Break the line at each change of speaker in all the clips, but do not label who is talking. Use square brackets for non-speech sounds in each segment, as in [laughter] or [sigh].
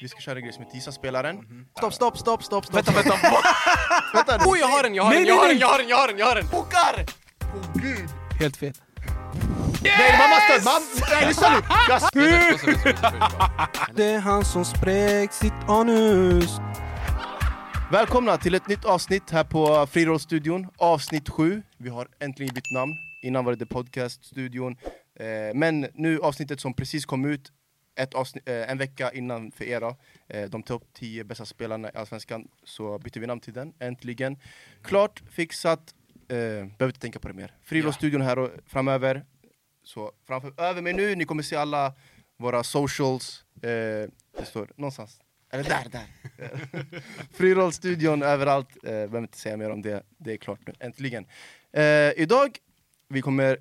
Vi ska köra en grej som heter Gissa-spelaren.
Stopp, stopp, stopp, stopp, stopp.
Mhm. Vänta, vänta! vänta
Oj, jag har den, jag har
Nej,
den, jag har
nej,
den, jag har den, jag har den, jag har den! Pokar!
Helt fel.
Nej, mamma stöd! Mamma! Nej, lyssna nu! Jag
Det är han som spräck sitt anus.
Välkomna till ett nytt avsnitt här på Frirollstudion, avsnitt 7. Vi har äntligen bytt namn. Innan var det The Podcast-studion. Eh, men nu avsnittet som precis kom ut, ett avsnitt, eh, en vecka innan för er då, eh, de topp 10 bästa spelarna i Allsvenskan, så bytte vi namn till den, äntligen. Klart, fixat, eh, behöver inte tänka på det mer. Frirollstudion här och framöver. Så framför, över mig nu, ni kommer se alla våra socials. Eh, det står någonstans. Eller där, där. Frirollstudion överallt. Eh, behöver inte säga mer om det. Det är klart nu, äntligen. Eh, idag, vi kommer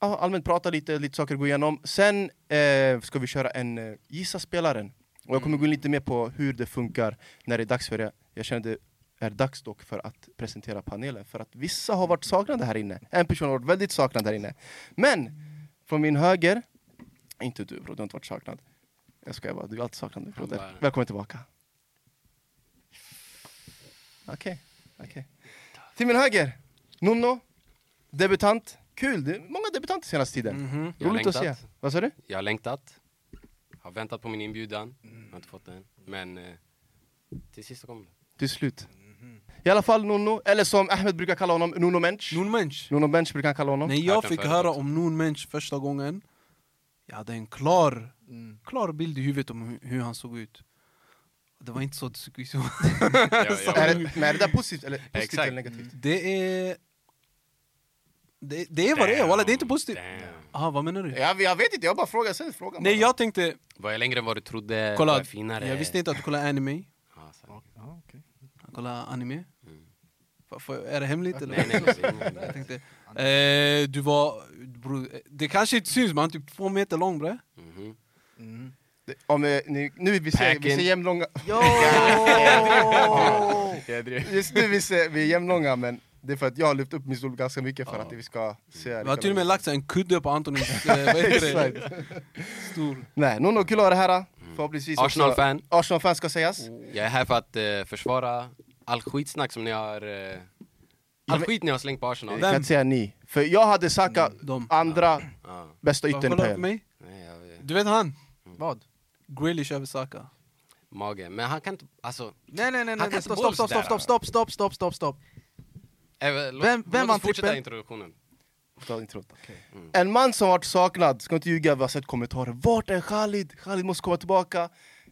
ja, allmänt prata lite, lite saker att gå igenom. Sen eh, ska vi köra en eh, Gissa spelaren. Och jag kommer gå in lite mer på hur det funkar när det är dags för det. Jag känner det är dags dock för att presentera panelen. För att vissa har varit saknade här inne. En person har varit väldigt saknad här inne. Men, från min höger, inte du bror, du har inte varit saknad. Jag skojar bara, du är alltid saknad broder. Välkommen tillbaka. Okej, okej. Till min höger, Nonno, debutant. Kul, det är många debutanter senaste tiden.
Mhm.
Jag har
Roligt att se.
längtat.
Vad sa du?
Jag har längtat. Har väntat på min inbjudan. Jag har inte fått den. Men eh, till sist så kom det.
Till slut. I alla fall Nonno, eller som Ahmed brukar kalla honom, Nonno Mensch.
Nunmensch.
Nonno Mensch brukar han kalla honom.
När
Hört
jag
den
fick
förut
höra
också.
om Nunmensch första gången, jag hade en klar,
Mm.
klar bild i huvudet om hu- hur han såg ut. Det var inte så det såg
[laughs]
ut. [laughs]
Jag, jag,
Är, det, men är det där positivt eller, positivt
Exakt.
eller negativt?
Det är... Det, det är vad det är, walla. Det är inte positivt.
Damn.
Aha, vad menar du?
Mm. Jag, jag vet inte, jag bara frågar. Sen frågar
Nej, jag tänkte...
Var jag längre än vad du trodde?
Kolla,
var jag finare?
jag visste inte att du kollade anime.
Ja, så-
Ja, okej.
Jag kollar anime.
Mm.
F- f- är det hemligt eller?
nej, nej, det är ingen-
Jag tänkte, [laughs] eh, du var... Bro, det kanske inte syns, men han är typ två meter lång bre.
Mhm.
Mm.
Det- Om, eh, ni, nu vi ser, vi
Packing.
ser [laughs] jämnlånga.
[laughs] Jo!
Jag driver.
Just nu vi ser, vi är jämnlånga men det är för att jag har lyft upp min stol ganska mycket för
Ja.
att vi ska se.
Vi har till och med lagt så här en kudde på Antonins... Eh, vad heter det? Stor.
Nej, Nonno, kul att ha det här. Förhoppningsvis också-
Arsenal-fan.
Arsenal-fan ska sägas.
Jag är här för att eh, försvara all skitsnack som ni har... Eh, all
men-
skit ni har slängt på Arsenal.
Jag kan
Vem?
inte säga ni. För jag hade Saka,
Mm, de.
andra
Ja.
bästa
Kolla
yttern på
på
hela.
mig.
Nej, jag,
Du vet han?
Vad?
Grealish över Saka.
magen. Men han kan inte... Alltså...
Nej, nej, nej,
kan
nej.
inte
Stopp,
bolls
stopp, stopp,
där,
stopp,
alltså.
stopp, stopp, stopp, stopp, stopp.
Äh, låt,
Vem- vem
låt
vann
oss fortsätta
trippen?
introduktionen.
Ta intro. En man som varit saknad, ska inte ljuga, vi har sett kommentarer. Vart är Khalid? Khalid måste komma tillbaka.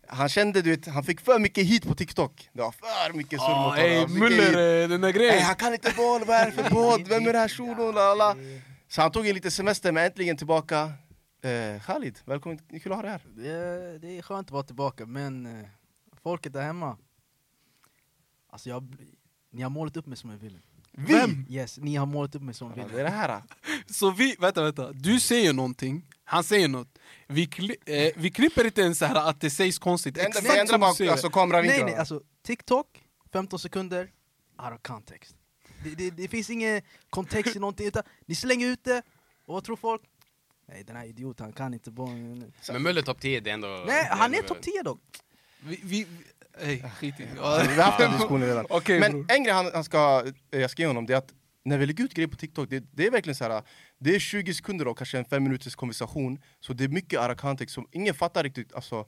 Han kände, du vet, han fick för mycket hit på TikTok. Det var för mycket surr mot
Ah, ey,
honom. mycket hit.
Müller, eh, den där
Nej,
grejen.
han kan inte boll, vad är det för båt? Vem är det här shunon? Lala. Så han tog en liten semester, men äntligen tillbaka. Eh, Khalid, välkommen, kul att ha dig här.
Det är, det är skönt att vara tillbaka, men eh, folket där hemma... Alltså, jag, bl- ni har målat upp mig som en villain.
Vi!
Yes, ni har målat upp mig som en
Ja,
villain.
Det är det här.
Så vi, vänta, vänta. Du säger någonting, han säger något. Vi, kli, eh, vi klipper inte ens så här att det sägs konstigt.
Det enda vi
Exakt
ändrar
som du
bara
säger.
alltså, kameravinklarna.
Nej, nej, alltså TikTok, 15 sekunder, out of context. Det, det, det finns ingen kontext i någonting, utan ni slänger ut det, och vad tror folk? Nej, den här idioten, han kan inte bara... Nej,
Men Möller topp 10, det är ändå... det
han är
ändå-
topp 10 dock!
Vi, vi, vi, ey, skit i det.
Vi har haft den diskussionen redan.
[laughs] Okej,
Men
bror.
en grej han, han ska, eh, jag ska ge honom det är att när vi lägger ut grejer på TikTok, det, det är verkligen så här. Det är 20 sekunder och kanske en fem minuters konversation. Så det är mycket out of context som ingen fattar riktigt. Alltså,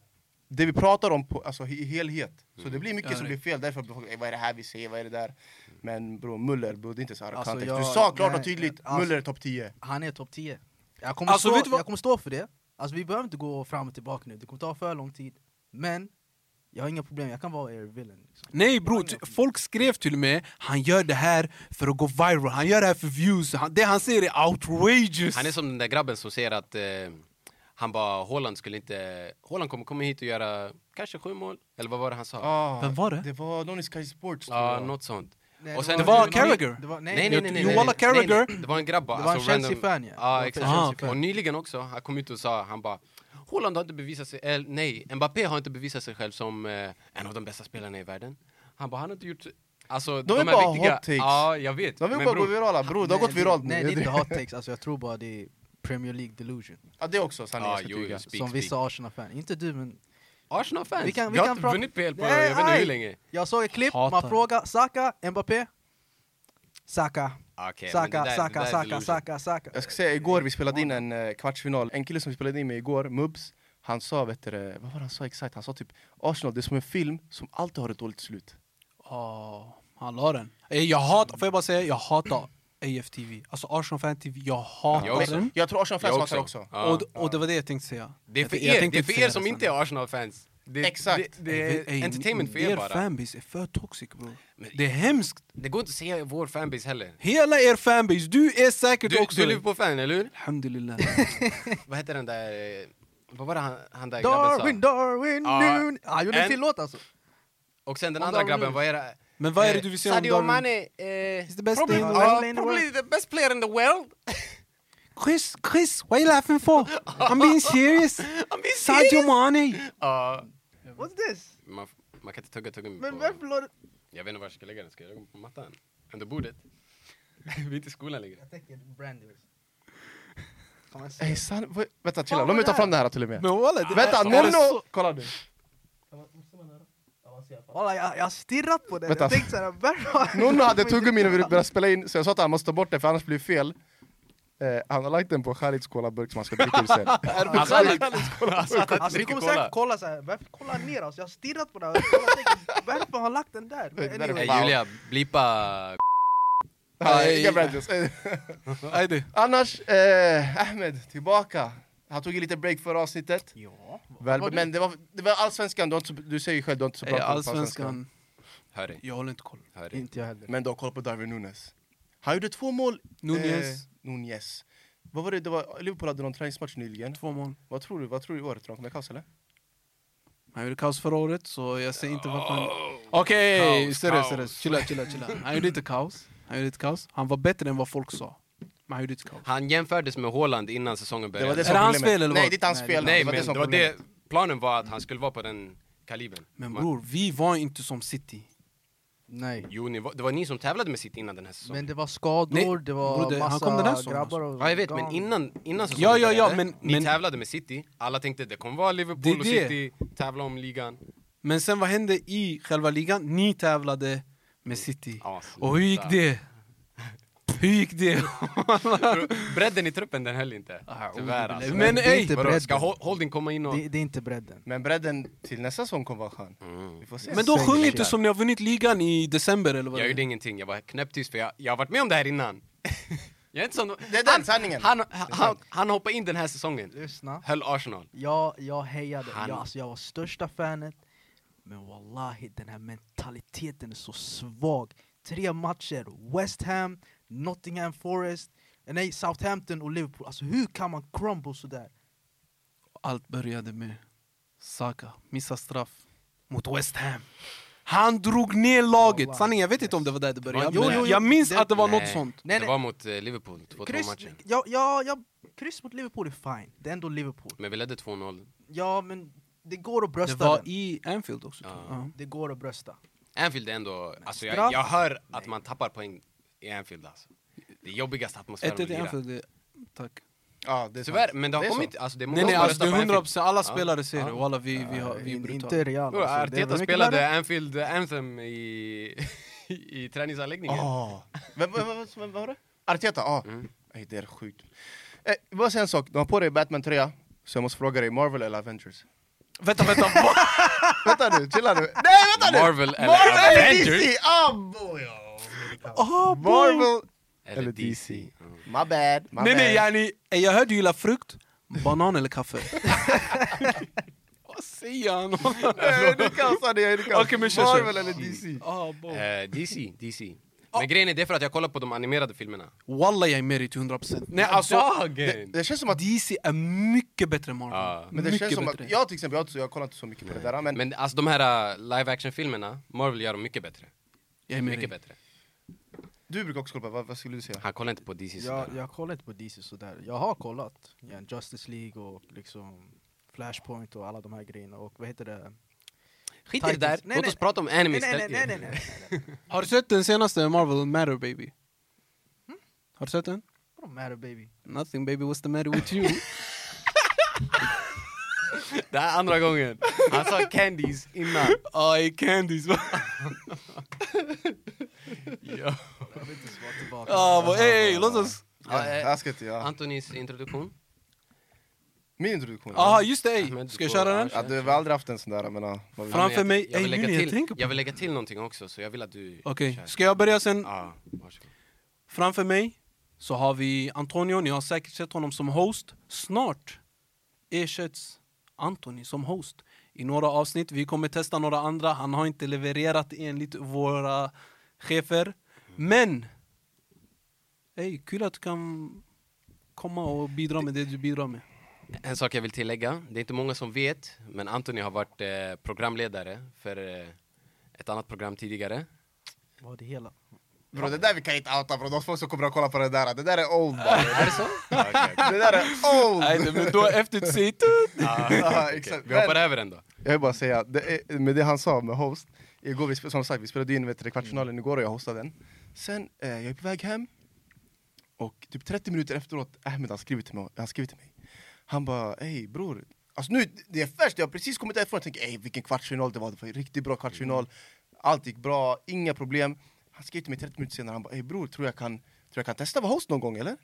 det vi pratar om på, alltså, i helhet. Så det blir mycket
Ja,
som
det-
blir fel. Därför blir folk, "Ey, vad är det här vi ser, vad är det där? Men bror, Muller, bro, det är inte så out of
Alltså,
context. du
jag-
sa klart och
nej,
tydligt,
alltså-
Muller är topp 10.
Han är topp 10. Jag kommer,
Alltså, vet du
stå,
vad-
jag kommer stå för det, alltså vi behöver inte gå fram och tillbaka nu, det kommer ta för lång tid. Men, jag har inga problem, jag kan vara er villain. Liksom.
Nej bro, ty- folk skrev till och med han gör det här för att gå viral, han gör det här för views, han, det han säger är outrageous!
Han är som den där grabben som säger att eh, han bara, Haaland skulle inte... Haaland kommer komma hit och göra kanske sju mål, eller vad var det han sa?
Ah,
Vem var det?
Det var någon i Sky Sports tror
Ja,
jag.
något sånt.
Nej,
och sen,
det var Carragher.
det var-
Nej, nej, nej, nej,
Jo,
nej,
Walla
nej, nej.
Carragher.
Det var en grabb bara,
Det var en
alltså random-
Chelsea-fan, ja.
Ja,
Det var
exakt.
en Chelsea-fan.
Och nyligen också, han kom ut och sa, han bara Haaland har inte bevisat sig, eller nej, Mbappé har inte bevisat sig själv som eh, en av de bästa spelarna i världen. Han bara, han har inte gjort... Alltså,
De är
här
bara
viktiga-
hot takes.
Ja, jag vet.
De vill
Men
bara
bror,
gå virala, bror. Det har
Nej,
gått viralt nu.
Nej,
[laughs]
det
[laughs]
är inte hot takes, alltså, jag tror bara det är Premier League delusion.
Ja, det är också sanningen.
Ja,
jag ska
jo,
tyga.
jo, speak,
som
speak.
vissa Arsenal-fan. Inte du, men
Arsenal-fans.
Vi kan- vi
har
kan
inte
prata-
vunnit PL på
Nej,
jag vet inte
aj.
hur länge.
Jag såg ett klipp,
Hatar.
man frågar Saka, Mbappé. Saka,
Okej, men det
Saka,
där- det
Saka,
där är
Saka,
delusion.
Saka, Saka.
Jag ska säga, igår vi spelade in en eh, kvartsfinal. En kille som vi spelade in med igår, Mubs, han sa, vet du, det, vad var det han sa exakt? Han sa typ Arsenal, det är som en film som alltid har ett dåligt slut.
Ja, han la den. Eh, Jag hatar, får jag bara säga, jag hatar AFTV. Alltså Arsenal Fan TV, jag hatar
Jag också.
den.
Jag tror Arsenal-fans hatar också.
Ja.
Och, och det var det jag tänkte säga.
det är för
Jag- jag
er,
tänkte
det är för
säga
er som
sen.
inte är Arsenal-fans. Det,
Exakt.
Det, det
Ey,
är entertainment för er
Er
bara.
fanbase är för toxic bror. Det är hemskt.
Det går inte att säga vår fanbase heller.
Hela er fanbase, du är säkert
Du,
också
du är Liverpool-fan, eller hur?
Alhamdulillah.
[laughs] Vad heter den där... eh, Vad var det han, han där
Darwin,
grabben sa?
Darwin,
Ja.
Noon. Han gjorde en
En-
till låt alltså.
Och sen den
Och
andra
Darwin
grabben,
Nunes.
vad är det?
Men vad är det
Eh,
du vill säga om
Sadio
Darwin?
Mane... eh,
He's the best
probably-
thing.
ja,
in the
Probably the best player in the world.
Chris, Chris, what are you laughing
[laughs]
for? I'm being serious.
I'm being
Sadio Mane.
Ja,
What's this?
man, f- man kan inte tugga tuggummi
Men
på...
varför låter...
Jag vet inte var jag ska lägga den, ska jag lägga den på mattan? Under bordet? [laughs] Vi är inte i skolan längre.
Jag tänker brandy. Kan man
Ey,
säga?
san, vad, vänta,
Fan,
chilla.
vad
Låt mig ta
det
fram det här till och med.
Men walla, det
Vänta,
är-
Nonno! Kolla nu.
Walla, jag, jag har stirrat på den.
Vänta.
Jag tänkte såhär,
[laughs]
varför?
Nonno hade tuggummi när vi började spela in, så jag sa att han måste ta bort det för annars blir det fel. Eh, han har lagt den på Khalids colaburk som han ska dricka ur sen. [laughs]
Alltså, alla- [laughs] alltså, att
Alltså, du
dricka
kommer
cola.
säkert kolla såhär, varför kollar han ner oss? Jag har stirrat på den. Jag tänker, varför har han lagt den där?
Det där är
Men anyway.
fan-
Hey, Eh, Julia, blipa...
Ja,
Nej.
inga brandies. Eh,
Ajde.
[laughs] Annars, eh, Ahmed, tillbaka. Han tog ju lite break förra avsnittet.
Ja.
Väl,
var det?
men det var, det var allsvenskan, du, har inte så- du säger ju själv du har inte så bra
Ey,
koll på
Eh, Allsvenskan,
Hör dig,
jag håller inte koll.
hör dig.
Inte jag heller.
Men du har koll på Darwin Nunes. Han gjorde två mål.
Nunez,
Eh, Nunez. Vad var det, det var, Liverpool hade någon träningsmatch nyligen.
två mål.
Vad tror du, vad tror du i år? Tror du de kommer kaos eller?
Han gjorde kaos förra året, så jag säger inte vad fan... Oh. Okej,
Kaos,
seriöst,
kaos.
seriöst. Chilla, chilla, chilla. Han gjorde inte kaos. Han gjorde inte kaos. Han var bättre än vad folk sa. Men han gjorde inte kaos.
Han jämfördes med Haaland innan säsongen började.
det som var hans
problemet.
fel, eller
Nej,
vad?
det är inte hans
Nej,
fel.
Nej,
det var det
men
som
det var
problemet.
det, planen var att han skulle vara på den kalibern.
Men
Man-
bror, vi var inte som City.
Nej.
Jo, ni var, det var ni som tävlade med City innan den här säsongen.
Men det var skador,
Nej,
det var
broder, han
massa
kom den här säsongen
grabbar och
ja, jag vet, men
organ.
innan, innan säsongen
Ja, ja, ja,
började,
men-
ni
men-
tävlade med City. Alla tänkte det kommer vara
Det är
Liverpool och
det.
City, tävla om ligan.
Men sen vad hände i själva ligan? Ni tävlade med City.
Ja,
Och hur gick
sluta.
det? Hur gigick [laughs] det?
Bredden i truppen den höll inte.
Ah,
Tyvärr alltså.
Men
Det är
ey!
inte
Vadå,
bredden.
ska Ho- Holding komma in och...
Det, det är inte bredden.
Men bredden till nästa säsong kommer vara skön.
Mm.
Vi får se.
Men då
Säg
sjung
det.
inte som ni har vunnit ligan i december eller vad
Jag
det
gjorde
är.
ingenting, jag var knäpptyst för jag, jag har varit med om det här innan. [laughs] jag är inte sån...
Det är den
han,
sanningen.
Han, han, han, hoppade in den här säsongen,
Lyssna.
höll Arsenal.
Jag, jag hejade,
Han-
jag, alltså, jag var största fanet. Men wallahi, den här mentaliteten är så svag. Tre matcher, West Ham, Nottingham Forest, eh, nej Southampton och Liverpool. Alltså hur kan man crumble sådär?
Allt började med Saka, missa straff mot West Ham. Han drog ner laget.
Wallah.
Sanningen, jag vet inte om det var där det började.
Jo,
men
jo, jo.
jag minns
Det-
att det var något
Nej,
sånt.
Nej,
det
nej.
var mot eh, Liverpool, 2-2
Kryss,
matchen.
ja, ja, ja, kryss mot Liverpool är fine, det är ändå Liverpool.
Men vi ledde 2-0.
Ja men det går att
Det
brösta
var
den.
i Anfield också.
Ja.
tror jag. Ja.
Det går att brösta.
Anfield är ändå... Alltså
straff?
jag, jag hör att
Nej.
man tappar poäng i Anfield alltså. Det är jobbigaste atmosfären
1-1
att
i
lira.
Anfield. det- Tack.
Ja, det är sant.
Tyvärr, men det har
är så.
kommit... Alltså det är många
Nej, nej,
som
alltså det
röstar
är
på
100
Anfield.
procent. Alla
Ja.
spelare ser det.
Ja.
Walla, vi, vi, har, vi är
In-
brutala.
inte Real.
Jo,
alltså. Det är
Arteta
mycket värre.
spelade Anfield eh, Anthem i, i träningsanläggningen.
Ah. Vem, vem, vem, vem var det? Arteta? Ja.
Mm.
Ey, det är sjukt. Eh, bara säga en sak, du har på dig Batman-tröja. Så jag måste fråga dig, Marvel eller Avengers?
Vänta, vänta.
vänta nu, chilla nu. Nej vänta nu!
Marvel eller
Marvel
Avengers?
DC! Ah, boy, ja.
Oh,
Marvel
Eller,
eller
DC.
DC.
Ja.
My bad, my
Nej,
bad.
nej, yani, eh, jag hörde du gillar frukt, banan eller kaffe. Vad säger han?
Nej, [laughs] det kan sa det, det kan.
Okej, men kör, kör.
Marvel eller DC?
Ah, bo.
Eh, DC, DC. Men grejen är det är för att jag kollar på de animerade filmerna.
Walla, jag är med dig till 100%. Nej, alltså,
Det,
Dagen!
det känns som att...
DC är mycket bättre än Marvel.
Ja.
Men det
mycket
känns som
bättre.
att jag till exempel, jag, har inte så- jag kollar inte så mycket på det där. Men,
Men alltså de här äh, live action-filmerna, Marvel gör dem mycket bättre.
jag är med
Mycket
dig.
bättre.
du brukar också kolla på, vad, vad skulle du säga?
Han kollar inte på DC
Jag,
sådär.
jag kollar inte på DC sådär. Jag har kollat ja, Justice League och liksom Flashpoint och alla de här grejerna. Och vad heter det?
Skit i det där,
Titans. Nej,
låt
nej.
oss prata om anime
Nej, nej, nej,
istället.
nej, nej, nej. nej.
Har du sett den senaste Marvel, Matter Baby? Har du sett den?
Vadå matter baby?
Nothing baby, what's the matter with you?
[laughs] Det här är andra gången. Han sa candies innan. Oj, candies. ja.
Jag vill inte svara tillbaka.
Oh,
Ja, vad- ey, låt oss...
Ja, alltså. jag ska inte, ja.
Antonins eh, introduktion.
Min introduktion.
Aha, Ah, just det!
Ahmed,
ey.
du
Ska jag
får-
köra den?
ja,
ja, du har väl aldrig haft en sån där, jag menar, vad vill-
Fram- Framför
Jag-
mig
jag
är
vill, lägga
Juni, jag
till,
tänker på.
jag vill lägga till någonting också, så jag vill att du
Okej,
kör.
ska jag börja sen?
Ja, varsågod.
Framför mig så har vi Antonio, ni har säkert sett honom som host. Snart ersätts Antoni som host i några avsnitt. Vi kommer testa några andra. Han har inte levererat enligt våra chefer. Men! Ey, kul att du kan komma och bidra med det du bidrar med.
En sak jag vill tillägga, det är inte många som vet, men Anthony har varit eh, programledare för eh, ett annat program tidigare.
Var det hela?
Bro, det där vi kan inte outa bro, de folk som kommer att kolla på det där, det där är old bara.
Ah, Är det så?
[laughs] Det där är old!
Nej, men då efter du säger tut.
[laughs] Ja,
Okej,
exakt.
Vi hoppar över den då.
Jag vill bara säga, det är, med det han sa med host, igår vi, spe- som sagt, vi spelade in vet, du, kvartsfinalen igår och jag hostade den. Sen, eh, jag är på väg hem, och typ 30 minuter efteråt, Ahmed han skriver till mig, han skriver till mig. Han bara ey bror, alltså nu, det är färskt, jag har precis kommit därifrån och tänker ey vilken kvartsfinal det var, det var en riktigt bra kvartsfinal. Allt gick bra, inga problem. Han skrev till mig 30 minuter senare, han bara ey bror, tror jag kan, tror jag kan testa vara host någon gång eller?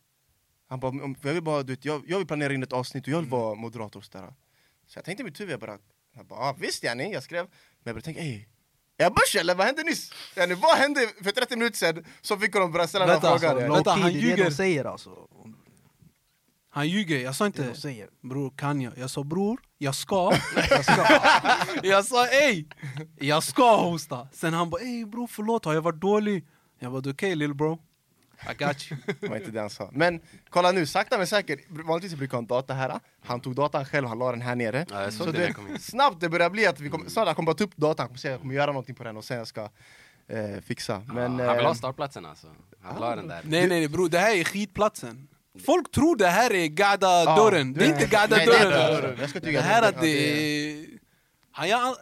Han bara, "Om- för jag vill bara, du vet, jag, jag vill planera in ett avsnitt och jag vill
Mm.
vara moderator och sådär. Så jag tänkte i mitt huvud, jag bara, jag bara ah, visst yani, jag skrev. Men jag började tänka ey, är jag börs eller vad hände nyss? Yani, vad hände för 30 minuter sedan? Så fick de börja ställa den här
Vänta, alltså,
frågan. yani.
låt- Vänta,
Low-key,
han
Det är det
ljuger.
de säger alltså.
Han ljuger, jag sa
Det är det
inte
de säger.
bror kan jag. Jag sa bror,
[laughs]
jag ska.
Jag ska-
[laughs] Jag sa ey, jag ska hosta. Sen han bara ey bro förlåt har jag varit dålig? Jag bara okej lill bro. I
[laughs]
got you.
Det var inte det han sa. Men kolla nu, sakta men säkert. Vanligtvis brukar han data här. Han tog datan själv, han la den här nere.
Ja, jag såg
Så
det
det-
när jag kom in.
Snabbt det börjar bli att vi kommer, snart han kommer bara ta upp datan, han kommer säga jag kommer göra någonting på den och sen jag ska eh, fixa. Men,
Ja, han vill
eh,
ha startplatsen alltså. Han vill ha den där.
Nej nej bro, det här är skitplatsen. Folk tror det här är gada
Ja,
dörren.
du
Det är
vet.
inte gada
Nej, det är
dörren.
inte dörren. Jag ska
Det
tyga
här
det.
att det är... Han jag...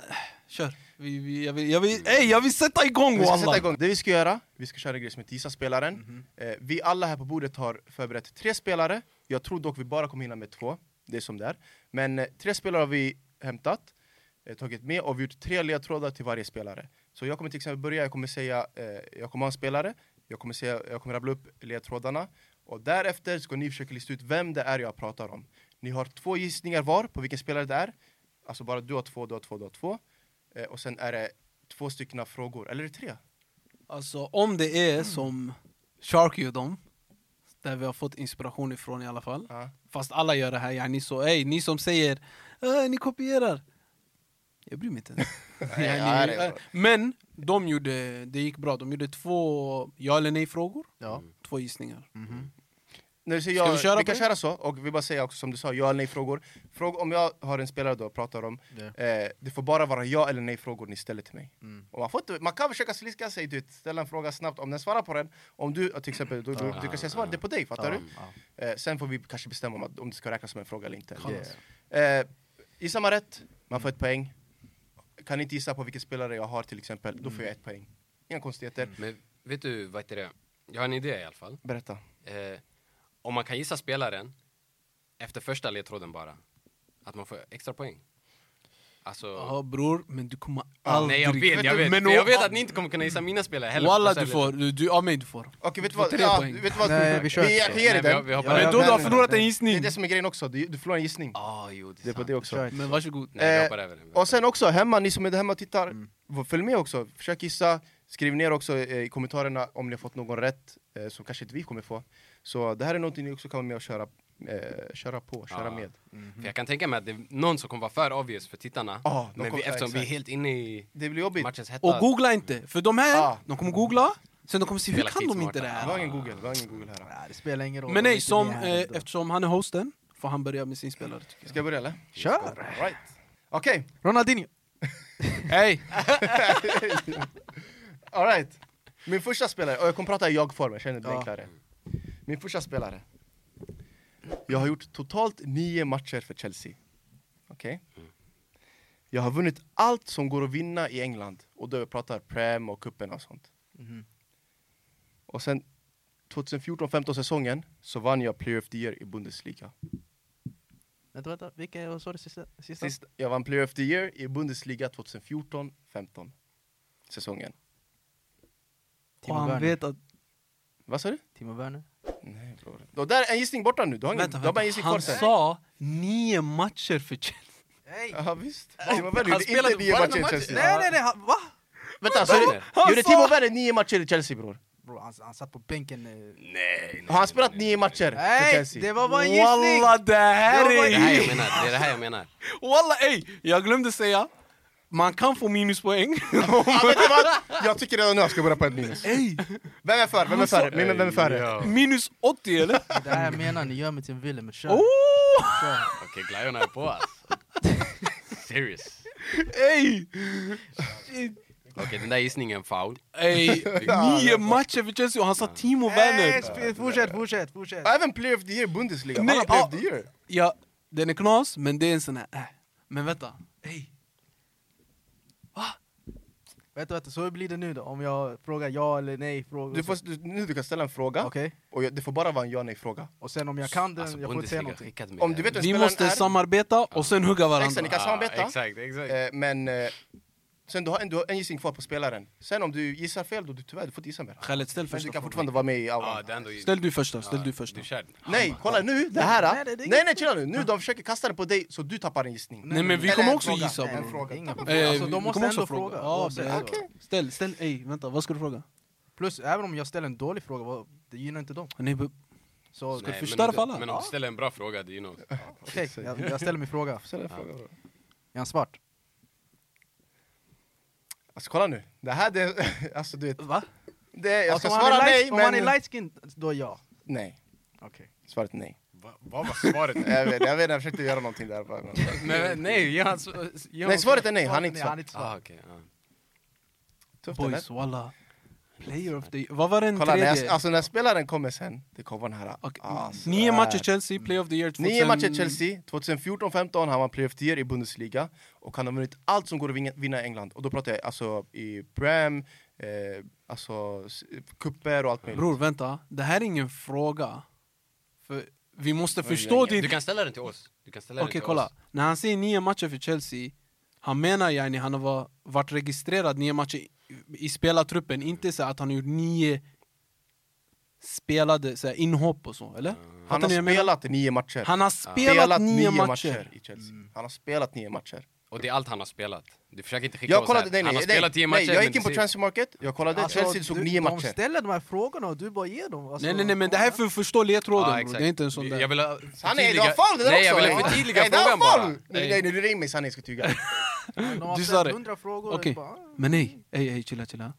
Kör. Vi, vi, jag, vill, jag, vill, ey, jag vill sätta igång
vi ska sätta
wallah.
igång. Det vi ska göra, vi ska köra en grej som heter Gissa spelaren. eh, vi alla här på bordet har förberett tre spelare. Jag tror dock vi bara kommer hinna med två. Det är som det är. Men eh, tre spelare har vi hämtat, eh, tagit med och vi har gjort tre ledtrådar till varje spelare. Så jag kommer till exempel börja, jag kommer säga, eh, jag kommer ha en spelare, jag kommer, säga, jag kommer rabbla upp ledtrådarna och därefter ska ni försöka lista ut vem det är jag pratar om. Ni har två gissningar var på vilken spelare det är. Alltså bara du har två, du har två, du har två. Eh, och sen är det två stycken frågor, eller är det tre?
Alltså om det
Mm.
är som Sharky och dem, där vi har fått inspiration ifrån i alla fall.
Ja.
Fast alla gör det här yani, så ey, ni som säger "Äh, ni kopierar. Jag bryr
[laughs]
mig inte.
Nej,
Yani,
ja, det är
äh,
bra.
men de gjorde, det gick bra. De gjorde två ja eller nej-frågor,
Ja.
Mm.
två gissningar.
Mhm. När du säger
Ska
ja,
vi
vi,
köra på
kan
det?
köra så, och vi bara säger också som du sa, ja eller nej-frågor. Fråga om jag har en spelare då och pratar om, eh, det får bara vara ja eller nej-frågor ni ställer till mig.
Mm.
Och man, får inte, man kan försöka sliska sig, du vet, ställa en fråga snabbt, om den svarar på den, om du till exempel, du, du, du kan säga svar, det är på dig, fattar du? Eh, sen får vi kanske bestämma om, att, om det ska räknas som en fråga eller inte. Eh, gissar man rätt, man får ett poäng. Kan ni inte gissa på vilken spelare jag har till exempel, då
Mm.
får jag ett poäng. Inga konstigheter.
Men vet du, vad heter det? Jag har en idé i alla fall.
Berätta.
Eh, om man kan gissa spelaren efter första ledtråden bara, att man får extra poäng. Alltså...
Ja bror, men du kommer
Nej
aldrig...
jag vet, jag vet.
Men
Men jag
o-
vet att ni inte kommer kunna gissa mina spelare heller.
Walla du får, du, du, av mig du får.
Okej, vet du
Du får
vad?
tre
Ja,
poäng.
vet du vad?
Nej, vi kör
vi,
inte.
jag ger dig
Nej, vi har-
den.
vi har
Ja,
bara-
men då du har
den.
förlorat en
Det är
gissning.
det som är grejen också, du, du förlorar en gissning.
Ah, jo, det
Det är
är
på
sant.
det också.
Men varsågod.
Nej,
Eh,
jag hoppar över den.
Och sen också, hemma, ni som är där hemma och tittar,
Mm.
v- följ med också. Försök gissa, skriv ner också eh, i kommentarerna om ni har fått någon rätt, eh, som kanske inte vi kommer få. Så det här är någonting ni också kan vara med och köra, eh, köra på, köra
Ja.
med.
För jag kan tänka mig att det är någon som kommer vara för obvious för tittarna.
Ja, de
men
kommer-
vi, eftersom vi är
exakt.
helt inne i
Det blir jobbigt.
matchens hetta.
Och googla inte, för de här,
Ah.
de kommer googla, sen de kommer se hur
Spela
kan de inte det
Vi
här?
har ingen google, vi har ingen google här.
Nej, Det spelar ingen roll.
Men
de är
nej,
inte
som,
med här
eh,
ändå.
eftersom han är hosten, får han börja med sin spelare tycker jag.
Ska jag börja eller?
Kör!
Right. Okej,
[laughs]
Ronaldinho!
Hey.
alright. Min första spelare, och jag kommer prata i jag-form, jag känner det blir
Ja.
enklare. Min första spelare. Jag har gjort totalt nio matcher för Chelsea. Okej? Jag har vunnit allt som går att vinna i England. Och då jag pratar Prem och cupen och sånt. Och sen 2014-15 säsongen så vann jag Player of the Year i Bundesliga.
Vänta, vänta. Vilka vad sa du sista? sista?
Sist, jag vann Player of the Year i Bundesliga 2014-15 säsongen.
Timo
Och han
Werner.
vet att...
Vad sa du?
Timo Werner?
Nej bror. Då där är en gissning borta nu, du har, ingen,
Vänta,
du har bara en
vänta.
gissning kvar
Han
sen.
sa nio matcher för Chelsea.
Nej!
Ja visst. Timo Werner
Han
gjorde inte
spelade
nio
bara
matcher i
matcher.
Chelsea.
Nej, nej, nej! Han, va?
Vänta, så gjorde-
Han
gjorde
sa-
Timo Werner nio matcher i Chelsea bror?
Bro, han, han satt på bänken.
Mm,
eh.
Nej,
Har han spelat nio matcher för
Nej!
Chelsea?
Det var bara en gissning!
Walla det här
Det var
Det är det här
är...
jag menar, det är det här
[laughs]
jag menar.
Walla ey! Jag glömde säga, man kan få minuspoäng.
Ja, vet du vad? Jag tycker redan nu att jag ska börja på ett minus.
ey,
Vem är före? Vem är före? Vem, vem är före?
Ja.
[laughs] minus 80 eller?
Det här jag menar, ni gör mig till en villain, men kör!
Oh!
kör.
Okej, glajjorna är
[laughs]
på alltså. Serious.
Ey!
Okej, den där gissningen är foul.
Ey, nio matcher för Chelsea och han sa Timo
Nej,
Werner.
sp- fortsätt, fortsätt, fortsätt!
Även Player of the Year Bundesliga.
Nej,
Han har Player
ja.
of the Year.
Ja, den är knas, men det är en sån här... Äh. Men vänta, ey.
Vänta, vänta, så hur blir det nu då? Om jag frågar ja eller nej? Fråga,
Du får, du, nu du kan ställa en fråga,
Okej,
och jag, det får bara vara en ja nej-fråga.
och sen om jag kan den,
Alltså,
jag får inte
Bundesliga
säga någonting.
skickade mig
Om
det
du
här.
vet vem
Vi
spelaren
måste
är,
samarbeta och sen hugga
Exakt,
varandra.
ni kan samarbeta.
Ah, Exakt, exakt.
eh, men eh, sen du har ändå en gissning kvar på spelaren. Sen om du gissar fel, då du tyvärr, du får inte gissa mer.
Khaled, ställ
Men du
första
kan
frågan.
fortfarande vara med i
Ja,
auran.
det är ändå...
Ställ du första, ställ du första.
Du kör den.
Nej, kolla nu! Det här!
Nej,
Nej,
det- det är
nej, nej chilla nu! Nu de försöker kasta den på dig, så du tappar en gissning.
Nej men vi
Eller
kommer
en
också
fråga.
gissa
En
bror.
fråga.
Inga
Tappa-
problem.
Eh,
Alltså, de
vi
måste
kommer
ändå
också fråga.
fråga.
Ja,
oavsett.
det-
Okej.
Ställ, ställ, ey vänta vad ska du fråga?
Plus, även om jag ställer en dålig fråga, vad- det gynnar inte dem.
Nej, bu-
Så,
Ska du
Nej,
förstöra
men om
för alla?
Men om du ställer en bra fråga, det är
[laughs]
ju något.
okej, jag, jag ställer min fråga.
Ställ en fråga då.
Är han svart?
Alltså kolla nu, det här det... [laughs] Alltså du vet...
Va?
Det, jag ska
Alltså, om han
svara
är light-
nej,
Om han är
men...
light-skinned, då ja.
Nej,
Okej.
svaret nej.
Va- Vad
[laughs]
var svaret?
Jag vet, jag vet, jag försökte göra någonting där. bara, men-
Men nej, jag...
Nej, svaret är nej, han är inte
Han är
svart.
inte
Ah,
svart.
okej. ja.
Tufft eller?
Boys walla. Player of the year. Vad var den
Kolla, när, jag,
tredje?
alltså, när spelaren kommer sen, det kommer den här...
Okej,
Alltså,
Nio
här.
matcher Chelsea, Player of the year 2000...
Nio matcher Chelsea, 2014-15 han vann Player of the Year i Bundesliga och han har vunnit allt som går att vinna- vinna i England. Och då pratar jag alltså i Prem, eh, alltså s- kupper och allt möjligt.
Bror vänta, det här är ingen fråga. För vi måste förstå
jag-
din...
Du kan ställa den till oss. Du kan ställa
Okej
den till
kolla,
oss.
när han säger nio matcher för Chelsea, han menar yani han har va- varit registrerad nio matcher i, i spelartruppen, inte så att han har gjort nio spelade så här, inhopp och så, eller?
Ah.
Fattar
han
ni vad jag
har
menar?
spelat nio matcher. Ah.
han har spelat, nio matcher.
i Chelsea. Han har spelat nio matcher.
Och Mm. det är allt han har spelat. Du försöker inte skicka
Jag
oss
kollade,
här.
nej, nej,
han har
nej,
spelat tio matcher.
nej, jag
men
gick in
det
på
ser-
transfer market, jag kollade,
Alltså,
Chelsea såg
du-
nio
De
matcher.
ställer de här frågorna och du bara ger dem. Alltså,
Nej nej nej men det här är för att förstå ledtråden
Ja,
bror.
Ah, exakt.
det är inte en sån där...
Jag vill ha
Han är, det
förtydliga-
var foul det där
Nej, jag
också!
ville
ja.
förtydliga
nej, det var
frågan bara.
foul! Nej, nej, nu ring mig sanning, jag ska
[laughs]
tyga.
De har
Du
ställt
sa det.
hundra frågor.
Okej,
bara, ah.
men nej, ej, ej, chilla, chilla.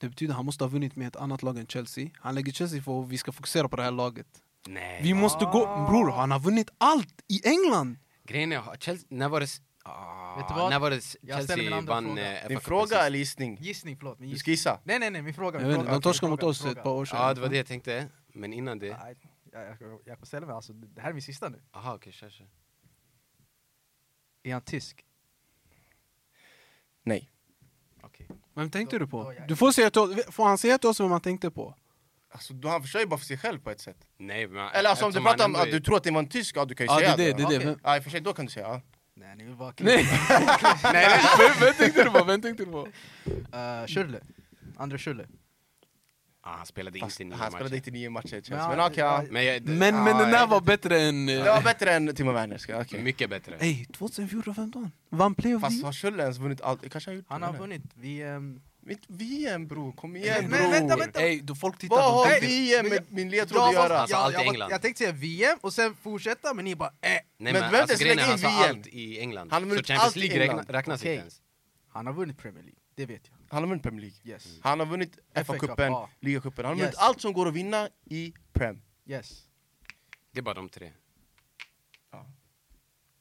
Det betyder att han måste ha vunnit med ett annat lag än Chelsea. Han lägger Chelsea för att vi ska fokusera på det här laget.
Nej.
Vi måste gå... Bror, han har vunnit allt i England!
Grejen är, har Chelsea, när var det... s- Ah,
Vet du vad?
När var det s-
Jag ställer min
Chelsea
andra
vann
fråga.
eh, FA
Din
Cup
fråga
precis?
eller gissning?
Gissning, förlåt. Min
Du ska
gissning.
gissa?
Nej, nej, nej, min fråga.
Jag
Min
vet inte,
fråga
de torskade mot
fråga,
oss för
fråga.
ett par år sedan.
Ja, det var det jag tänkte. Men innan det...
Nej, jag, jag, jag, jag ställer mig alltså, det här är min sista nu.
Aha, okej, kör, kör.
Är han tysk?
Nej.
Okej.
Vem tänkte du på?
Då- då jag-
Du får, säga till oss, får han säga till oss vem han tänkte på?
Alltså, då- han försörjer bara för sig själv på ett sätt.
Nej, men...
Eller alltså, om du
eftersom han
pratar om
ändå
att du
är-
tror att det var en tysk, ja du kan ju
Ja, det
säga
är det, det är det.
okej.
Vem-
Ja, i och för sig, då kan du säga ja.
Nej, ni vill
[laughs]
bara
Nej! Nej, vem, vem tänkte du på? Vem tänkte du på?
Uh, Schürrle. André Schürrle.
Ah, han spelade
Fast
inte nio
han spelade
matcher.
inte nio matcher, känns.
Men
men
han-
okej. ja.
Men jag, det, ah,
Men, men
Ja,
den
jag
där
vet
var bättre än... eh,
Det var bättre än Timo Werner, ska jag- okej.
mycket bättre.
Ey, 2014-15? Vann Play of the
Fast
Year?
har Schürrle ens vunnit allt? Kanske han gjort
Han
det,
har
eller?
vunnit eh, VM...
Mitt VM bror, kom
Ey,
igen
Men-
bror!
vänta,
bror.
vänta.
Ey, då folk tittar...
Vad
de
har
tänker-
VM med min ledtråd att
var-
göra?
Alltså, allt i
jag, var-
England.
jag tänkte säga VM och sen fortsätta, men ni bara eh.
Nej,
Men
men,
du behöver
alltså,
inte ens
grejen är,
lägga
han
in
sa
VM.
allt i England.
Han har
så
vunnit
Champions
allt i
League
England.
räkna- räknas
Okej.
inte ens.
Han har vunnit Premier League, det vet jag.
Han har vunnit Premier League.
Yes.
Han har vunnit
FA Cup,
FA-cupen,
ja.
ligacupen, han har vunnit
Yes.
allt som går att vinna i Prem.
Yes.
Det är bara de tre.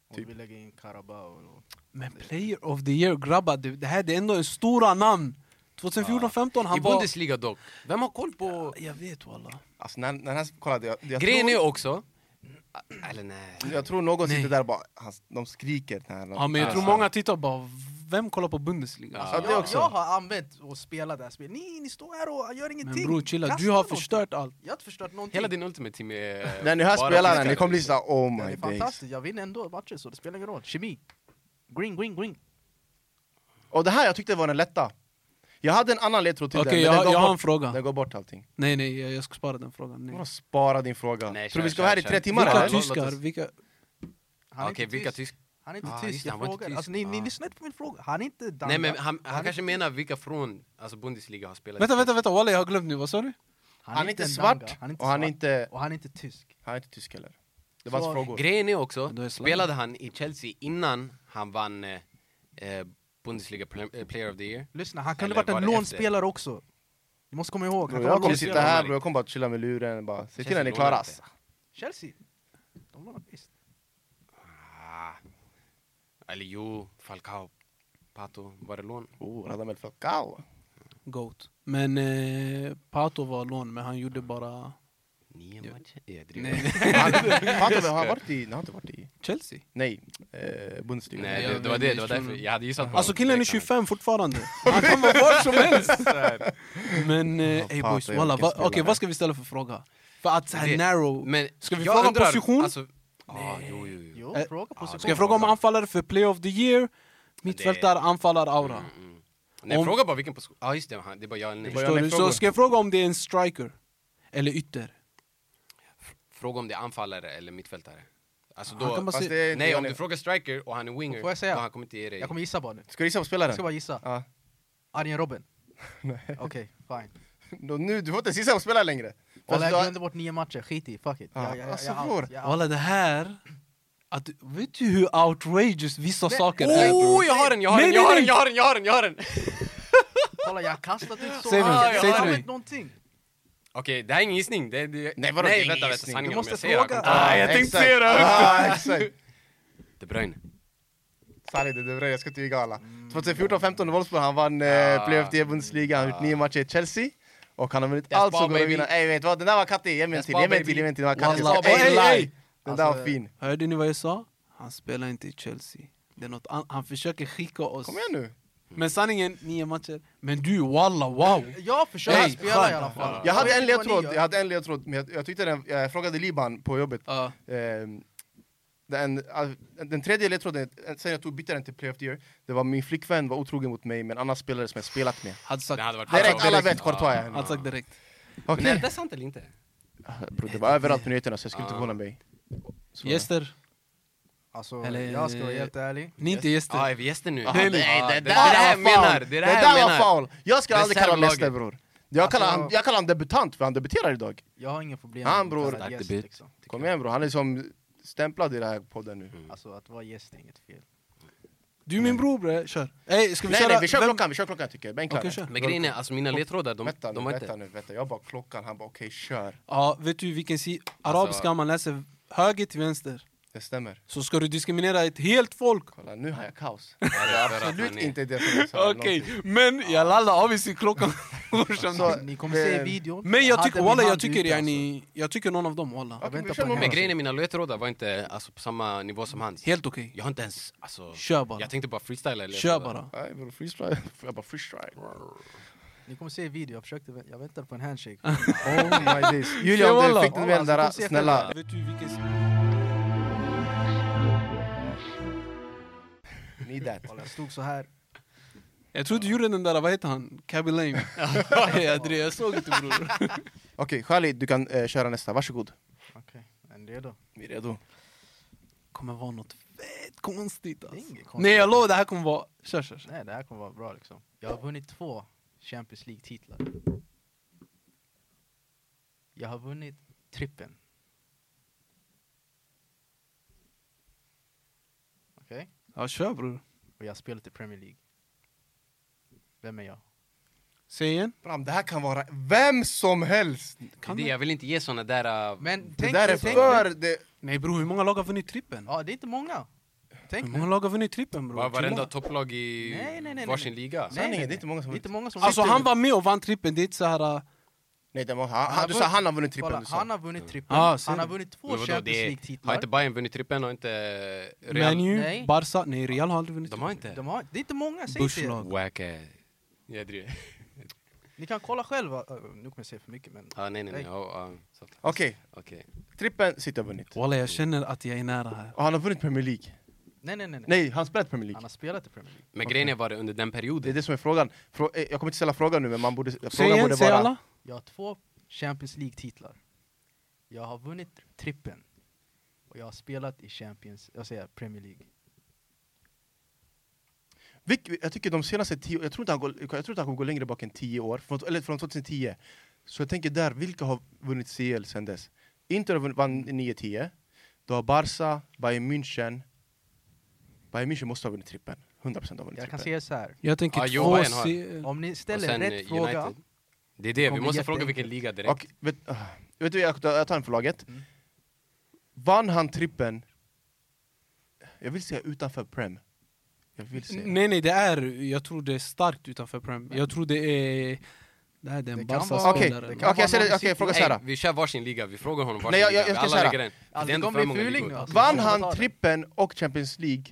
Om
Typ.
vi lägger in Carabao och...
Men Player of the Year, grabbar, det, det här det är ändå en stora namn! 2014-15, han
I
var...
Bundesliga dock. Vem har koll på...
Jag vet walla.
Alltså när, när han kollade, jag, jag
Grejen
tror,
är också, Ah, Eller nej.
Jag tror någon
Nej.
sitter där och bara, han, de skriker. Den här,
Ja, men jag tror
Alltså.
många tittar bara, vem kollar på Bundesliga?
Ja.
Alltså,
Ja, det
Jag,
också.
jag har använt och spelat det här spelet. Ni, ni står här och gör ingenting.
Men bror chilla,
Kasta
du har
någonting.
förstört allt.
Jag har inte förstört någonting.
Hela din ultimate team är... eh,
När ni hör
bara
spelaren,
fiskar.
ni kommer bli såhär oh
Den
my
är
days.
fantastisk, jag vinner ändå matcher så det spelar ingen roll. Kemi. Green, green, green.
Och det här jag tyckte var den lätta. Jag hade en annan ledtråd till
Okej,
den, men den,
jag,
går
jag har en
bort, den
fråga.
går bort allting.
Nej, nej, jag, jag ska spara den frågan. Nej.
Vadå spara din fråga?
Nej,
tror du vi
kör,
ska vara här i
kör,
tre
kör.
timmar
Vilka
eller?
tyst-
tyskar?
låt oss-
vilka...
Han är
Okej,
inte
vilka
tysk.
tysk...
Han är inte
Ah, just
tyst,
det,
jag
han var inte
frågar.
tysk.
Alltså, ni, ni
Ah.
lyssnar inte på min fråga. Han är inte dansk.
Nej men han, han kanske menar vilka från alltså Bundesliga har spelat.
Vänta, vänta, vänta, walla jag har glömt nu, vad sa du?
Han är inte
en
svart
danga. Han är inte
och han är
svart.
inte,
Och han är inte tysk.
han är inte tysk heller. Det var hans
Så-
frågor.
Grejen är också,
Du är slang.
spelade han i Chelsea innan han vann eh, eh, Bundesliga pl- eh, Player of the Year?
Lyssna, han kunde
Eller
varit
var
en
det efter?
lånspelare också. Ni måste komma ihåg.
Bro,
Han
jag
kan
kommer
vara
sitta
lånspelare.
här bro, jag kommer bara chilla med luren bara, se till när ni
Chelsea lånar
klarar ass.
inte.
Chelsea. De lånar visst.
Ah. Eller jo, Falcao, Pato, var det lån?
Oh, Radamel Falcao.
Goat. Men eh, Pato var lån, men han gjorde bara
Nio
Ja.
matcher? Ja, jag driver.
[laughs] Nej.
Han han har inte han har varit i, han har inte varit i,
Chelsea.
nej, eh, Bundesliga.
Nej,
Jag
det, det var det, det var
tror-
därför. Jag hade gissat på
Alltså
honom
killen är
direkt.
25 fortfarande. [laughs] Han kan vara vart som [laughs] helst. Men eh,
Ja,
ey
Pato
boys,
är
walla,
vilken
va,
spelare.
okej, vad ska vi ställa för fråga? För att så här
Det-
narrow...
Men
Ska vi
jag
fråga
undrar,
position?
Alltså, ah, jo, jo, jo.
Jo,
Eh,
fråga
Ah,
position.
Ska jag fråga om anfallare för play of the year? Mittfältare, anfallar-aura.
Mm, mm. Nej,
Om-
fråga bara vilken position. Ja ah, just det, han- det är bara jag eller nej.
Det är bara jag
Förstår du?
med frågor.
Så ska jag fråga om det är en striker? Eller ytter?
Fråga om det är anfallare eller mittfältare. Alltså
Han kan
då,
bara
Fast
se-
det är inte
nej
jag
om
nu.
du frågar striker och han är winger,
Får jag säga?
då han kommer inte ge dig...
Jag kommer gissa bara nu.
Ska du gissa på
Jag ska
spelaren?
bara gissa.
Ja. [laughs]
Arjen Robben.
Nej.
Okej, fine.
Då Nu, du får inte gissa på spelaren längre. Fast
Walla,
du
jag
har-
glömde bort nio matcher, skit i, fuck it.
Ja,
Jag, jag, jag,
alltså,
jag,
bror.
out, jag, out.
Walla det här... Att, vet du hur outrageous vissa saker är? bror?
Oh, jag har den, jag har
Nej,
den, jag
nej,
har den,
nej.
jag har den, jag har den, jag har den!
Kolla, jag har kastat ut så
Säg
mycket.
mig,
Ah,
Jag
säg
har
till mig.
använt någonting.
Okej, det här är ingen gissning. Det, det,
Nej, vadå, det är
nej
ingen
vänta, vänta,
gissning.
sanningen
Du
om
måste
jag säger
fråga.
det. Ah, jag tänkte
exakt.
säga det högt!
Ah, exakt.
De Bruyne.
Sally de Bruyne, jag ska inte ljuga alla. 2014-15 Wolfsburg, han vann eh, Playoff till Bundesliga, han har gjort nio matcher i Chelsea. Och han har vunnit
Yes,
allt som
Bob,
går att
baby.
vinna. Ey vet du vad, den där var kattig, ge mig en
Yes,
till,
Bob,
ge mig en till,
baby.
ge mig en till. Den var kattig.
Wallah,
Ey,
ey,
ey,
ey.
Den där
Alltså,
var fin.
Hörde ni vad jag sa? Han spelar inte i Chelsea. Det är något an- han försöker skicka oss.
Kom igen nu.
Men sanningen, nio matcher. Men du walla wow!
Jag försöker
Nej,
spela i alla
skönt.
fall.
Jag hade
vet
en
inte vad ni
ledtråd,
gör.
jag hade en ledtråd, men jag, jag tyckte den, jag frågade Liban på jobbet.
Ja.
Ehm, den, ah, den tredje ledtråden, eh, sen jag tog, bytte den till Playoff the Year, det var min flickvän var otrogen mot mig med en annan spelare som jag spelat med.
hade sagt
Det hade varit
Direkt,
Alltså,
alla
direkt.
vet Courtois är.
Han sagt direkt.
Men
Okej.
är det sant eller inte?
Bro, det var överallt på nyheterna så jag skulle inte
Ah.
förvåna mig. Så.
Gäster.
Alltså,
Eller-
jag ska vara helt ärlig.
Ni är inte gäster.
Ja, är vi gäster nu?
Aha,
Nej,
det,
nej,
det,
det är det här jag
var foul.
menar! Det är det här
där
jag
var
menar!
foul! Jag ska aldrig kalla honom
Reservlaget.
Leicester bror. Jag kallar,
Alltså-
han, jag kallar honom debutant för han debuterar idag.
Jag har inga problem
Han,
att
bror.
vara
Stark
gäst,
debut.
liksom.
Kom igen bror, han är som stämplad i den här podden nu.
Alltså att vara gäst är inget fel.
Du är min bror bre, kör. Ey, ska vi
Nej
köra?
nej, vi kör
Vem-
klockan, vi kör klockan tycker jag. Benklare.
Okej, kör.
Men grejen är, alltså mina ledtrådar, de,
vänta
de
nu,
var
vänta
inte...
nu, vänta. Jag bara klockan, han bara okej kör.
Ja, vet du vilken si-
Alltså-
arabiska man läser höger till vänster?
Det stämmer.
Så ska du diskriminera ett helt folk.
Kolla nu har jag kaos.
Ja, det är för att
Absolut
man är-
inte det som jag sa.
[laughs] Okej, men jag lallar av i sin klockan. [laughs]
Så-
Ni kommer se i
eh,
videon.
men jag
hade
tycker
min
walla, jag
hand
tycker
ute, alltså.
yani, jag tycker någon av dem walla.
Ja.
Jag väntar
Men
på den
grej-
Men
här.
grejen är, mina ledtrådar var inte alltså, på samma nivå som hans.
Helt okej.
Jag har inte ens, alltså...
Kör bara.
Jag tänkte bara freestyla
Kör
ledtrådar.
bara.
Nej bror, freestride. Jag bara freestride.
Ni kommer se i video, jag, försökte, vä- jag väntade på en handshake.
[laughs]
Oh my days. Julia om du
Jawalla.
fick den med den där,
Alltså, de ser
snälla.
Vet du vilken... si-
Need that.
Walla, jag stod så här.
Jag tror du gjorde den där, vad heter han? Cabby [laughs] Lame. jag, drev, jag såg inte [laughs] bror.
Okej Khalid, du kan eh, köra nästa, varsågod.
Okej, är ni redo?
Vi är redo.
kommer vara något fett konstigt
Det är
alltså.
inget konstigt.
Nej jag lovar, det här kommer vara... Kör kör. kör.
Nej, det här kommer vara bra liksom. Jag har vunnit två Champions League-titlar. Jag har vunnit trippen. Okej?
Ja kör bror.
Och jag har spelat i Premier League. Vem är jag?
Säg igen.
Bram, det här kan vara vem som helst!
Det är
Kan
det,
jag...
jag vill inte ge såna där... Uh,
Men
Det
tänk
där
nu,
är
tänk
för...
nu.
Det,
Nej bror, hur många lag har vunnit trippen?
Ja, det är inte många. Tänk
Hur
nu.
många lag har vunnit trippen bror?
var,
Hur
varenda
många?
topplag i
Nej, nej, nej, nej,
varsin
nej.
liga.
Nej, nej,
sanningen, det är
nej.
inte många
Det
som
är inte många som
Alltså
Sitter-
äh, han var med och vann trippen, det är inte såhär...
Nej, den var, han, han, du sa han har vunnit trippeln.
Kolla,
du sa.
han har vunnit trippeln,
Ah, ser
han har
du?
vunnit två
Men vadå,
Champions
det är- Har
League-titlar.
inte Bayern vunnit trippen och inte eh, Real?
Menu,
Nej.
Barca, nej Real har aldrig vunnit.
De har inte?
De har, det är inte många, säg
Bush
det.
lag.
Wack. eh, Jag driver.
Ni kan kolla själva. Eh, Nu kommer jag säga för mycket men...
Ah, nej, nej, nej.
Nej.
Oh, ah, så.
Okej,
Okej.
trippeln sitter har vunnit.
Walla jag känner att jag är nära här.
Och han har vunnit Premier League.
Nej nej nej. nej.
Nej, han spelat Premier
Han
League.
har spelat i Premier League.
Men grejen är, var det under den
Det är
perioden?
det som är frågan. Frå eh, jag kommer inte ställa frågan nu, men man borde,
Säg
frågan borde
igen, säg
vara...
alla.
Jag har två Champions League-titlar. Jag har vunnit trippen. Och jag har spelat i Champions, jag säger Premier League.
Vilk- jag tycker de senaste tio jag tror inte han, går, jag tror inte han kommer gå längre bak än tio år, från, eller från 2010. Så jag tänker där, vilka har vunnit CL sen dess? Inter har vunnit- vann 9-10, då har Barca, Bayern München, Bayern München måste ha vunnit trippen. 100% har vunnit
Jag
trippen.
kan säga så här.
Jag tänker
Ah, jo,
två
Bayern har-
se...
om ni
Och
ställer
sen,
rätt
eh,
fråga,
United. Det är det, vi
Kommer
måste
jätteenkelt.
fråga vilken liga direkt.
Och, vet, ah, vet du, jag tar jag tar en för laget.
Mm.
Vann han trippen, jag vill säga utanför Prem. Jag vill säga.
Nej nej det är, jag tror det är starkt utanför Prem. Jag tror det är... Det här är
Det
en
kan vara-
Okej,
Barca-spelare.
okej,
kan vara
jag säger det-
någon
okej,
i
fråga
Nej,
så här.
vi kör varsin liga, vi frågar honom varsin
Nej, jag- jag- jag
liga. Vi
ska
alla
säga
lägger en. Det
Alltså,
är ändå
det kommer
för
bli
många
fuling
ligor.
nu, alltså.
Vann
Jag tar
han
den.
trippen och Champions League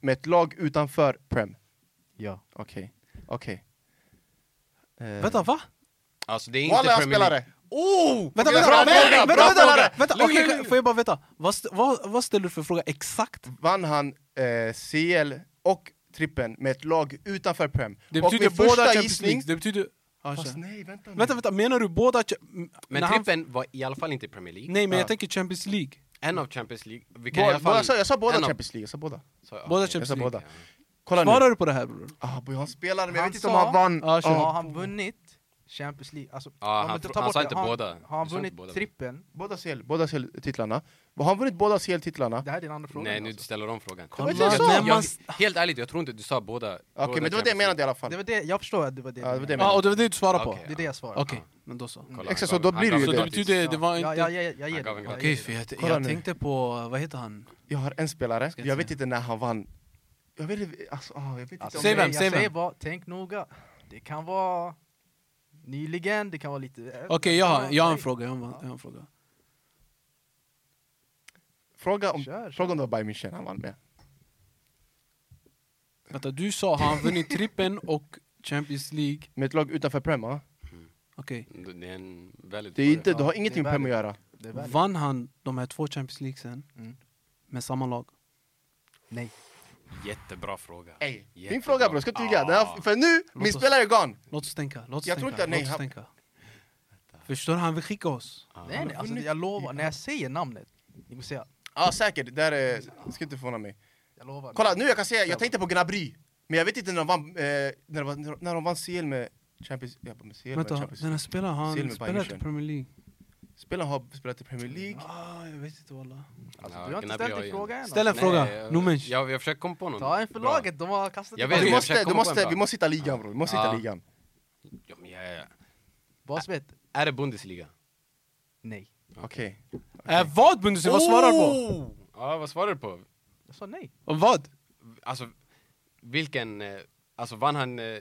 med ett lag utanför Prem?
ja.
Okej, okej. Eh,
Vänta va?
Alltså det är inte
Walla, jag
Premier League.
spelare! Oh!
Vänta,
Bra
vänta, vänta,
fråga,
vänta,
bra
vänta,
fråga!
vänta, vänta, okej, får jag bara veta, vad, st- vad, vad ställer du för fråga exakt?
Vann han eh, CL och trippen med ett lag utanför Prem?
Det
och
betyder
min
båda
första
Champions
gissning-
League, det betyder... Ja,
Fast
kör.
nej, vänta nu.
Vänta, vänta, menar du båda... cha- m-
Men
när han-
trippen var i alla fall inte Premier League.
Nej men
Ja.
jag tänker Champions League.
En av Champions League. Vi kan i
Båda,
alla fall...
jag, sa, jag sa båda
en av-
Champions League, jag sa båda.
Så, ja,
Båda
okej.
Jag sa
Champions League.
båda.
Ja.
Kolla nu.
Svarar du på det här bror?
Ah, boy, han spelade, men jag
Han
vet inte om han
sa-
vann.
Ja, kör.
Ah.
Alltså, Har han vunnit Champions League? Alltså,
Ja,
om
han-
vi tar
han
bort
sa
det,
inte
har,
båda.
Har
Han
han
sa inte
vunnit
båda.
trippen?
Båda CL, båda CL-titlarna. Har han vunnit båda CL-titlarna?
Det här är din andra fråga.
Nej, nu
alltså.
ställer de frågan.
var
Kolla,
inte jag sa.
när man...
Jag, helt ärligt, jag tror inte du sa båda.
Okej, men det var det jag menade i alla fall.
Det var det, jag förstår att det var det.
Ja, det var det jag
Ja, och det var det du svarade på?
Okej.
Okej,
Det är det jag svarar.
Okej, men då så.
Exakt, så då blir det ju
Så
Alltså,
det.
det betyder, det var
Ja, ja,
inte...
ja, jag ger
Han gav
det.
en
Jag
Okej,
ger
för
det.
jag,
Kolla
jag
nu.
tänkte på, vad heter han?
Jag har en spelare,
Ska jag
jag vet
säga?
inte när han vann. Jag vet inte, alltså, ah, jag vet inte
Alltså,
om
Säg
det-
vem,
jag
säg vem.
säger bara, tänk noga. Det kan vara nyligen, det kan vara lite...
Okej, jag, har- jag har en
Nej.
fråga. Jag har, en- jag har en fråga.
Fråga om,
Kör,
fråga om det var Bayern München han vann med.
Vänta, du sa har han vunnit trippen och Champions League?
Med ett lag utanför Prem, va?
Okej,
Det är en väldigt
Det, är inte,
Ja,
det har
det är
ingenting med Prem att
värdigt.
göra.
Det är väl-
vann han de här två Champions League sen
Mm.
med samma lag?
Nej.
Jättebra fråga.
Ey, min
Jättebra.
fråga bror, ska inte ljuga. Den här-
Ah.
För nu, min
oss-
spelare är gone!
Låt oss tänka, låt oss
Jag tror
tänka,
inte- nej,
låt oss
han-
tänka. Förstår du? Han vill skicka oss.
Ah.
Nej, nej, alltså, jag lovar, när jag säger namnet, ni kommer säga,
Ja säkert, det här är, ska inte förvåna mig.
jag lovar.
Kolla nu jag kan säga, jag tänkte på Gnabry. Men jag vet inte när de vann, eh, när de, vann- när de vann CL med Champions ja, med CL med
Vänta,
Champions
den här spelaren, har
Silver
han
by
spelat i
Michelin.
Premier League?
Spelaren har spelat i Premier League. Alltså,
Ah, jag vet inte walla.
Alltså,
Ja,
du har inte
Gnabry
ställt
har
en
ju
fråga än.
Ställ en
alltså.
Nej,
fråga,
jag-
Numensch.
Jag, jag försöker komma på någon.
alltså. Ta en för
Bra.
laget, de har kastat
Jag
tillbaka.
vet,
Du
jag
måste,
försöker
du
komma på
måste,
en
vi
bra.
måste hitta ligan bror, vi måste hitta
Ja.
ligan.
Ja, men jag är-
Basvet?
Är det Bundesliga?
Nej.
Okej.
Äh, vad Bundesliga? Vad svarar du på?
Oh! Ja, vad svarar du på?
Jag sa nej.
Om vad?
Alltså, vilken... eh, Alltså vann han... eh,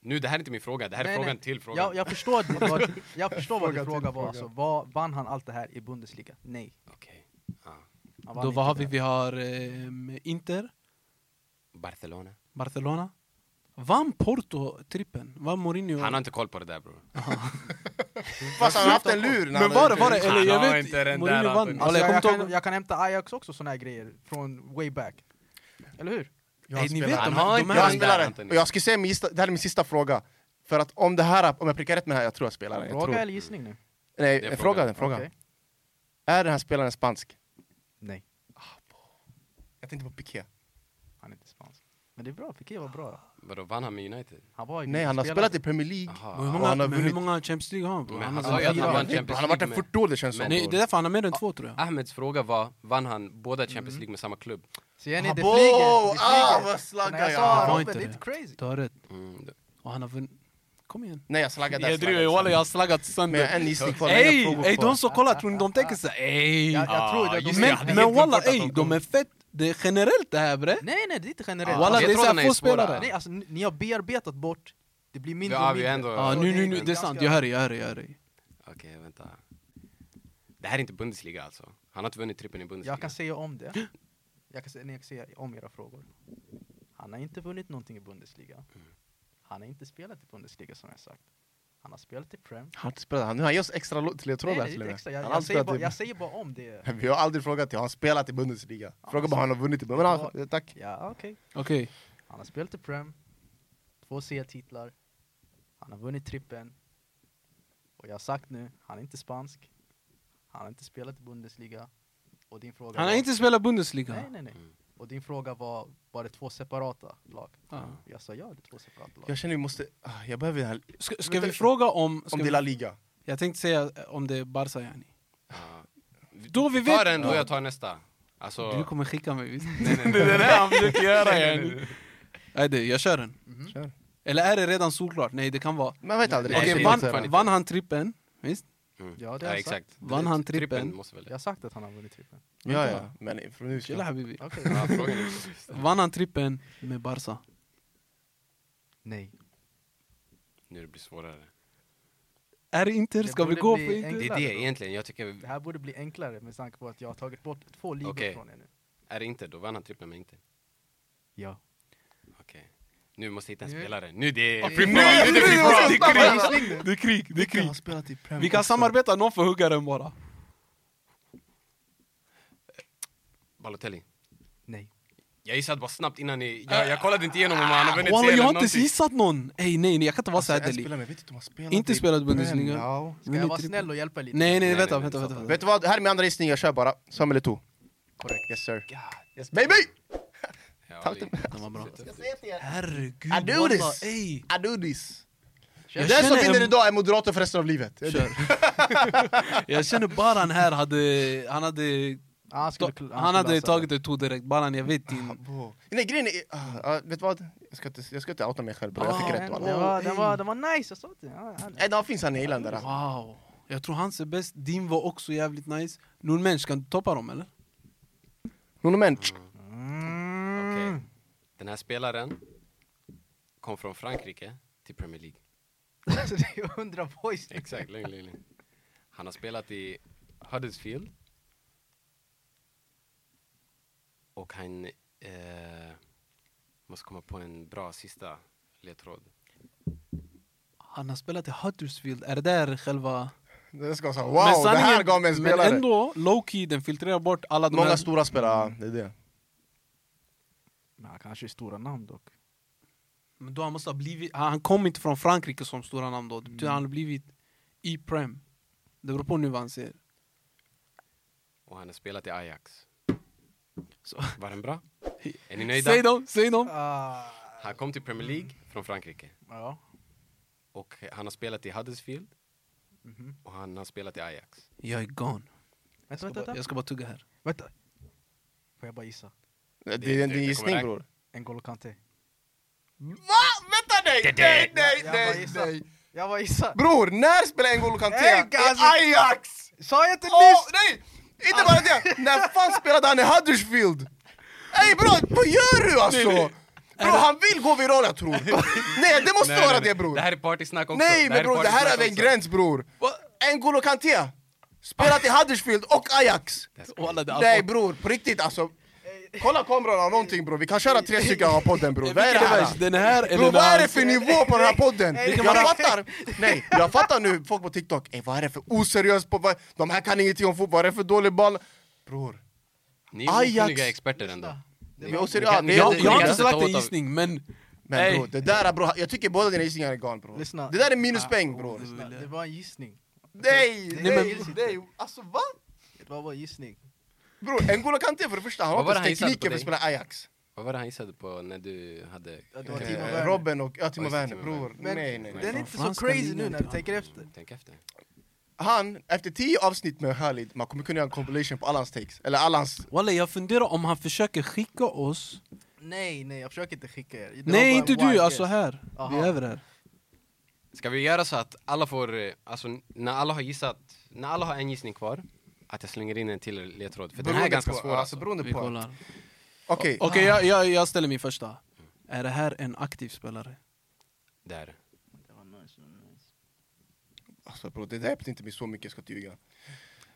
Nu, det här är inte min fråga, det här är
Nej,
frågan
nej.
till frågan.
Jag, jag förstår, det, vad, jag förstår vad din
Fråga
fråga
till
var, alltså, vad, vann han allt det här i Bundesliga? Nej.
Okej. Ja.
Han
Ah,
vann
Då
inte
vad har
det
vi?
här.
Vi har ehm, Inter,
Barcelona.
Barcelona. Vann Porto trippen? Vann Mourinho?
Han har inte koll på det där bror.
Fast han har haft en lur när
Men var det, var det?
han-
Eller jag
Han har
vet,
inte den
Mourinho
där,
vann.
Antonio.
Walla,
Alltså, jag,
jag kommer
jag,
inte
kan,
ihåg.
jag kan hämta Ajax också, såna här grejer från way back. Eller hur?
Jag har
Ey, ni
spelare.
vet, de
Han har
här- de
inte
Jag har
den
en
här...
där,
spelare,
Anthony.
och jag ska säga min, gissa- det här är min sista fråga. För att om det här, om jag prickar rätt med det här, jag tror jag spelar den. Jag
Fråga
tror.
eller gissning nu?
Nej, eh,
Det är
fråga, fråga.
frågan.
Okej.
Är den här spelaren spansk?
Nej,
Jag tänkte på Piqué.
han är inte spansk. Men det är bra, Piqué var bra.
Vadå, vann han med United?
Han var ju
Nej, han har
spelare.
spelat i Premier League.
Aha.
Hur
Och han
många,
har
men hur
vunnit-
många Champions League har han? bror?
Men han
har
sa ju att
fyra.
han vann
Nej,
Champions
Han har varit en
League med-
fotboll, det känns som.
Nej, det är därför han är med än två tror jag.
Ahmeds fråga var, vann han båda Champions
Mm.
League med samma klubb?
Ser ni, det
Abo!
flyger! Det
Ah, vad
flyger. Så när
slaggar
jag
jag!
Det
sa
var
Robert,
inte
det är
det.
inte crazy.
Du har rätt.
Mm. det-
Och han har vunnit... Kom igen.
Nej, jag slaggade där.
Jag driver ju walla, liksom. jag har slaggat
Men jag
sönder.
har en gissning kvar.
Ey,
jag har frågor
ey,
kvar.
de som kollar, tror ni de tänker såhär ey?
Jag, jag tror det,
just
de
det,
är
han
Men, men walla ey, de är fett, det är generellt det här bre.
Nej nej, det är inte generellt.
Ja,
Walla
jag
det är
tror den
såhär
är
få
svårare.
spelare.
Nej alltså, ni, ni har bearbetat bort, det blir mindre
Ja,
och
vi
mindre.
är ändå...
Ja
Så
nu,
det är
nu, nu, det är sant, jag hör dig, jag hör dig, jag hör dig.
Okej, vänta. Det här är inte Bundesliga alltså? Han har inte vunnit trippen i Bundesliga?
Jag kan säga om det. Jag kan säga, nej, jag kan säga om era frågor. Han har inte vunnit någonting i Bundesliga. Han har inte spelat i Bundesliga som jag sagt. Han har spelat i Prem.
Han har inte spelat, han, nu har han ger oss extra lo- till ledtrådar
Nej,
till
det
och
är
med.
extra.
Han
Jag,
har
jag,
aldrig
säger
spelat
bara,
i-
jag säger bara om det.
[laughs] Vi har aldrig frågat, har han spelat i Bundesliga?
Ja,
Fråga bara, har han har vunnit i Men han,
Ja.
tack.
Ja, okej.
Okej.
Han har spelat i Prem. Två C-titlar. Han har vunnit trippen. Och jag har sagt nu, han är inte spansk. Han har inte spelat i Bundesliga. Och din fråga
Han har
var-
inte spelat Bundesliga.
Nej, nej, nej.
Mm.
Och din fråga var, var det två separata lag?
Ja.
Jag sa ja, det är två separata lag.
Jag känner vi måste, ah, jag behöver den här,
Ska, ska
Vänta,
vi fråga om... Ska
om det är La
vi,
Liga.
jag tänkte säga eh, om det är Barca yani.
Ja.
Då vi
Ta
vet...
den då, jag tar nästa. Alltså,
Du kommer skicka mig [laughs] visst?
nej, nej,
det är
nej.
det här han försöker göra yani. Nej du, jag kör den.
Mhm.
Kör.
Eller är det redan solklart? Nej det kan vara...
Man vet aldrig.
Nej,
Alltså,
Okej,
det är
man-
inte fan
vann,
inte.
vann han trippen? Visst?
Mm.
Ja, det har
ja,
jag
exakt.
Vann han trippen?
måste väl
Jag har sagt att han har vunnit trippen.
Ja, ja. Men från nu
Chilla
ska...
habibi.
Okej.
Ja, [laughs] frågan är-
Vann han trippen med Barca?
Nej.
Nu det blir svårare.
Är det inte?
Det
Ska vi
borde
gå på
bli
inte?
en-
Det är det egentligen, jag tycker...
Det här borde bli enklare med tanke på att jag har tagit bort två ligor
Okej.
från er nu.
Är det inte, då vann han trippen men inte.
Ja.
Okej. Nu måste jag hitta en
Nu-
spelare. Nu det är...
Okej.
free
Nu-
for all, nu är det free for all.
Det är krig.
Det är krig, det är
Vilka
krig.
har spelat i Premier
Vi kan
också?
samarbeta, någon får hugga den bara.
Balotelli.
Nej.
Jag gissade bara snabbt innan ni... Jag, jag kollade inte igenom om han har vunnit
Walla jag har inte ens
någonting.
gissat någon! Ey nej, nej jag kan inte vara
Alltså,
så
en
här
spelare,
deli.
men jag vet inte om han spelat
Inte
i
spelat Bundesliga.
Premier, ja.
Ska jag vara
Vunnit
snäll och hjälpa lite?
Nej nej,
Nej,
vänta,
nej,
vänta,
nej,
vänta.
Vet du vad, här är min andra gissning, jag kör bara. Samuel Eto'o.
Korrekt.
Yes sir.
God.
Yes baby!
Ja,
Tack.
det-
[laughs]
Den var bra.
Jag säger till er,
Herregud
I do
walla,
this.
ey!
I do this.
Jag
Den som
känner en-
vinner idag är moderator för resten av livet.
Kör. [laughs] jag känner Baran här hade... Han hade,
Ah, han, skulle, kl-
han hade
skulle lösa
tagit
det.
det to direkt. Baran jag vet din...
Bo. Nej grejen är, ah, ah, vet du vad? Jag ska inte, jag ska inte outa mig själv bro. jag
Ah,
fick rätt
Den,
val.
den, var, den,
Åh,
var,
ey.
den var nice, jag sa det. Ja, ja,
Nej, det finns han i Irland där.
Ah.
alltså.
Wow. Jag tror hans är bäst, din var också jävligt nice. Nordmensch, kan du toppa dem eller?
Nono men,
Okej.
Mm.
Den här spelaren kom från Frankrike till Premier League.
[laughs] Alltså, det är hundra boys.
Exakt, lugn, lugn, lugn. Han har spelat i Huddersfield. Och han... Eh, måste komma på en bra sista ledtråd.
Han har spelat i Huddersfield, är det där själva...
det ska säga wow, det
sanningen-
här gav mig en spelare.
Men ändå, low-key, den filtrerar bort alla de
Många
här...
stora spelare, ah, det är det.
Men han kanske är stora namn dock.
Men då han måste ha blivit... Han han kom inte från Frankrike som stora namn då. Det
Mm.
betyder han har blivit i Prem. Det beror på nu vad han säger.
Och han har spelat i Ajax.
Så.
Var den bra? Är ni nöjda?
Säg dem, säg dem!
Ah,
Han kom till Premier League från Frankrike.
ja.
Och han har spelat i Huddersfield.
Mhm.
Och han har spelat i Ajax.
Jag är gone.
Vänta,
Jag
vänta,
ska bara,
vänta.
jag ska bara tugga här.
vänta. Får jag bara gissa?
Det, det är en
det kommer
gissning
räkna.
bror.
N'Golo Kanté.
Vänta nej, nej, nej,
Jag bara gissar. Jag bara gissar.
Bror, när spelade N'Golo
Hey,
Kanté i
alltså,
guys.
Ajax?
Sa jag inte
Åh,
nyss?
nej! Inte bara det, när fan spelade han i Huddersfield? Ey bror, vad gör du alltså? Bror, han vill gå viral jag
[laughs]
tror. Nej, det måste vara det bror.
Det här är partysnack också.
Nej men bror, det här är över en
partysnack
gräns bror! N'Golo Kanté! Spelat i Huddersfield och Ajax!
också.
Walla, det-
Nej bror, på riktigt alltså! Kolla kameran eller någonting bror, vi kan köra tre stycken av podden bror, vad är det
Vilken
här?
värst, Den här eller
Bror
den
vad är
här?
det för nivå på den här podden?
Nej,
Jag fattar! Nej, jag fattar nu folk på TikTok, Ey, vad är det för oseriös på vad- De här kan ingenting om fotboll, vad är det för dålig boll? Bror,
Ni är
Ajax.
okunniga experter ändå.
vi är oseriösa!
kan-
Nej,
jag-
Jag,
det-
jag har
kan
inte
inte ta
sagt en
åt av-
gissning men...
Men bror, det där bror, jag tycker båda dina gissningar är galna
Lyssna.
bror Det där är minuspoäng bror!
Lyssna, Det var en gissning.
oh, Nej,
Nej,
nej,
men-
nej, alltså va?
Det var bara en gissning.
Bror, N'Golo Kanté för det första, han
Vad
har
var det
inte
han
ens tekniken
gissade på
för att spela Ajax.
Vad var det han gissade på när du hade...
Ja, det var Timo
Eh,
Werner.
Robben och ja, Timo
Ja, just
Werner,
det, Timo
bror.
Men
Nej, nej, nej.
den är inte så
Franska
crazy
ligan
nu när
inte.
du tänker efter.
Mm, Tänk efter.
Han, efter tio avsnitt med Khalid, man kommer kunna göra en compilation på alla hans takes. Eller alla hans...
Walla jag funderar om han försöker skicka oss...
Nej, nej, jag försöker inte skicka er. Det var bara
Nej
en
inte
wild
du, alltså
guess.
här. Vi är
Aha.
över här.
Ska vi göra så att alla får, eh, alltså när alla har gissat, när alla har en gissning kvar, att jag slänger in en till ledtråd, för den här är
Beroende
ganska
på,
svår
alltså,
alltså.
Beroende
Vi
på.
kollar.
Okej, okay.
Okej, jag, jag, jag ställer min första. Är det här en aktiv spelare?
Där.
Alltså bro, det där hjälpte inte mig så mycket, jag ska inte ljuga.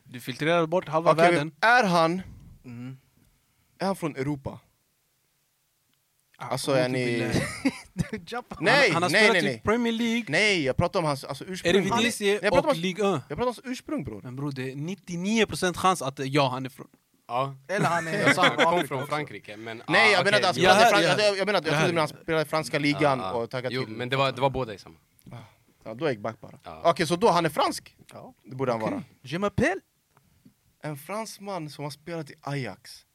Du filtrerar bort halva
Okej,
världen.
är han,
Mm.
[laughs]
är han från Europa? Alltså
A'udhu
är ni...
billah.
Jump.
Nej,
han, han har
nej,
spelat
nej,
i
typ-
nej.
Premier League,
Nej, jag pratar om hans alltså, ursprung. Han-
Eredivisie
jag pratar
och
om, hans-
Ligue 1.
jag pratar om hans ursprung bror.
Men bror, det är 99% chans att eh, ja, han är från...
Ja.
Eller han är...
Jag sa han kom
Afrika
från
också.
Frankrike, men...
Nej,
ah,
jag menar
okej,
att han
Ja,
jo.
spelade i
här-
Fran-
ja.
jag- jag menar att jag
Det här-
trodde när han spelade i franska ligan
Ja, ja.
och taggade
Jo,
till.
men det var, det var båda i samma.
Ja, då är jag back bara.
Ja.
Okej, så då han är fransk?
Ja.
Det borde han vara.
Je m'appelle...
En fransman som har spelat i Ajax.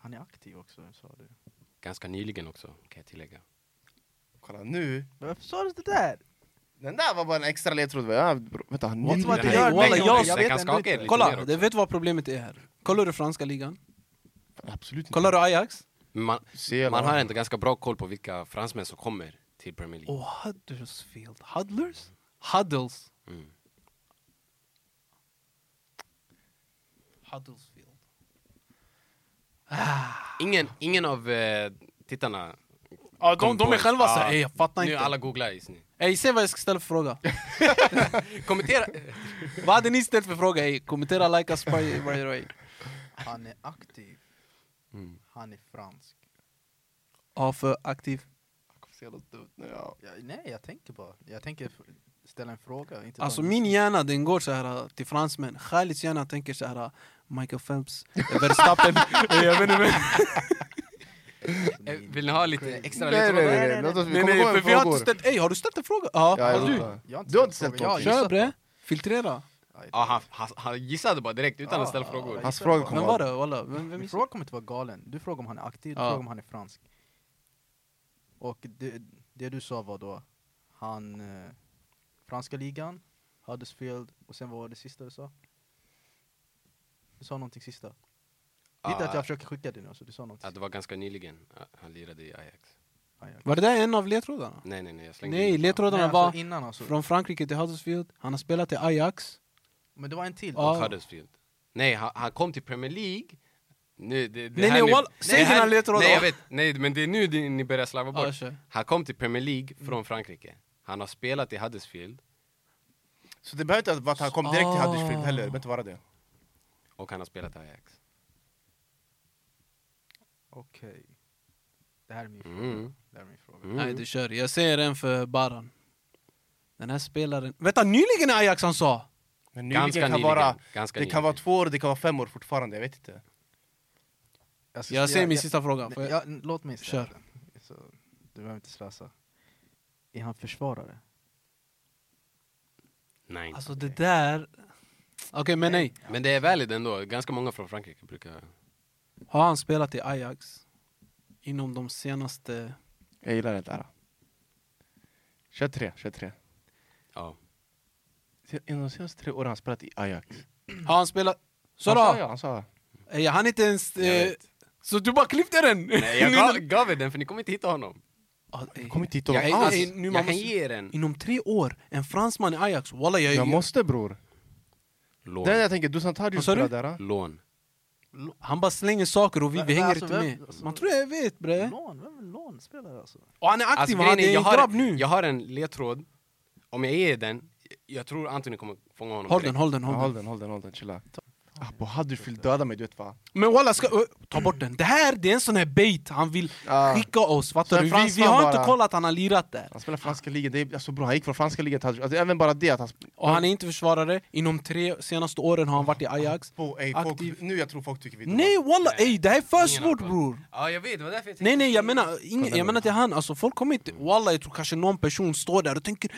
Han är aktiv också, sa du.
Ganska nyligen också, kan jag tillägga.
Kolla nu.
Varför sa du det där?
Den där var bara en extra ledtråd. Ja, bro, vänta, han
What's
nyligen-
my-
Vad
det
du
här-
gör
Walla,
mig,
jag-
jag
vet
kan
ändå
skaka
inte.
er lite. mer
Kolla,
också.
det vet du vad problemet är här. Kollar du franska ligan?
Absolut inte.
Kollar du Ajax?
Men man,
Se,
man
va?
har ändå ganska bra koll på vilka fransmän som kommer till Premier League.
Och Huddersfield. Huddlers? Huddles.
Mm.
Huddlesfield.
Ingen, ingen av eh, tittarna...
Ja, de,
kom
de
på
är
ens.
själva så
Ja.
här, "Ey, jag fattar
Nu
inte.
är alla googlar just nu.
Ah. Ey, se vad jag ska ställa för fråga.
Kommentera!
vad hade ni ställt för fråga? Ey, kommentera, likea, spray, by the way.
Han är aktiv,
Mm.
han är fransk.
Ja, för aktiv.
Jag kommer se något dumt nu, ja.
Ja, nej, jag tänker bara. Jag tänker f- ställa en fråga. Inte
Alltså
bara-
min hjärna den går så här äh, till fransmän. Khalids hjärna tänker så här äh, Michael Phelps, eh, Verstappen. [laughs] jag vet inte, men-
Eh, Vill ni ha lite
Crazy.
extra
Nej, nej, nej,
ledtrådar?
nej, nej. Låt oss, vi
Nej,
kommer
nej,
gå
för
med
vi har inte
frågor.
ställt... Ey, har du ställt en fråga? Ja.
Ja, jag
har du?
vet inte.
Jag har inte
Du har inte
ställt
sett
frågan.
något.
Jag har
Kör bre. Filtrera.
Ja, han, han, han gissade bara direkt utan att ställa
Ja,
frågor.
Hans fråga
Vem
kommer
var
vara...
det? Walla, vem, vem
Min
är-
fråga kommer inte vara galen. Du frågar om han är aktiv, du
Ja.
frågar om han är fransk. Och det, det du sa var då, han... Eh, franska ligan, Huddersfield, och sen vad var det sista du sa? Du sa någonting sista. Det är inte
Ja.
att jag försöker skicka det nu, alltså, du sa någonting.
Ah. Ja, det var ganska nyligen eh, han lirade i Ajax.
Ja, ja.
Var det där en av ledtrådarna?
Nej, nej, nej, jag slängde
Nej,
in-
ledtrådarna
Nej,
var
alltså, innan alltså.
från Frankrike till Huddersfield. Han har spelat i Ajax.
Men det var en till.
Ja.
Och Huddersfield. Nej, han, han kom till Premier League. Nu, det, det
Nej,
här
nej,
nu-
wall- säg
det här-
dina ledtrådar.
Nej, jag vet. Nej, men det är nu det- ni börjar slarva
Ja,
bort.
kör. Mm.
Han kom till Premier League från Frankrike. Han har spelat i Huddersfield
Så det behöver inte vara att han kom direkt till
Ah.
Huddersfield heller, det behöver inte vara det.
och han har spelat i Ajax.
Okej. Det här är min fråga.
Mm.
Det här är min fråga.
Mm.
Nej, du kör. Jag ser en för Baran. Den här spelaren... Vänta, nyligen är Ajax han sa!
Men
Ganska
nyligen kan
nyligen.
vara... Det
Ganska nyligen.
kan vara två år, det kan vara fem år fortfarande, jag vet inte.
Alltså,
Jag ser
jag-
min
jag-
sista fråga.
Nej,
Får jag-
ja, n- låt mig ställa
Kör.
den. Så, du behöver inte slösa. Är han försvarare?
Nej.
Alltså det där... Okej, men nej.
Men det är valid ändå. Ganska många från Frankrike brukar...
Har han spelat i Ajax inom de senaste...
Jag gillar det där. 23, 23.
[laughs]
Ja.
Inom de senaste tre åren har han spelat i Ajax.
Mm.
Har han spelat... Så
Han sa
då?
ja, han sa ja.
Eh, Jag hann inte ens...
Jag
Eh,
vet.
så du bara klippte den?
Nej,
[laughs]
jag gav, gav er den för ni kommer inte hitta honom.
Ah, eh,
Kom inte hit och... alltså,
Jag,
alls.
jag,
Nu man
jag kan
måste-
ge er en
Inom tre år, en fransman i Ajax. Walla, jag...
Jag måste bror.
lån.
Det är det jag tänker, Dusan Tadic
Vad sa du?
spelade där.
lån.
Han bara slänger saker och vi,
Men-
vi
men
hänger
alltså,
inte
vem-
med.
alltså-
Man tror jag vet bre.
Lån? Vem är lånspelare alltså?
Och han är aktiv,
Alltså,
han
grejen
är
jag,
en grabb
har,
nu.
jag har en ledtråd. Om jag ger er den, jag tror Anthony kommer fånga honom
Håll den,
direkt.
håll den,
Ja,
håll
håll
den.
den, håll den, håll den, chilla. Abo Huddersfield döda mig, du vet va?
Men walla, ska, ö, ta bort den. Det här det är en sån här bait han vill
Ja.
skicka oss.
Så
Fattar
en
du? Vi, vi
fransman
har inte
bara.
kollat att han har lirat där.
Han spelar franska ligan, det är, alltså, bror, han gick från franska ligan till Huddersfield. Alltså, även bara det att han...
Och han är inte försvarare. Inom tre senaste åren har han varit i Ajax.
Bo, ey,
Aktiv.
folk, nu jag tror folk tycker vi är dumma.
Nej walla, ey, det här är för
Ingen har
svårt
koll.
bror.
Ja, jag vet. Det var därför jag tänkte...
Nej nej, jag menar, ingen,
Kolla nu.
jag menar till han. Alltså, folk kommer inte... Walla, jag tror kanske någon person står där och tänker...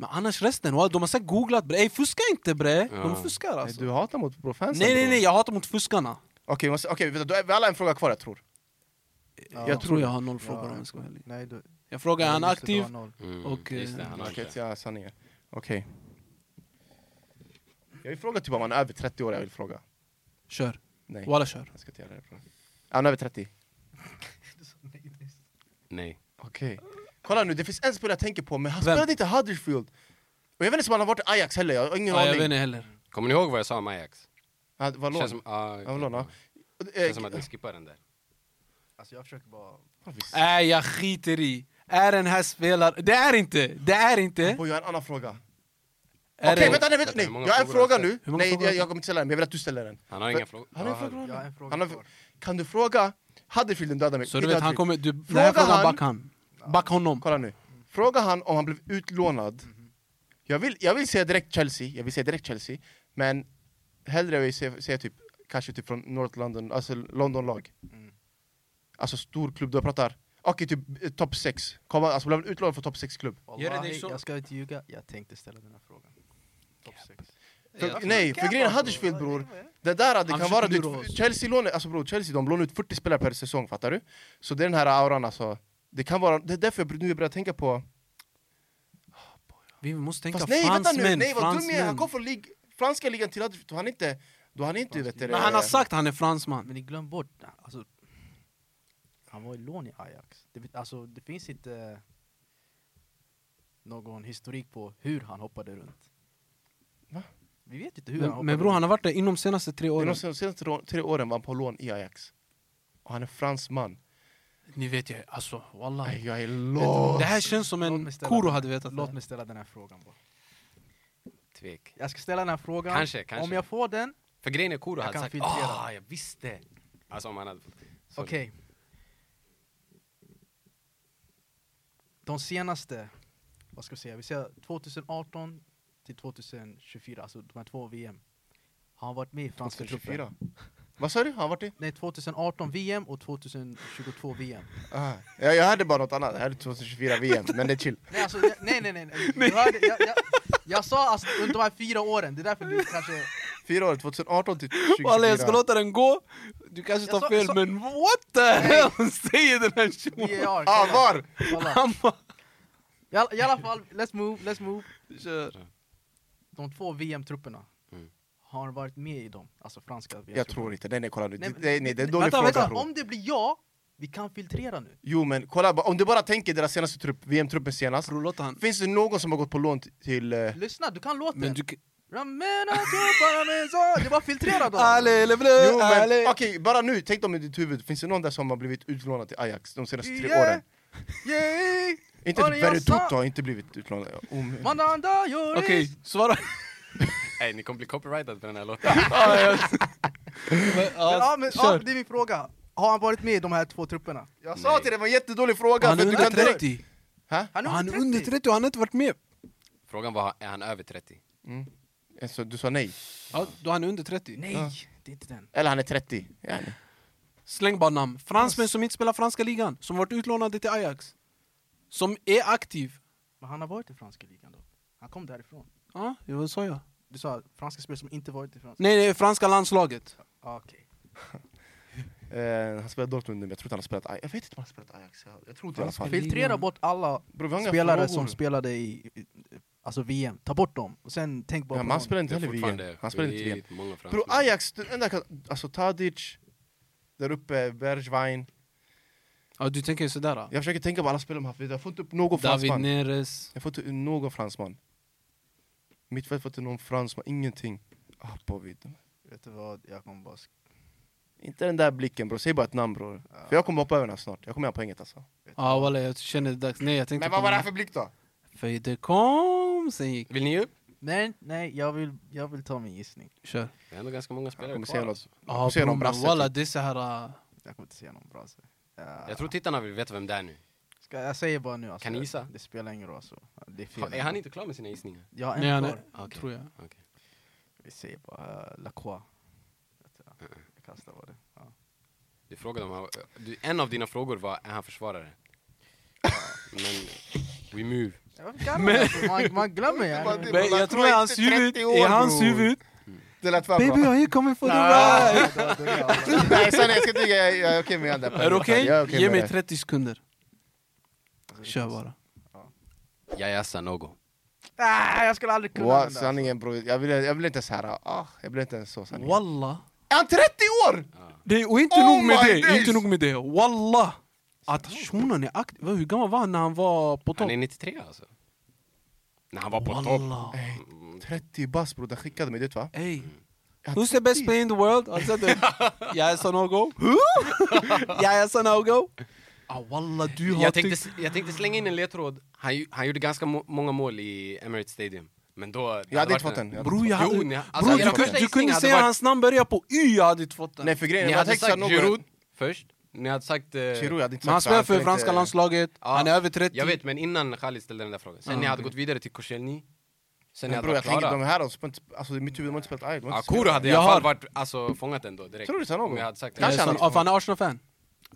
Men annars resten, walla, de har säkert googlat bre. Ey, fuska inte bre.
Ja.
De fuskar
Nej,
alltså.
Du hatar mot bror, fansen
Nej nej
bror.
nej, jag hatar mot fuskarna.
Okej, vi måste- okej, vänta, då är vi alla en fråga kvar jag tror.
Jag, tror jag har noll frågor om jag ska vara ärlig.
Nej, du,
Jag frågar, är han
just det, du
aktiv?
har noll.
Mm,
Och,
just det,
eh,
han har
Okej,
inte.
ja, sanningen. Okej. Jag vill fråga typ om han är över 30 år, jag vill fråga.
Kör.
Nej,
Walla kör.
jag ska inte göra det. bror. Är han över 30?
Nej.
Okej. Kolla nu, det finns en spelare jag tänker på, men han
Vem?
spelade inte i Huddersfield. Och jag vet inte om han har varit i Ajax heller, jag har ingen
Ja, jag vet
aning.
inte heller.
Kommer ni ihåg vad jag sa om Ajax?
Han var lån.
Känns som, ah,
Han var lån, ja. Eh,
Känns som att ni skippar den där.
Alltså jag försöker bara...
varför-
Nej, jag skiter i. Är den här spelaren... Det är inte! Det är inte!
Och eh, jag har en annan fråga.
Är
Okej,
det-
vänta, nej, vänta, nej.
Hur många
Jag har en
frågor har
fråga
du
nu.
Hur många
Nej,
frågor har
jag,
du
jag kommer inte ställa den, men jag vill att du ställer den.
Han har inga frågor.
Han har en fråga.
Jag har en fråga
Han har,
kvar.
kan du fråga Huddersfield om dödade mig?
Så du
Inte
vet,
Huddersfield.
han kommer... Du, den
Fråga
här frågan,
han-
back han. Back honom.
Kolla nu. Fråga han om han blev utlånad. Jag vill, jag vill säga direkt Chelsea, jag vill säga direkt Chelsea. Men hellre vill jag säga, säga typ, kanske typ från North London, alltså London-lag.
Mm.
Alltså stor klubb, du pratar. Okej, typ eh, topp 6. Alltså blev han utlånad från topp 6-klubb?
Gör det dig
Wallahi,
så-
Jag ska inte ljuga, jag tänkte ställa den här frågan. Topp sex.
För, nej, för grejen är Huddersfield bror, det där det
Han
kan vara
försöker lura
typ,
oss.
Chelsea lånar, alltså bror, Chelsea de lånar ut 40 spelare per säsong, fattar du? Så det är den här auran alltså, det kan vara, det är därför jag nu jag börjar tänka på
Vi måste tänka
Fast nej, vänta nu,
fransmän,
nej vad dum jag är, han
fransmän.
kom från lig franska ligan till Huddersfield, då han inte, då han inte vet det.
Men han har sagt han är fransman.
Men ni glöm bort, alltså, han var i lån i Ajax. Det, vet- alltså, det finns inte någon historik på hur han hoppade runt.
Va?
Vi vet inte hur han
Men,
hoppade
men bror, han
runt.
har varit det inom senaste tre
de
åren.
senaste tre- tre åren var han på lån i Ajax. Och han är fransman.
Ni vet ju, alltså wallahi.
Nej, jag är
Det
lost!
här känns som
Låt
en
mig ställa-
Koro hade vetat.
Låt
det.
mig ställa den här frågan bara.
Tvek.
Jag ska ställa den här frågan.
Kanske, kanske.
Om jag får den,
För grejen är Kuro
Jag
hade
kan
sagt
filtrera.
ah, jag visste. Alltså om han hade fått. Sorry.
okej. De senaste, vad ska vi säga, vi säger 2018 till 2024, alltså de här två VM. Har han varit med i franska truppen?
2024. Vad sa du? Har han varit det?
Nej, 2018 VM och 2022 VM.
Ah, jag, jag hade bara något annat, jag hade 2024 VM, men det är chill.
Nej, alltså, jag- nej, nej, nej. nej. Du hörde, jag, jag, jag sa alltså under de här fyra åren, det är därför du kanske...
Fyra år, 2018 till
Walla jag ska
2024.
låta den gå, du kanske tar
Jag sa-
fel
sa-
men what the hell säger den här shunon?
VAR,
Ah,
kolla,
var?
kolla.
Han bara
I alla- I alla fall, let's move, let's move.
kör.
De två VM-trupperna,
Mm.
har varit med i dem? Alltså franska VM-trupperna?
Jag tror inte, nej nej kolla nu,
Nej,
nej,
men-
nej, det är en dålig
vänta,
fråga
vänta,
bror.
om det blir ja, vi kan filtrera nu.
Jo men kolla, bara- om du bara tänker deras senaste trupp, VM-truppen senast.
Bror låt han.
Finns det någon som har gått på lån t- till... eh,
Lyssna, du kan låten.
Men du...
Ramena tupparna med så- Det är bara
[laughs]
filtrera dem.
Allé le bleu,
Jo, men,
allé.
okej, bara nu, tänk dem i ditt huvud, finns det någon där som har blivit utlånad till Ajax de senaste tre
Yeah.
åren?
Yay!
Inte
Ja,
typ
det jag
Ferry
sa-
Toto har inte blivit utlånad. Om...
Mananda Joris!
Okej, svara.
Nej, ni kommer bli copyrightad för den här låten.
[laughs] Ja, jag-
Men, ja, men, ja,
alltså,
Kör.
det är min fråga. Har han varit med i de här två trupperna?
Jag sa
Nej.
till dig, det var en jättedålig fråga!
Han är
för du
under
kan direkt-
30.
Hä?
Han är
Han är under
30.
30 och han har inte varit med.
Frågan var, är han över 30?
Mm. Alltså, du sa nej?
Ja, då han är under 30.
Ja.
Nej, det är inte den.
Eller han är 30? Ja, nej.
Släng bara namn. Fransmän som inte spelar franska ligan, som varit utlånade till Ajax. Som är aktiv.
Men han har varit i franska ligan då. Han kom därifrån.
Ja, det var så jag.
Du sa franska spelare som inte varit i franska...
Nej, nej, franska landslaget.
Ah, Okej.
Eh, han spelar Dortmund nu, men jag tror inte han har spelat Ajax. Jag vet inte om han har spelat Ajax. Jag, jag tror inte i alla fall.
Fel-
Filtrera bort alla
Bro, vi har inga
spelare
frågor.
som spelade i i- alltså VM. Ta bort dem. Och sen tänk bara
Ja, men
på
han
någon.
spelar inte
Det är
heller VM.
fortfarande
Han spelar inte VM.
skitmånga
Bro,
fransmän.
Ajax, den enda kan... Alltså Tadic, där uppe, Bergwijn.
Ja, du tänker sådär. då.
Jag försöker tänka på alla spelare de haft, jag får inte upp någon
David
fransman.
Neres.
Jag får inte någon fransman. Mittfält får inte någon fransman, ingenting. Ah, på vid.
Vet du vad, jag kommer bara... sk-
Inte den där blicken bror, säg bara ett namn bror. För jag kommer hoppa över den här snart, jag kommer göra poänget alltså.
Ja, walla, jag känner det dags. Nej, jag tänkte
Men vad
på
var det här
någon.
för blick då?
För det kom, sen gick...
Vill ni upp?
Nej, nej, jag vill, jag vill ta min gissning.
Kör.
Det är ändå ganska många spelare
kommer
kvar.
säga något.
alltså.
Ja,
se
bror,
någon
men
brasse
walla,
typ.
det är så här... äh,
Jag kommer inte säga någon bra så.
Jag tror tittarna vill veta vem det är nu.
Ska, jag säger bara nu alltså.
Kan ni gissa?
Det spelar ingen roll alltså. Det är
Har-
fel.
Är han inte klar med sina gissningar?
Jag har en
Nej,
kvar.
nej, tror jag.
Okej.
Vi säger bara uh, Lacroix. Vet du, ja.
Mm.
Jag kastar på det. Ja.
Du frågade om han, du, en av dina frågor var, är han försvarare? Men, we move.
Ja, varför kan man, alltså? man, man
[laughs]
glömmer ju.
Vad det-
Ja,
Men
Walla, tror
jag tror i
jag
hans
inte
huvud,
30 år,
i hans
bror.
huvud...
Det lät för
Baby,
bra.
are you coming for the
Ah.
ride?
då- då är jag alla.
Nej sanning, jag ska inte ljuga, jag jag är okej med den där.
Är det okej?
Jag är okej
Ge
med det.
mig 30 sekunder. Kör bara.
Jajasa Nogo.
Ah, jag skulle aldrig kunna
Wow,
den där, alltså.
sanningen bror, jag vill, jag vill inte så här. ah, jag blir inte ens så sanningen.
Walla.
Är han 30 år?
Det, och inte
Oh
nog med
my
det,
days!
inte nog med det. Walla! Att shunon är aktiv. Hur gammal var han när han var på topp?
Han är 93 alltså. När han var på topp.
Walla.
Nej, 30 bast bror, den skickade mig dit va?
Ey.
Ja,
Who's the Alltså, best [laughs] player in the world? Han sa det. Jag är Sanogo. Who? Jag är Sanogo. Ah, walla, du har
Jag tänkte,
tyckt-
s- jag tänkte slänga in en ledtråd. Han, ju- han gjorde ganska må många mål i Emirates Stadium. Men då... det
Jag hade
varit
inte fått
en-
den. Jag hade
Bror,
inte
jag
fått
hade...
Jo, ni- alltså,
Bror,
jag
du,
hade
kunde,
fått-
du kunde
hade
säga
varit-
hans namn börjar på Y, jag hade inte fått
den.
den.
Nej, för grejen
Ni
är, man
hade
textar
sagt
nog...
Giroud först. Ni hade sagt... eh,
Giroud, jag hade inte
Men han
sagt så,
spelar för
kan
franska
inte-
landslaget,
Ja,
han är över 30.
Jag vet, men innan Khalid ställde den där frågan. Sen
Ah,
ni hade
okej.
gått vidare till Koscielny. Sen ni
Men
hade
bror, jag
varit
tänker de
klara.
här, de spelar inte... Alltså, i mitt huvud, de har inte spelat Ajax. de har
Ja,
inte
Koro
spelat-
hade i
Jag
alla fall
har-
varit, alltså, fångat den då direkt.
Tror du det, Sanogo?
Om jag hade sagt det.
Kanske
Kanske han,
han-
ja, för han är Arsenal-fan.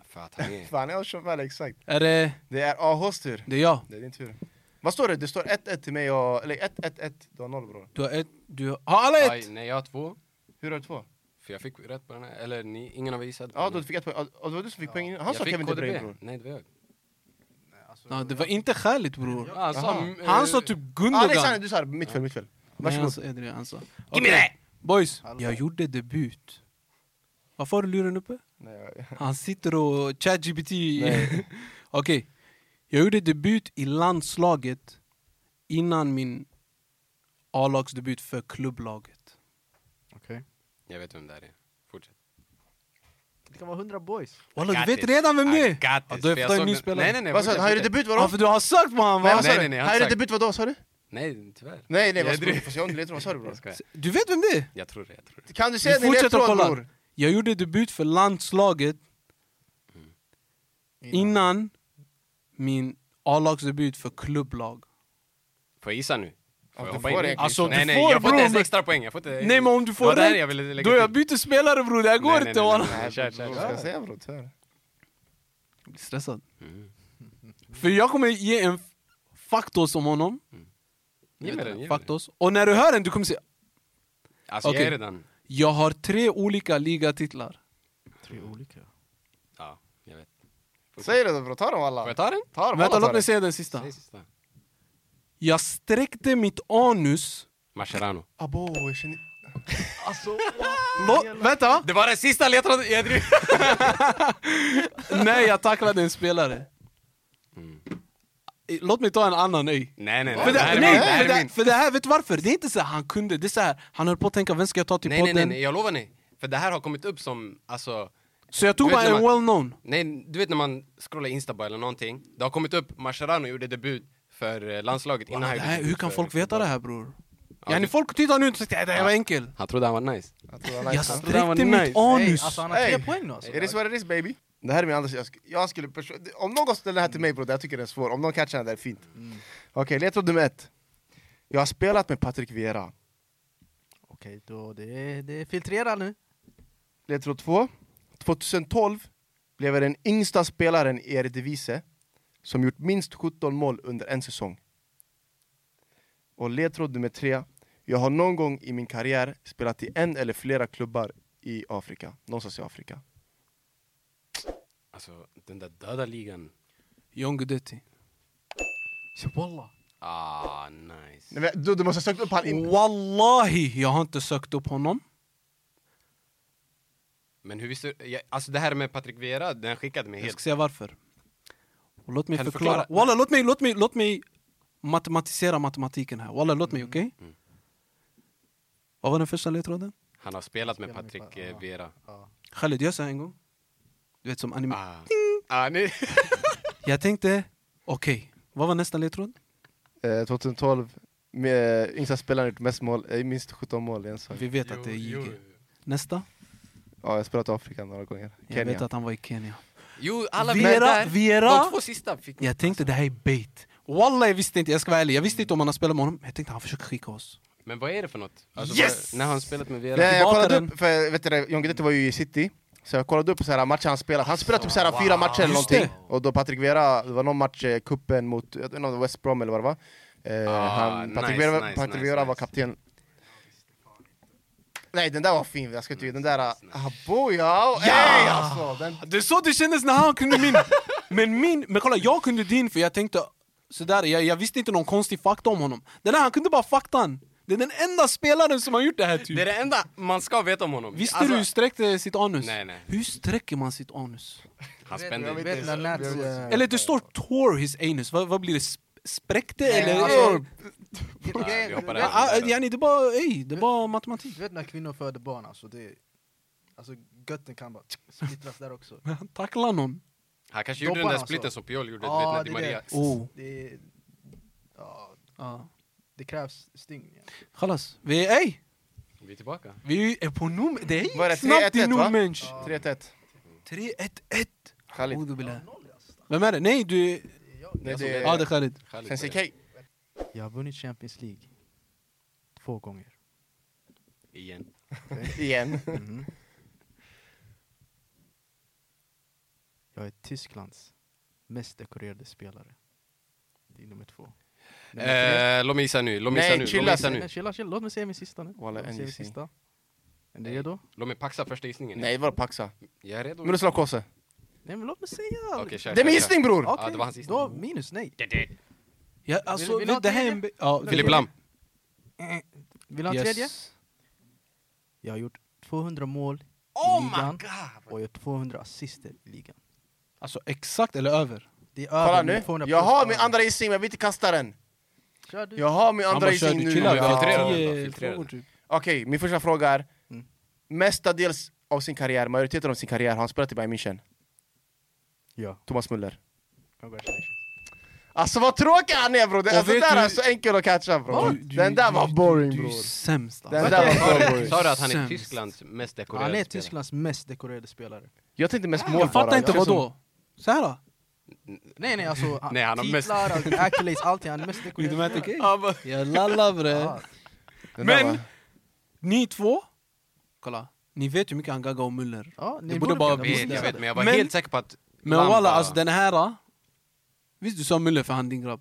För att han är...
Fan, jag kör väl exakt.
Är det...
Det är AHs tur.
Det är jag.
Det är din tur. Vad står det? Det står 1-1 till mig och... Eller 1-1-1. Du har noll bror.
Du har ett... Du har, har alla
Aj,
ett!
Nej, jag har två.
Hur har du två?
För jag fick rätt på den här. Eller ni, ingen av er gissade. på
Ja,
den.
då du fick ett poäng. Ja, och det var du som fick poäng.
Jag
Han sa
fick
Kevin De Bruyne
KDB.
bror.
Nej, det var jag.
Ja, det var inte skäligt bror.
Han sa,
Jaha.
mm, eh,
Han sa typ
Ah,
Gundogan.
Alexander, du sa mittfält, mittfält.
Nej, alltså- han
Varsågod.
sa Edry, han sa.
Ge
Okej,
mig det!
Boys, jag gjorde debut. Varför har du luren uppe?
Nej, jag-
Han sitter och ChatGPT... Okej. [laughs]
Nej.
Jag gjorde debut i landslaget innan min A-lagsdebut för klubblaget.
Okej.
Jag vet vem det här är. Fortsätt.
Det kan vara 100 boys.
Walla, du vet
Grattis.
redan vem det är!
Ah,
Ja, då är
för
jag
jag
för en
såg
ny
den-
spelare.
Nej, nej, nej.
Vad sa du?
fortsätt,
Han gjorde
fortsätt.
debut
Ja,
vadå?
för du har sökt på honom
Nej,
va?
vad sa
Nej,
du?
nej, nej, jag har
Han gjorde
sagt-
debut vadå, sa du?
Nej, tyvärr.
Nej, nej, vad
Jag
sa du?
driver.
Fast jag har inte ledtråd. Vad sa du bror?
Jag skojar.
Du vet vem det är?
Jag tror det, jag tror det.
Kan du
Du
säga din
fortsätter att
ledtråd
kolla.
bror?
Jag gjorde debut för landslaget Mm. innan min A-lagsdebut för klubblag.
Får jag gissa nu?
Ja,
Får jag
du
hoppa
får
in?
egentligen
Alltså,
nej,
du
nej,
får,
jag får
bror,
inte ens
men-
extra poäng. Jag får inte...
Nej men om du
Det var
får
det här
rätt,
jag ville lägga
då jag
till.
byter spelare bror, det här går
Nej, nej,
inte
nej,
walla.
nej.
Nej,
kör,
bror,
kör,
Vad ska jag
kör.
säga bror? Tyvärr.
Jag blir stressad.
Mm.
För jag kommer ge en f- faktos om honom.
Ge mig den, ge mig den.
faktos. Och när du hör den, du kommer se.
Alltså
Okej.
jag är redan...
Jag har tre olika ligatitlar.
Tre olika.
Ja, jag vet.
Säg det då bror, ta dem
Får
alla.
jag ta den?
Ta dem
Vänta,
alla.
låt mig säga den sista.
Säg sista.
Jag sträckte mitt anus.
Mascherano.
Abo, jag känner...
Alltså,
Lå- vänta!
Det var den sista ledtråden jag drev.
Nej, jag tacklade en spelare.
Mm.
Låt mig ta en annan öj.
Nej, nej, nej.
För
det
det,
här är
nej,
min, det här
för,
är
det,
min.
för det här, vet du varför? Det är inte så här, han kunde, det är så här, han höll på att tänka vem ska jag ta till
Nej, nej,
podden?
nej, nej, jag lovar ni. För det här har kommit upp som, alltså...
Så jag tog
Du vet
bara
när
en
man-
well known.
Nej, du vet när man scrollar Insta bara eller någonting. Det har kommit upp, Mascherano gjorde debut för eh, landslaget innan han
Det
gjorde
här,
debut
hur kan
för
folk veta
fotboll.
det här bror?
Ja,
Ja, ni
det-
folk tittar nu och tycker att det här var enkel.
Han trodde han var nice.
Jag tror han har-
Jag
Han-
sträckte
var
mitt
nice.
Hey,
anus.
alltså han har tre
Hey.
poäng nu alltså.
It is what it is baby. Det här är min andra... Jag, sk- jag skulle perso- om någon ställer den här till mig bror, jag tycker den är svår. Om någon catchar den, det är fint.
Mm.
Okej, ledtråd nummer ett. Jag har spelat med Patrik Vieira.
Okej, då det är, det är filtrera nu.
Ledtråd två. 2012 blev jag den yngsta spelaren i Eredivisie som gjort minst 17 mål under en säsong. Och ledtråd nummer tre. Jag har någon gång i min karriär spelat i en eller flera klubbar i Afrika. Någonstans i Afrika.
Alltså, den där döda ligan.
John Guidetti.
Walla.
Ah, nice.
Nej, men, du, du måste ha sökt upp han in...
Wallahi, jag har inte sökt upp honom.
Men hur visste du? jag- Alltså det här med Patrik Vera, den skickade mig
Jag ska
helt...
säga varför. Och låt mig
Kan du
förklara.
förklara?
Walla, låt mig, låt, mig, låt mig matematisera matematiken här. Walla, låt mig, okej?
Mm.
Vad var den första ledtråden?
Han har spelat med
Spelar med
Patrik
Pa-
eh,
ah.
Vera.
Ja.
Khalid, gör så här en gång. Du vet som anime.
Ah. Ah, nej.
Jag tänkte, okej, vad var nästa ledtråd?
Eh, 2012, med, eh, yngsta spelaren gjort mest mål, eh, minst 17 mål i en säsong.
Vi vet att det är
Jo,
JG.
jo, jo.
Nästa?
Ja, jag har spelat i Afrika några gånger.
Jag
Kenya.
vet att han var i Kenya.
[laughs] Jo, alla
Vera-
vet där.
Vera-
De två sista fick...
Jag tänkte det här är bait. Wallah, jag visste inte, jag ska vara ärlig. Jag visste inte om han har spelat med honom, men jag tänkte han försöker skicka oss.
Men vad är det för något? Alltså,
Yes!
vad, när har han spelat med Vera?
Nej, jag
Tillbaka
kollade
den.
upp, för vet du, det, John Guidetti var ju i City, så jag kollade upp så här, matcher han spelat. Han spelade typ så här,
Wow.
fyra matcher eller
Just
någonting. Och då Patrik Vera, det var någon match, eh, kuppen mot jag vet inte om det var West Brom eller vad det var. Eh,
Ah,
han, Patrik
nice,
Vera,
nice,
Patrik
nice,
Vera var
nice.
kapten. Nej den där var fin, jag ska inte den där... Aboja! Ja! Ey, alltså, den,
Det är så det kändes när han kunde
[laughs]
min. Men min, men kolla jag kunde din för jag tänkte sådär, jag, jag visste inte någon konstig fakta om honom. Den här, han kunde bara faktan. Det är den enda spelaren som har gjort det här typ.
Det är det enda man ska veta om honom.
Visste
Alltså,
du hur sträckte sitt anus?
Nej, nej.
Hur sträcker man sitt anus?
Han
jag
spände...
vet-
Vet när Nats... eh, [laughs]
Eller det står tore his anus, vad, vad blir det? Sp- Spräckte
Nej,
eller?
alltså-
Eller-
Ja, vi hoppar över.
Vet-
Ah, ah, yani, det är bara, ey, det är bara matematik.
Du typ, vet när kvinnor föder barn alltså, det... Alltså götten kan bara splittras där också.
Men han tacklar någon.
Han kanske gjorde
Dopparna
den där
alltså.
splitten som Piol gjorde,
Ja,
du vet när
det
Di
är
Maria...
det.
Oh.
Det, är- ja,
Ja.
det krävs stygn. Ja.
Chalas. Vi är, ey,
Vi är tillbaka.
vi är på num... Det är
Var det
snabbt
3-1-1,
i
va?
Numensch.
3-1.
3-1-1.
Khalid.
Audu billah.
Noll alltså.
Vem är det? Nej, du...
إيه.
Nej,
Alltså,
det
det
Ja,
är
det är Khalid.
Khalid
Sensei K.
börjar.
Jag har vunnit Champions League två gånger.
Igen.
Igen.
Mhm. Jag är Tysklands mest dekorerade spelare. Det är nummer två. Nummer tre.
Eh, låt mig gissa nu, låt mig gissa
Nej,
nu, låt
chilla,
mig gissa
Nej,
nu.
Chilla, chilla, låt mig säga min sista nu.
Walla,
Låt mig
en
säga min
gissning.
sista. Är ni redo?
Låt mig paxa första gissningen.
Nej, var paxa.
Jag är redo.
Miroslav Klose.
Nej men låt mig säga!
Okej, kör,
Det är
kör,
min
kör.
gissning bror!
Okej,
det var hans gissning.
då minus, nej.
Det- det-
Ja, alltså,
vill du ha
det här är
tredje?
en... be- Ja,
Filip Lam.
Vill du ha en
Yes.
tredje? Jag har gjort 200 mål i ligan
god!
och jag har 200 assister i ligan.
Alltså exakt eller över?
Det är
Kolla
över
nu.
200
Jag har
plus.
min andra gissning men jag vill inte kasta den.
Kör du.
Jag har min
Han
andra
bara kör,
gissning
du
nu.
chillar. Vi
Ja.
filtrerar
har
den,
tio
filtrerar den.
frågor typ.
Okej, min första fråga är...
Mm.
Mestadels av sin karriär, majoriteten av sin karriär, har han spelat i Bayern München?
Ja.
Thomas Müller.
Congratulations.
Alltså vad tråkig han är bror! Det,
Och
alltså, den
vet
där
du-
är så enkel att catcha bror.
Du- du-
den där
du-
var boring
du, du är
bror.
sämst
Den
alltså.
där var
Sa
så
du-
boring.
Sa du att han är
Sämst.
Tysklands mest dekorerade
Han är
spelare?
Tysklands mest dekorerade spelare.
Jag tänkte mest mål
Jag fattar
bara.
inte,
känns som-
vadå? Så här då?
Nej nej alltså,
[laughs] Nej, han har mest-
titlar, mest... accolades, allting. Han är mest dekorerade
Inte
spelare.
Matic Jag lallar bre.
Ja,
Den där
Men-
var-
Ni två, kolla. Ni vet hur mycket han gaggar om Müller.
ja, ni
Det borde bara
Jag
kunna
bli-
vet,
visa
jag vet,
det.
men jag var
Men-
helt säker på att...
Men
Lam
walla,
bara-
alltså den här... Visst du sa Müller för han din grabb?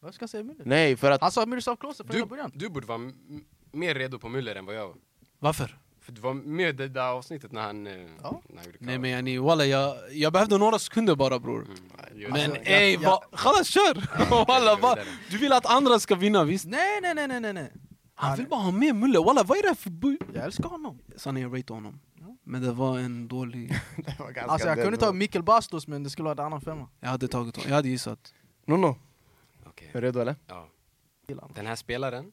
Vad ska jag säga Müller?
Nej, för att...
Han sa Alltså, Miroslav Klose från
Du,
hela början.
du borde vara m- mer redo på Müller än vad jag var.
Varför?
För du var med i det där avsnittet när han... eh,
Ja.
När han gjorde
Nej
cover.
men yani, walla jag, jag behövde några sekunder bara bror.
Mm, just
Men
jag-
ey,
jag-
va- Khalas kör! [laughs] Walla, va- du vill att andra ska vinna visst?
Nej nej nej nej nej, nej.
Han vill bara ha med Müller, walla vad är det här för bu...
Jag älskar honom.
Sanne jag rateade honom. Men det var en dålig...
[laughs] det var ganska
Alltså jag
död,
kunde
bror.
ta Mikkel Bastos men det skulle vara en annan femma.
Jag hade tagit honom, jag hade gissat.
Nono,
Okej.
är du redo eller?
Ja.
Gillar honom.
Den här spelaren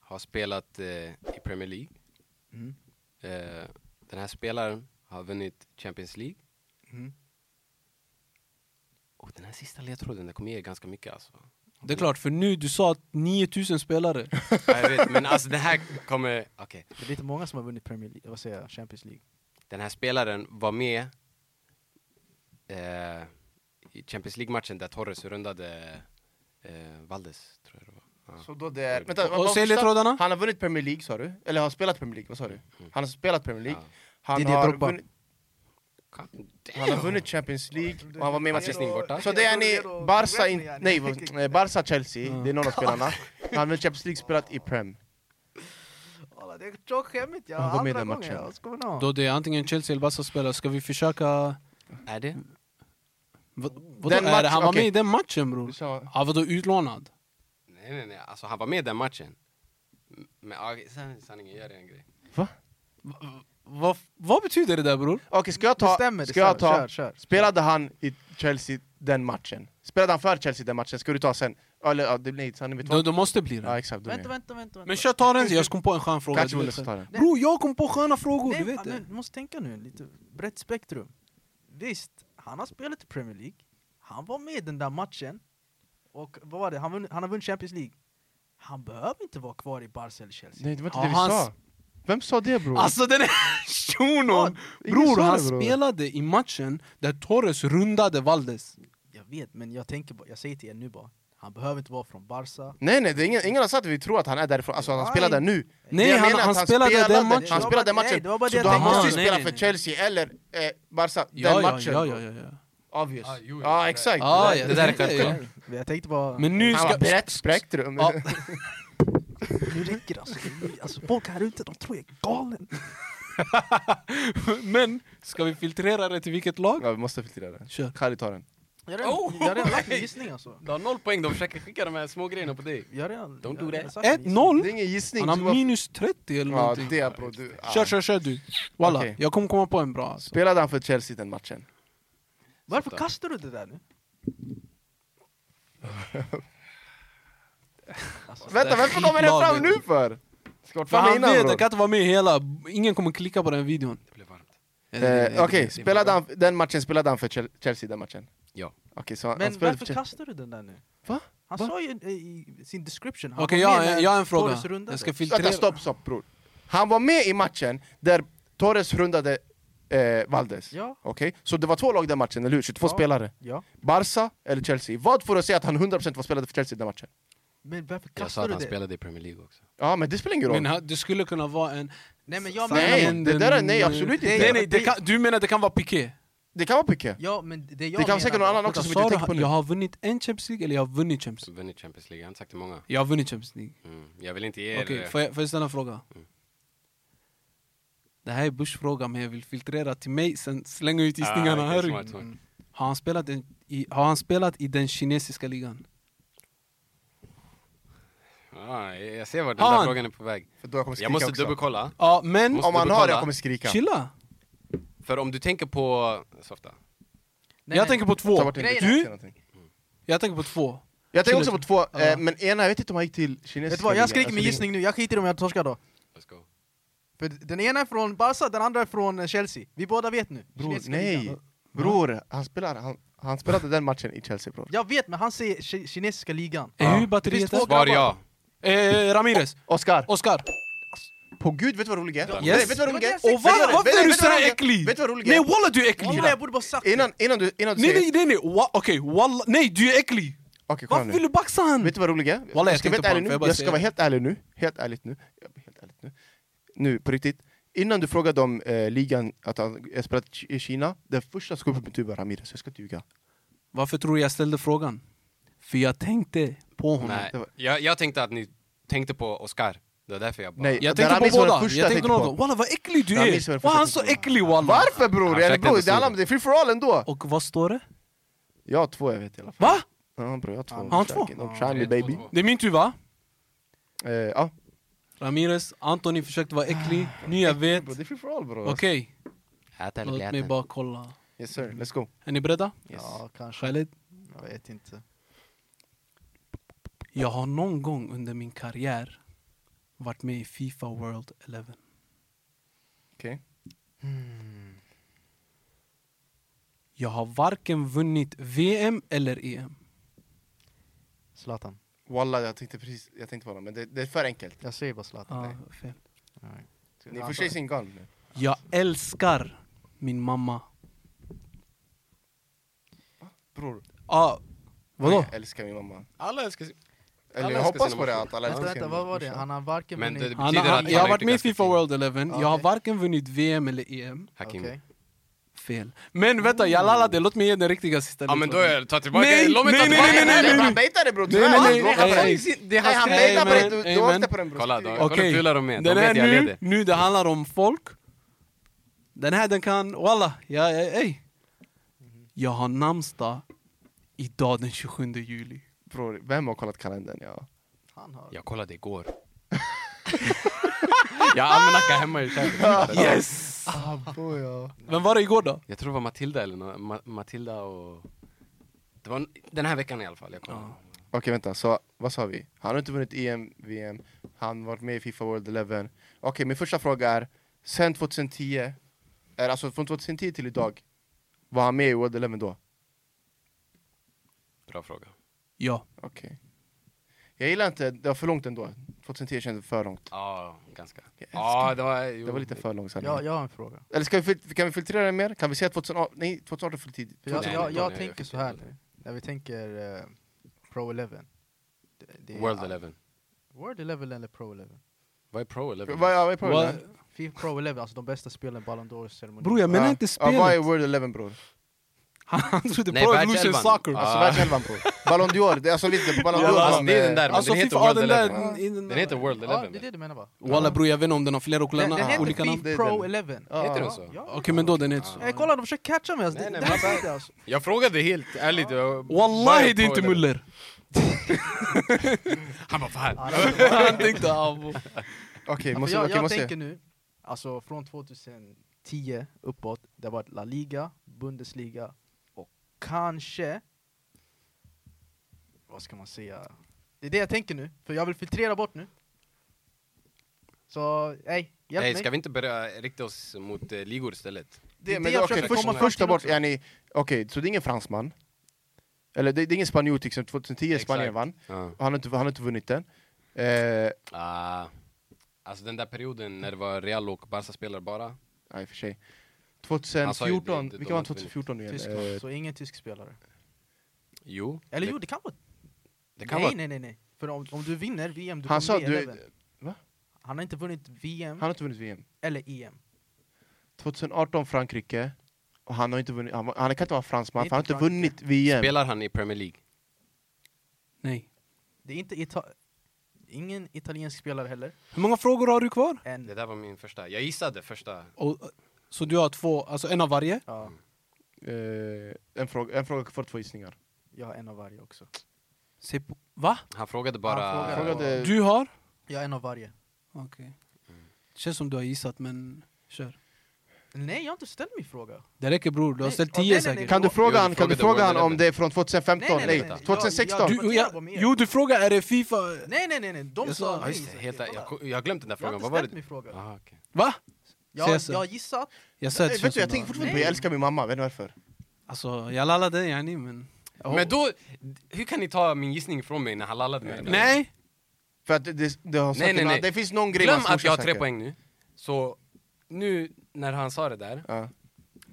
har spelat eh, i Premier League.
Mm.
Eh, den här spelaren har vunnit Champions League.
Mm.
Och den här sista ledtråden, den kommer ge ganska mycket
[laughs]
alltså.
Det är klart, för nu du sa att 9000 spelare.
Ja, jag vet, men alltså den här kommer... Okej.
Det är inte många som har vunnit Premier League, vad säger jag, Champions League.
Den här spelaren var med eh, i Champions League-matchen där Torres rundade eh, Valdes, tror jag det var. Ja.
Så då det är... Eh, Vänta, vad-
Och
vad-
säg ledtrådarna.
Han har vunnit Premier League sa du? Eller har spelat Premier League, vad sa du? Han har spelat Premier League.
Ja.
Han,
Didier
har
Drogba.
vunnit,
God damn.
han har vunnit Champions League och han var med i
Hans
matchen.
gissning borta.
Så det är ni, Barca, in, nej, eh, Barca Chelsea,
Ja.
det är någon av spelarna. Han har vunnit Champions League, spelat i Prem.
Alla, det är tråkigt, jag
Ja, de är
andra
den
gången.
matchen.
Vad ska man ha?
Då det är antingen Chelsea eller Barca-spelare, ska vi försöka...
Är det?
Vad, vadå,
Den
är det? Han var
matchen,
med i den matchen bror.
Du sa-
Ja, vadå utlånad?
Nej, nej, nej. Alltså han var med i den matchen. M- Men ja, san- sanningen, gör en grej.
Vad, vad betyder det där bror?
Okej, ska jag
Det
ta...
stämmer, det
Ska jag
stämmer.
ta
Kör, kör.
spelade han i Chelsea den matchen? Spelade han för Chelsea den matchen? Ska du ta sen? Eller ja, det blir inte sanning, vet du
Då,
vad?
då måste bli
Ja
det.
exakt, du
Vänta,
menar.
vänta, vänta. vänta.
Men kör ta den, jag kom på en skön fråga.
Kanske
du
vill
vet
jag
själv.
ta den.
Bror, jag kom på sköna frågor,
Nej,
du vet
men,
det.
Du måste tänka nu, lite brett spektrum. Visst, han har spelat i Premier League, han var med i den där matchen, och vad var det? Han, vunn, han har vunnit Champions League. Han behöver inte vara kvar i Barca eller Chelsea.
Nej det var inte
Ja,
det vi
han
sa.
s-
Vem sa det bror?
Alltså den här [laughs] shunon!
ingen sa
Bror,
det,
han
bror.
spelade i matchen där Torres rundade Valdes.
Jag vet, men jag tänker bara, jag säger till er nu bara, han behöver inte vara från Barca.
Nej nej, det är ingen, ingen har sagt att vi tror att han är därifrån, alltså att han
Nej.
spelar där nu.
Nej,
Det jag
han-
menar är
han
att
spelade den
spelade-
matchen.
Han spelade den
Nej,
matchen,
det var bara
så
det
då
jag
han måste ju
tänkte.
spela
Ah, nej,
för
nej.
Chelsea eller eh, Barca,
Ja,
den
ja,
matchen.
ja, ja, ja, ja.
Obvious.
Ah, jo, jo.
ja exakt.
Ah,
Det
ja,
där-
det där är
tänkte jag.
självklart.
Men jag tänkte bara,
Men nu
Han
ska...
var brett spektrum.
Ja. [laughs]
nu räcker det alltså. Nu- alltså. Folk här ute, de tror jag är galen.
Men, ska vi filtrera det till vilket lag?
Ja, vi måste filtrera det.
Kör.
Khalid tar den.
Jag har redan,
Oh,
jag har redan lagt min gissning alltså.
Du har noll poäng, de försöker skicka de här små grejerna på dig.
Jag har redan,
Don't
jag,
do that.
har redan sagt min gissning.
1-0?
är ingen gissning.
Mm. Han har minus 30 eller
Ja,
någonting.
det bro. Du, ah.
Kör, kör, kör du. Walla,
Okej.
jag kommer komma på en bra. Alltså.
Spelade han för Chelsea den matchen?
Varför kastar du det där nu? Alltså,
Vänta, varför kommer den fram nu för? Ska vart
För
fram
han
innan
vet,
bror?
han kan inte vara med i hela. Ingen kommer klicka på den videon.
Det blev varmt.
Eh, Okej, spelade han, den matchen spelade han för Chel- Chelsea, den matchen?
Ja.
Okej, så han, han
alltså,
Men
spelade för
varför
Chelsea?
kastar du den där nu?
Va?
Han
Va?
sa ju eh, i sin description, han
Okej,
var
jag,
med
har-
när
jag har en fråga.
Torres rundade.
Jag ska
Vänta,
filtrera.
stopp, stopp bror. Han var med i matchen där Torres rundade eh, Valdes.
Ja,
Okej, så det var två lag den matchen, eller hur? 22
Ja.
spelare.
ja.
Barca eller Chelsea? Vad får du att säga att han 100% var spelade för Chelsea den matchen?
Men varför
Jag sa
kastar
att
du
han
det?
spelade i Premier League också.
Ja, men det spelar ingen roll.
Men ha- det skulle kunna vara en...
Nej men jag menar...
Nej, det där är- nej, absolut inte.
Nej, nej, det kan, du menar det kan vara Piqué?
Det kan vara Piqué.
Ja men det jag
Det kan säkert
menar
någon
var-
annan också
Vänta,
som
sa
inte
du
tänker på
ha-
nu.
jag har vunnit en Champions League eller jag har vunnit Champions League?
Vunnit Champions League, jag har inte sagt det många.
Jag har vunnit Champions League.
Mm. Jag vill inte ge er...
Okej, får, jag, får jag ställa en fråga?
Mm.
Det här är Bush-fråga, men jag vill filtrera till mig, sen slänga ut
Ah,
gissningarna.
okej,
hör du?
smart, smart.
har, han spelat i, i, har han spelat i den kinesiska ligan?
Ja, jag ser vart den
Har
där
han?
frågan är på väg.
För då jag kommer skrika
Jag måste
också.
dubbelkolla.
Ja, men...
Måste
Om han har
dubbelkolla.
jag kommer skrika.
Chilla!
För om du tänker på... Softa.
Nej,
jag
nej.
tänker på
Ta
två.
bort det.
Du? Jag tänker på två.
Jag tänker också på två,
Ja.
eh, men ena, jag vet inte om han gick till kinesiska
Vet du vad,
ligan.
jag skriker min
Alltså, det-
gissning nu, jag skiter i om jag torskar då.
Let's go.
För den ena är från Barca, den andra är från eh, Chelsea. Vi båda vet nu.
Bror,
Kinesiska
nej!
ligan.
Bror, han, spelar, han, han spelade den matchen i Chelsea bror.
Jag vet, men han säger ki- kinesiska ligan.
Ja. Hur
Det
batteriet
finns
är?
två
Svar ja.
Eh, Ramirez.
Oscar!
Oscar.
På gud, vet du vad roligt är?
Ja.
Nej, vet du vad
Det var
roligt
det
är? Vet
jag sa.
du
Och
vad roligt
var, varför är
Vet
du
vad
sådär
roligt
äcklig?
Vet du vad roligt
Nej
är?
walla du är äcklig!
Wallah, jag borde bara sagt det.
Innan, innan du, innan du
Nej
säger...
nej nej, nej. Wa- okej walla, nej du är äcklig!
Okej, kolla
Varför vill
nu.
du baxa han?
Vet du vad roligt är?
jag
ska
tänkte
vara helt ärlig
på
nu.
honom, för jag bara
Jag ska
säger-
vara helt ärlig nu. Helt ärligt nu. Jag blir helt ärligt nu. Nu, på riktigt. Innan du frågade om eh, ligan, att han eh, spelat i Kina, den första som kom upp i mitt huvud var Ramirez, jag ska inte ljuga.
Varför tror du jag ställde frågan? För jag tänkte på honom.
Nej,
det var-
jag, jag tänkte att ni tänkte på Oscar. Det var därför jag bara...
Nej.
Jag
Det
tänkte
Ramis
på
var den
båda.
första
Jag
jag
tänkte
tänkte
någon. Walla vad äcklig du
Ramis
är!
var den
Var
första
han
jag
så
tänkte på.
äcklig walla?
Varför bror?
Han
Eller
försökte
bror,
ändå
det handlar om det,
sno.
är free for all ändå!
Och vad står det?
Jag har två jag vet i alla fall.
Va?
Ja bror, jag har två.
Han
har två?
Don't try me
Ett, två,
baby.
två.
Det är min tur va?
Eh, Ja,
Ramirez, Anthony försökte vara äcklig, nu jag vet.
bror, det är free for all bror.
Okej,
Ät eller bli
låt mig
äten.
bara kolla.
Yes sir, let's go.
Är ni beredda?
Ja, kanske.
Khaled?
Jag vet inte.
Jag har någon gång under min karriär varit med i Fifa World 11.
Okej.
Jag har varken vunnit VM eller E EM.
Zlatan.
Walla, jag tänkte precis, jag tänkte på honom, men det, det är för enkelt.
Jag säger bara Zlatan.
Ah,
Nej.
fel.
Ni får sig sin gun nu.
Jag älskar min mamma.
Bror,
Ah, vadå?
jag älskar min mamma.
Alla älskar sin...
Eller
Alla
jag
älskar
hoppas
sina
på det,
mammor.
att alla
Vänta,
älskar sin
vänta, vad var det?
morsa.
Han har varken
Men
vunnit-
det-
Han,
Betyder att
han,
alla
jag har
inte
varit med i
ganska
Fifa
fina.
World 11, jag har
Okej.
varken vunnit VM eller EM.
Hakimi.
Okej.
Fel. Men vänta, jag lallade, låt mig ge den riktiga sista
Ja men då
ledtråden.
är ta tillbaka...
Nej,
Låt mig ta
nej,
tillbaka-
nej, nej, nej, nej.
Han bejtade bror,
Nej, nej, nej, nej, nej,
tyvärr!
nej.
Det är hans
Nej,
bejtade
men-
på dig, du- du
Amen.
åkte på den bror.
Kolla då.
Okej.
Kolla hur fula de är. De
den
vet
här
jag
nu,
leder.
nu det handlar om folk. Den här den kan, walla, jag, jag, ey.
Mhm.
jag har namnsdag idag den 27 juli.
Bror, vem har kollat kalendern? Ja.
Han har...
Jag kollade igår. [laughs] jag har almanacka hemma i köket.
Yes!
Oh, ja.
Vem var det igår då?
Jag tror det var Matilda eller nå- Ma- Matilda och... Det var n- den här veckan i alla fall. Jag kommer.
Ja.
Okej vänta, så vad sa vi? Han har inte vunnit E EM, VM, han har varit med i Fifa World 11 Okej, min första fråga är, sen 2010, är, alltså från 2010 till idag, var han med i World 11 då?
Bra fråga.
Ja. [laughs]
Okej. Jag gillar inte, det var för långt ändå. 2010 kändes för långt.
Ja, ganska.
Jag
Ja, det var... Jo.
Det var lite för långsamt.
Ja, jag har en fråga.
Eller ska vi, fil- kan vi filtrera det mer? Kan vi säga 2018? Nej, 2018 är för tidigt.
För jag,
Nej,
jag,
nej,
jag
nej, jag
tänker
fick
så här
det.
nu, när vi tänker eh, Pro 11. Det, det är-
World 11.
World 11 eller Pro 11?
Vad är Pro 11?
Vad vad är
Vad-
problemet?
Fi- Pro 11, alltså de bästa spelen Ballon d'Or-ceremonin.
Bror jag menar
Ja.
inte
Ja, Ah, vad är
spelet.
World 11 bror?
Han trodde
Nej,
Pro
världselvan.
Evolution Soccer.
Ja.
Alltså världselvan bror. Ballon d'Or, det är alltså lite Ballon
Ja,
d'Or.
alltså,
som,
Ah. det är
eh,
den där. men
Alltså
den heter
FIFA,
World
den där...
11.
i-
Den heter World
Ja,
11.
det är det du menar va?
Walla bror jag vet inte om den har flera olika
Den, den
namn.
heter
olika namn.
Det
Fi
är
Pro
den.
11.
Ja.
Heter den så?
Ja.
Okej men då den heter så.
Ey kolla, de försöker catcha mig alltså.
Nej,
Det-
nej,
det
men
här är det, alltså.
Jag frågade helt ärligt. jag-
Wallahi
Vad
det är inte
Pro 11?
Muller.
Han bara fan.
Han [laughs] tänkte abo.
Okej,
Ja,
måste,
för alltså, jag
okej,
jag
måste
tänker nu, alltså från 2010 uppåt, det har varit La Liga, Bundesliga och kanske... Vad ska man säga? Det är det jag tänker nu, för jag vill filtrera bort nu. Så, nej, hjälp
Nej,
mig.
ska vi inte börja rikta oss mot eh, ligor istället?
Det
det,
är
men
det
det,
jag
okej,
försöker
först,
komma fram
första
till
bort,
också.
yani, okej, så det är ingen fransman. Eller det, det är ingen spanjor till exempel, 2010 Spanien
Exakt.
vann.
Ja.
Han har inte, han har inte vunnit den. Eh,
Ah. Alltså den där perioden när det var Real och Barca-spelare bara.
nej, i och för sig.
Han sa ju det,
2014,
det- de
vilka
har
vann
inte vunnit.
2014 nu igen?
Tyskland,
Eh,
så ingen tysk spelare.
Jo.
Eller
det,
jo, det kan vara...
det kan
nej,
vara...
nej, nej, nej. För om, om du vinner VM, du
Han
kommer
sa
bli
du-
11.
va?
Han har inte vunnit VM
han har inte vunnit VM.
eller E EM.
2018 Frankrike. Och han har inte vunnit, han, var- han kan inte vara
Det
fransman,
är
för han har
inte
inte vunnit VM.
Spelar han i Premier League?
Nej.
Det är inte Ita- ingen italiensk spelare heller.
Hur många frågor har du kvar?
Än.
Det där var min första. Jag gissade första.
Och, så du har två, alltså en av varje?
Ja,
Mm. Eh, en, fråga, en fråga för två gissningar.
jag har en av varje också.
Se på, va?
Han frågade bara...
Han frågade.
Jag frågade,
Du har?
Jag har en av varje.
Okej. Känns som du har gissat, men kör.
Nej, jag har inte ställt min fråga.
Det räcker bror, du har
Nej,
ställt
ja,
tio
nej, nej, nej.
säkert.
kan du
Jo, du
fråga han, kan du
frågade
fråga han
World
om det är från 2015?
Nej, nej, nej,
Nej,
nej. Jag- jag-
2016?
Du-
Du, jag, jo, du frågar är det Fifa...
Nej, nej, nej, nej. de
Jag
sa...
sa-
Ja,
nej,
just det,
så-
helt,
kolla.
jag, jag har glömt den där
jag har
frågan.
inte
Vad var
ställt
det?
min fråga.
Ah, okej.
Va?
Jag,
Ses sen.
jag har gissat.
Jag
Nej,
sett
vet
känns
du, jag
som
tänker
det.
fortfarande på
Nej.
jag älskar min mamma, vet ni varför?
Alltså, jag lallade den yani, men...
Men då, hur kan ni ta min gissning ifrån mig när han lallade mig?
Nej!
För att det, det, det, har
Nej,
sagt
nej,
någon-
nej.
det finns någon grej
Glöm
hans
att jag har
morsa
tre
säger.
poäng nu. Så nu när han sa det där,
Ja.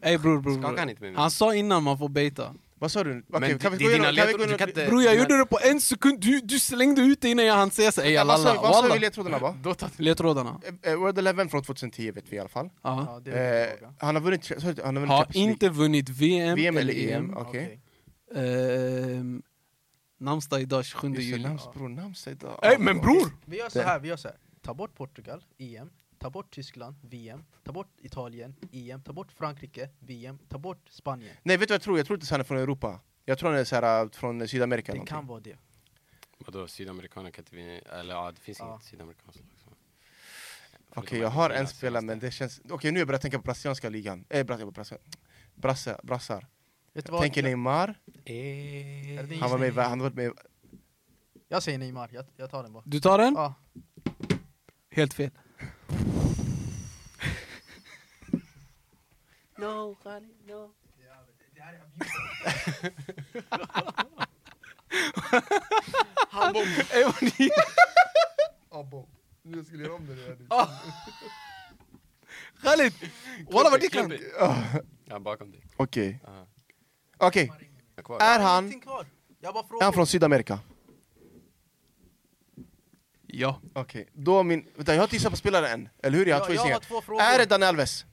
Ey bror, bror,
skakade han
bror.
inte med mig.
Han sa innan man får beta.
Vad sa du?
Men
Okej, kan vi
det
gå
är dina
igenom- kan vi gå
ledtrådar, du kan
igenom- Eh,
inte...
Bror jag
dina-
gjorde det på en sekund, du, du slängde ut det innan jag hann säga såhär ey jag
Vad sa-
lallar,
vad sa vi
walla.
ledtrådarna va?
Då tar du...
Ledtrådarna.
Eh, eh, World Eleven från 2010 vet vi i alla fall.
Ja.
Ja, det är min
Eh,
fråga.
han har vunnit, sa du- han har vunnit
Har
Champions League.
inte vunnit VM,
VM eller EM. Okej.
E Ehm, namnsdag idag 27
Just det,
juli.
namns- bror, namnsdag idag.
Ey men bror!
Vi gör så här, vi gör så här. Ta bort Portugal, EM. Ta bort Tyskland, VM. Ta bort Italien, EM. Ta bort Frankrike, VM. Ta bort Spanien.
Nej vet du vad jag tror? Jag tror inte att han är från Europa. Jag tror han är så här, äh, från Sydamerika.
Det
eller
kan
någonting.
vara det.
Vadå, sydamerikaner kan inte vinna... Eller ja, det finns
Ja.
inget sydamerikanskt lag. som-
Okej,
Förutom
jag har
Argentina
en spelare
senaste.
men det känns... Okej nu har jag börjat tänka på brasilianska ligan. Eh, brasse, brasse, brasse, brassar.
Vet du
Jag
vad?
tänker
Jag,
Neymar,
Är det din
Eh,
han var med, i-
gissning?
han var med i-
jag säger Neymar, jag, jag tar den bara.
Mm.
Du tar den?
Ja,
Helt fel.
Jag skulle göra om det där
Khalid! Walla vad ditt land!
Klumpigt, klumpigt. Ja, bakom dig.
Okej,
Uh-huh.
Aha.
okej,
Jag är Kvar.
är
jag har
han,
ingenting kvar. Jag bara
är
frågar.
han från Sydamerika?
Ja.
Okej, då min... Vänta, jag har inte gissat på spelare än, eller hur? Jag har
jag,
två
jag har
gissningar.
två frågor.
Är det Daniel Alves?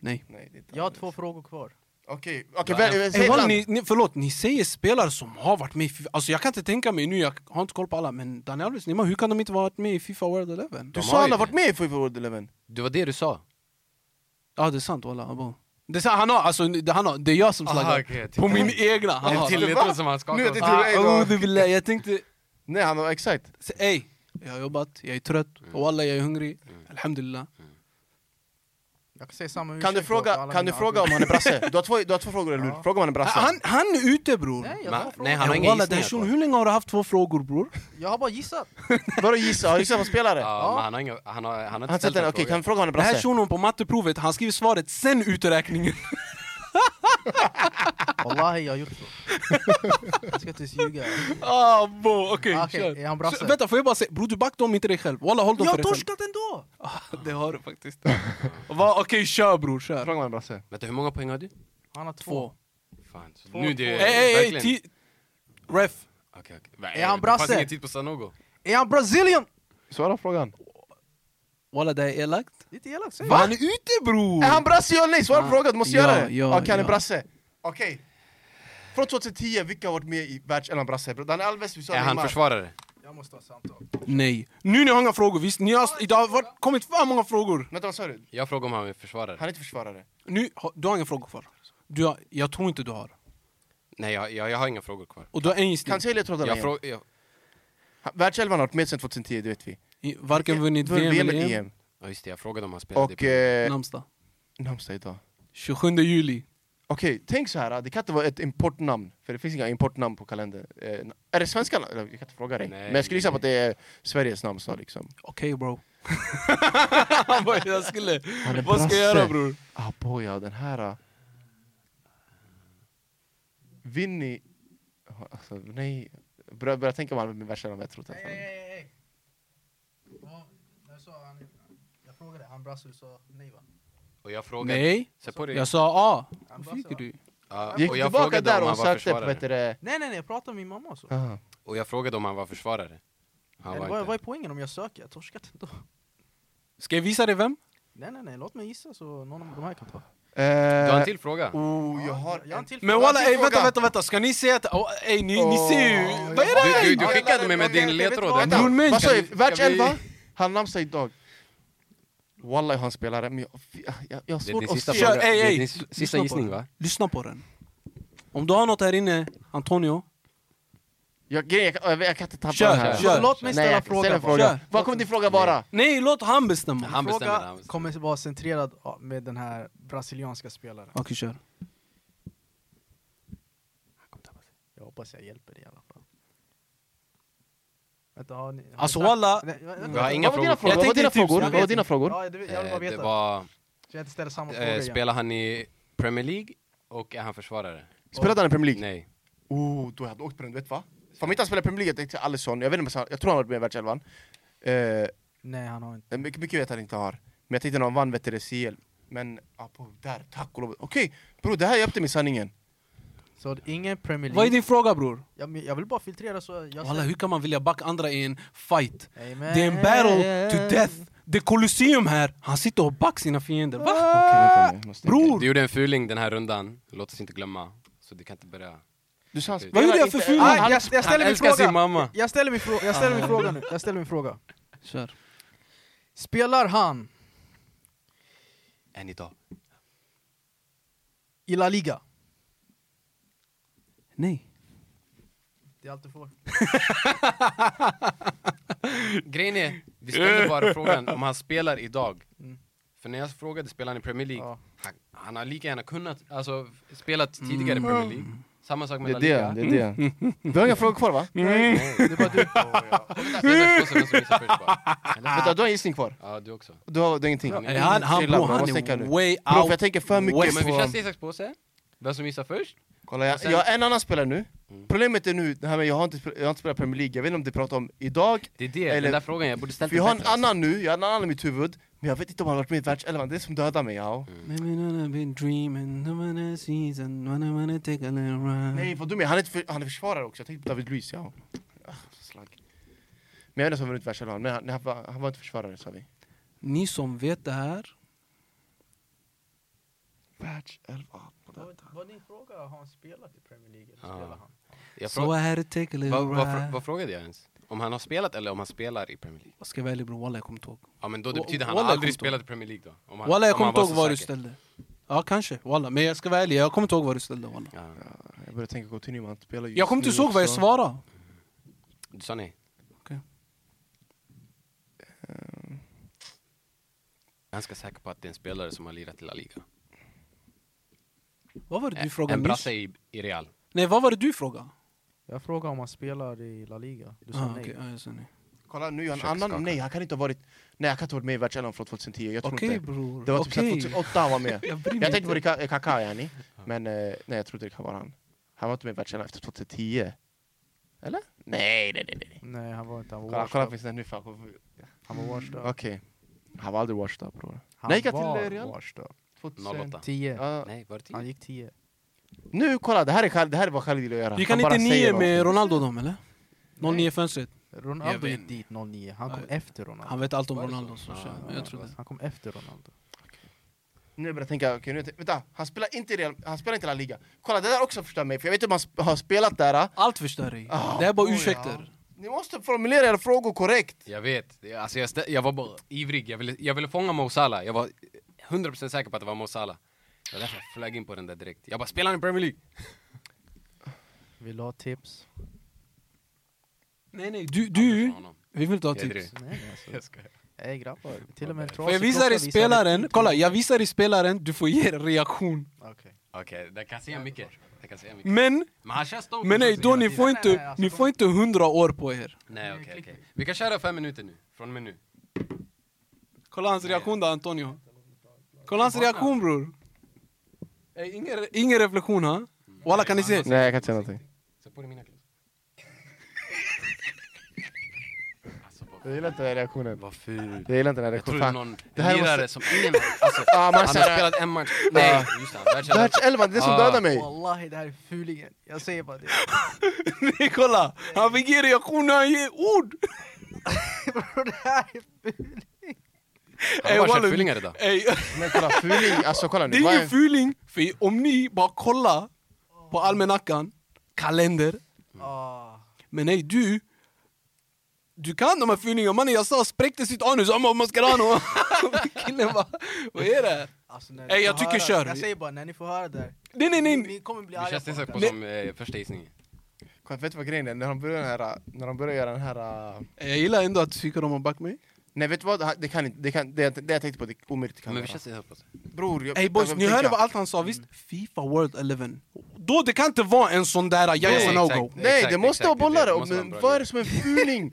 Nej.
Nej, det är inte
Jag har
Alves.
två frågor kvar.
Okej, okej,
Ja,
väl- säg
Ey,
ett
walla,
land.
ni, ni, förlåt, ni säger spelare som har varit med i Fifa. Alltså jag kan inte tänka mig nu, jag har inte koll på alla, men Daniel Alves, Neymar, hur kan de inte varit med i Fifa World Eleven?
Du
De
sa
har
han
ju
har
det.
varit med i Fifa World Eleven.
Det var det du sa?
Ja det är sant walla, abo. Det är sant, han har, alltså det, han har, det är jag som
Aha,
slaggar.
okej, jag
på
tyckte-
min egna, han
Jag
har.
till
Va?
ledtråd som han
Nu är det
skakade.
till-
Ah,
Ah,
dig då.
oh, du vill, jag tänkte,
Nej, han var exakt.
se, ey, jag har jobbat, jag är trött,
Mm.
och walla jag är hungrig, alhamdulillah.
Jag kan säga samma ursäkt
Kan du
då för
fråga,
alla
kan du
mina
fråga om han är brasse? Du har två, du har två frågor, eller hur?
Ja.
Fråga om han är brasse. [laughs]
Han, han är ute bror!
Nej, jag,
Ma-
bara
nej,
frågar.
han
Ja,
har inga
walla, den
gissningar
shunon,
kvar.
hur länge har du haft två frågor bror?
jag har bara gissat.
Vadå gissa? Har du gissat på spelare?
Ja, men han har inga... Han har, han har
Han
inte
ställt
ställt
den,
några
okej,
frågor.
kan vi fråga om han är
Den här
brasse?
shunon på matteprovet, han skriver svaret sen
[laughs]
uträkningen.
Wallahi, jag har gjort så. Jag ska inte ens
[laughs]
ljuga.
Ah, bo, okej,
Ah, okej,
kör.
är han brasse?
Så, vänta, får jag bara säga, bror du backade om inte dig själv. Walla håll dem
Jag
för
har
dig själv.
torskat ändå!
Ah, det har du
[laughs]
faktiskt. Va, okej, kör bror, kör.
Fråga om han är brasse.
Vänta, hur många poäng har du?
Han har två.
Två.
Fan, så
Två,
nu
två.
det...
Ey, ey, ey,
verkligen.
ti- Ref.
Okej, okej. Nej,
Är han
Det
brasse?
fanns ingen tid på Sanogo.
Är han brazilian?
Svara på frågan.
Walla det är elakt.
Lite elakt, säg.
Va? Han är ute bror!
Är han brasse ja eller nej? Svara på
Ah.
frågan, du måste
Ja,
göra det!
ja,
Okej, han är
ja.
brasse. Okej. Från 2010, vilka har varit med i världselvan brasse? Daniel Alves, vi sa
Är han
Neymar.
försvarare?
Jag måste ha samtal.
Nej. Nu ni har inga frågor, visst? Ni har, idag har varit, kommit för många frågor.
Vänta, vad sa du?
Jag frågar om han är
Han är
försvarare.
inte försvarare.
Nu, har- du har inga frågor kvar. Du har, jag tror inte du har.
Nej, jag, jag, jag har inga frågor kvar.
Och du har en gissning.
Kan säga ledtrådarna
Jag
igen.
frågar... Jag...
Han- Världselvan har varit med sedan 2010, det vet vi.
I- Varken vunnit
Vunnit E
VM eller E EM.
Ja, just det, jag frågade om han spelade
Och... Eh,
Namnsdag.
namnsdag idag.
27 juli.
Okej, tänk så här. det kan inte vara ett importnamn, för det finns inga importnamn på kalender. Eh, är det svenska namn? Eller, Jag kan inte fråga dig.
Nej,
Men jag skulle gissa
nej,
på att det är Sveriges namnsdag liksom.
[laughs] Okej bro. Han bara, jag skulle...
Han är
Vad ska jag
brasse.
göra bror?
Ah boja, den här... ah. Vinny... Alltså, nej. Börjar börja tänka om han är min värsta vän, jag tror
Hej,
att
hej,
han...
hej, hej. Ja, jag sa han... Jag frågade, han brasse, du sa nej va?
Och jag frågade...
Nej,
Se på dig.
jag sa ja.
Han
Vad
brasse,
fick
va?
du?
Ja,
Gick
och jag
tillbaka
frågade om
där
han
och
var
sökte på eh,
försvarare.
vet du det...
Nej, nej, nej, jag pratade med min mamma och så.
Aha.
Och jag frågade om han var försvarare. Han var
Nej, Eh, vad,
inte.
vad är poängen om jag söker? Jag torskat ändå.
Ska jag visa dig vem?
Nej, nej, nej, låt mig gissa så någon av de här kan ta.
Du har en
Eh,
till fråga?
oh, jag har...
jag har en till
Men
fråga.
walla, ey, vänta, vänta, vänta, ska ni se att... Oh, ey, ni, ni
Åh,
ser ju...
ja.
Vad är det?
Du, du, du
Ja,
skickade
jag-
mig med
jag- jag-
din
jag vet
ledtråd.
vad-
Vänta.
Bror, men-
Vad sa jag?
Ska vi-
Världselva?
ska
Han namnsdag idag. Wallahi, han spelare, men jag, jag, jag har
Det är
svårt
din
att
sista
se...
Kör,
fråga.
ey,
Det är
ey.
din s- sista
Lyssna på
gissning
den.
va?
Lyssna på den. Om du har något här inne, Antonio,
Jag, jag, jag, jag kan inte tappa
Kör,
den här.
kör.
Låt mig ställa
Nej, jag,
frågan.
ställ en
bara.
fråga.
Kör.
Vad kommer din fråga vara?
Nej, låt han bestämma.
Han
Min
bestämmer,
fråga
han bestämmer.
kommer vara centrerad ja, med den här brasilianska spelaren.
Okej, kör.
Jag hoppas jag hjälper dig i alla fall. Vänta, har ni... har ni
Alltså,
sagt-
walla-
Nej, vänta,
Vi
vänta.
har inga
Vad var dina
frågor.
frågor?
Jag
Vad var
tänkte
dina
typ-
frågor?
jag
Vad var
vet
dina frågor?
Ja, det, jag vill bara
Eh, Det
veta.
var...
Så jag inte ställer samma fråga
Eh,
igen.
Spelar han i Premier League? Och är han försvarare?
Spelade han i Premier League?
Nej.
Oh, då hade jag åkt på den, vet va? Fan, inte han spelade i Premier League, jag tänkte Alisson, jag vet inte, om han- jag tror han har varit med i världselvan. Eh,
Nej, han har inte.
mycket, mycket vet han inte har. Men jag tänkte när han vann vet du, det CL. Men, ah, på, där, tack och lov. Okej, bror det här hjälpte mig sanningen.
Så det är ingen Premier
Vad är
League.
din fråga bror?
Jag, men jag vill bara filtrera så jag...
Walla, hur kan man vilja backa andra i en fight?
Amen.
Det är en battle to death. Det är Colosseum här. Han sitter och backar sina fiender. Va? Bror!
Du gjorde en fuling den här rundan, låt oss inte glömma. Så du kan inte börja...
Du sa han
Vad
spelar
gjorde jag
inte-
för ful?
Ah,
Ah, jag, jag
Han
ställer min
älskar sin
fråga.
mamma.
Jag ställer min, frå jag ställer min fråga nu. Jag ställer min fråga.
Kör.
Spelar han
Än idag.
i La Liga?
Nej.
Det är allt du får.
Grejen är, vi ställde
[laughs]
bara frågan om han spelar idag. För när jag frågade spelar han i Premier League,
Mm. Ja.
han, han har lika gärna kunnat, alltså spelat tidigare
Mm.
i Premier League. Samma sak med
Det
La
är
Liga.
det, det är det. Mm. Du har inga frågor kvar va?
Mm.
Det
[laughs]
är bara du.
Det är två som gissar först
[laughs]
bara.
Vänta, du har en gissning kvar.
Ja, du också.
Du har, du har ingenting.
Nej, han, han,
Chilla,
bror,
bro,
han
måste tänka nu.
är way
Bro, för jag
out.
tänker för mycket
West-
Men vi
på...
kör Caesars påse. Vem som gissar först?
Kolla, jag, jag har en annan spelare nu. Problemet är nu, det här med jag har inte, spe- jag har inte spelat Premier League, jag vet inte om det pratar om idag.
Det är det,
Eller-
den där frågan jag borde ställt
För jag har en
bättre, alltså.
annan nu, jag har en annan i mitt huvud. Men jag vet inte om han har varit med i världselvan, det är det som dödar mig. Ja.
Maybe not I've been dreaming, no one else sees and when I wanna take a little ride.
Nej vad dum jag är, han är, inte för, han är försvarare också, jag tänkte på David Luiz, ja. Ah, Slagg. Men jag vet inte om han har vunnit världselvan, men han, nej, han, var, han var inte försvarare sa vi.
Ni som vet det här,
Världselvan.
Var din fråga, har han spelat i Premier League? Eller
Ja.
spelar han?
Jag
so
frågar,
I had to take a little
vad, vad, fr-
ride.
vad frågade jag ens? Om han har spelat eller om han spelar i Premier League?
Vad ska jag välja bror? Walla jag kommer inte ihåg.
Ja men då
Wa-
det betyder han
Walla,
har
jag
aldrig
kommer inte
spelat i Premier League då? Om han,
Walla jag
om
kommer
han
inte ihåg
så
vad du
säker.
ställde. Ja kanske, walla. Men jag ska vara ärlig, jag kommer inte ihåg vad du ställde walla.
Ja.
Jag började tänka Coutinho, men han spelar ju
Jag kommer
just
inte
nu
ihåg vad jag
också.
svarade.
Du sa nej?
Okej.
Ehm. Jag är ganska säker på att det är en spelare som har lirat i La Liga.
Vad var det
Eh,
du
en
frågade nyss?
brasse i, i Real.
Nej, vad var det du frågade?
Jag frågade om han spelar i La Liga. Du sa
Ah,
nej.
okej, ja, jag sa nej.
Kolla nu, är han
Försök skaka.
annan, nej han kan inte ha varit, nej han kan inte ha varit med i världselvan från 2010, jag tror
Okej
inte.
bror,
Det var typ
okej.
okay. 2008 han var med.
[laughs] Jag bryr mig
Jag tänkte på
inte.
Rika- eh, Kaká, yani. men eh, nej, jag trodde det kan vara han. Han var inte med i världselvan efter 2010. Eller? Nej, nej, nej. nej.
Nej, han var inte. Han var
Kolla, kolla
washed
på
up.
sin nu. fan, kolla på-
Han
mm,
var washed up.
Okej. Han var aldrig washed up bror.
Han
Nej, gick han till,
var
eh, Real?
washed up.
08.
10.
Ja.
Nej, var det
Han
tio?
gick 10.
Nu kolla, det här är, Khal- det här är vad Khalid vill göra.
Gick
Han
han
bara
inte
säger
nio
vad-
med Ronaldo dem eller? 09-fönstret.
Ronaldo
Jag
gick
vet.
dit 09. Han kom
Ja.
efter Ronaldo.
Han vet allt om
Var det
Ronaldo.
så?
Så,
Ja,
kör.
ja,
Men jag
det
tror
var
det.
Han kom efter Ronaldo.
Nu börjar jag tänka, okej, nu, vänta. Han spelar inte i Real, han spelar inte i La Liga. Kolla, det där också förstör mig, för jag vet inte om han sp- har spelat där. ah.
Allt förstör dig.
Ah,
Det är bara
boja.
ursäkter.
Ni måste formulera era frågor korrekt.
Jag vet. Det- Alltså jag, stä- jag var bara ivrig. Jag ville, jag ville fånga Mo Salah. Jag var 100% säker på att det var Mo Salah. Det var därför jag flög in på den där direkt. Jag bara, spelar han i Premier League?
Vill du ha tips?
Nej nej, du, du.
Anders har honom.
Vi vill inte ha
Jag är
tips.
det.
Nej, alltså.
Jag skojar.
Ey grabbar, till och med
Får jag visa dig spelaren? Kolla, jag visar dig spelaren, du får ge en reaktion.
Okej.
Okej, det kan säga mycket. Det kan säga mycket.
Men,
Men han kör stånd.
men nej, då ni får
Nej, nej,
inte,
alltså,
ni
de-
får inte hundra år på er.
Nej okej okej. Vi kan köra fem minuter nu, från och med nu.
Kolla hans reaktion då, Antonio. Kolla hans reaktion, bror. Ey, Ingen, ingen reflektion, ha? Walla, kan ni se?
Mm. Nej, jag kan inte säga någonting.
Sätt på dig mina glasögon. Alltså, vad-
Jag gillar inte den här reaktionen.
Vad ful.
Jag gillar inte den här
Jag tror
reaktionen.
det är
Fan.
någon
det här
lirare
måste-
som ingen har... Alltså,
Ah, man
han har
säger-
spelat en match. Nej, just det. han världselvan.
Världselvan, det är det som
Ah.
dödar mig!
Wallahi det här är fulingen, jag säger bara det. [laughs]
[laughs] Nej, kolla! Han fick ge reaktion när han ger ord!
Bro, det här är fuling.
Han
Eh,
har
Ey,
bara
walla,
kört fulingar idag.
ey,
Men kolla, fuling, alltså [laughs] kolla
det
nu.
är
Vad
ingen
är...
fuling. För om ni bara kollar på almanackan, kalender,
Mm.
Ah.
men nej, du... Du kan de här fulingarna. Mannen, jag sa spräckte sitt anus, han bara mascherano. [laughs] Killen bara, vad är det? här?
Alltså, när ni
Ey, jag
får
tycker
höra,
kör.
Jag säger bara, när ni får höra det här,
Nej, nej,
ni,
nej.
ni kommer bli
Vi
arga
känns nästan på
Nej.
som eh, första gissningen.
Kolla, Vet du vad grejen är? När de börjar, den här, när de börjar göra den här... äh,
Jag gillar ändå att du tycker om att backa mig.
Nej vet du vad, det kan inte, det, kan, det, det jag tänkte på, det är omöjligt det kan
Men vi
vara.
känns helt plötsligt.
Bror, jag,
Ey boys,
jag-
ni
tänk
hörde
jag-
vad allt han sa visst? Fifa World 11. Då det kan inte vara en sån där jag är
Nej,
så no-go.
exakt.
Nej det
Exakt,
måste
exakt,
vara bollare,
det måste vara en
men
bra
vad är
grej.
det som är fuling?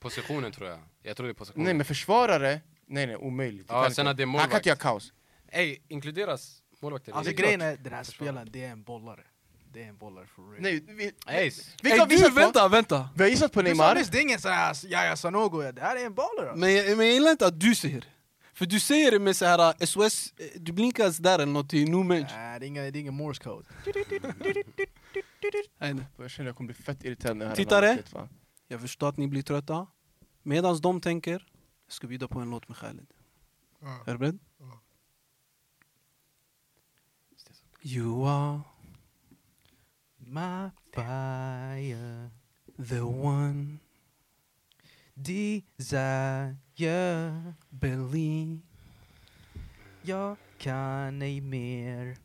Positionen tror jag. Jag tror det är positionen.
nej men försvarare, nej nej omöjligt. Det
Ja,
kan
sen
inte.
att det är
Han kan
målvakt.
inte göra kaos.
Ey, inkluderas målvakter?
Alltså
Det
grejen
klart.
är, den här spelaren, det är en bollare. Det är en bollare for real.
Nej, vi,
Ey,
vilka har
Ey
vi
du,
gissat på?
vänta, vänta.
Vi har gissat på
Du sa
Neymar.
nyss, det är ingen sån här Yahya Sanogo, ja, det här är en bollare. alltså.
Men jag, men jag gillar inte att du säger det. För du säger det med så här eh, SOS, eh, du blinkar sådär eller något i no match.
Nej, det är ingen, det är ingen morse code.
Nej, nej.
Jag känner jag kommer bli fett irriterad när jag hör
Tittare?
den här låten, fan.
Jag förstår att ni blir trötta. Medan de tänker, jag ska bjuda på en låt med Khaled. Är du beredd? You are
My fire
the one,
desire
believe
Jag kan ej mer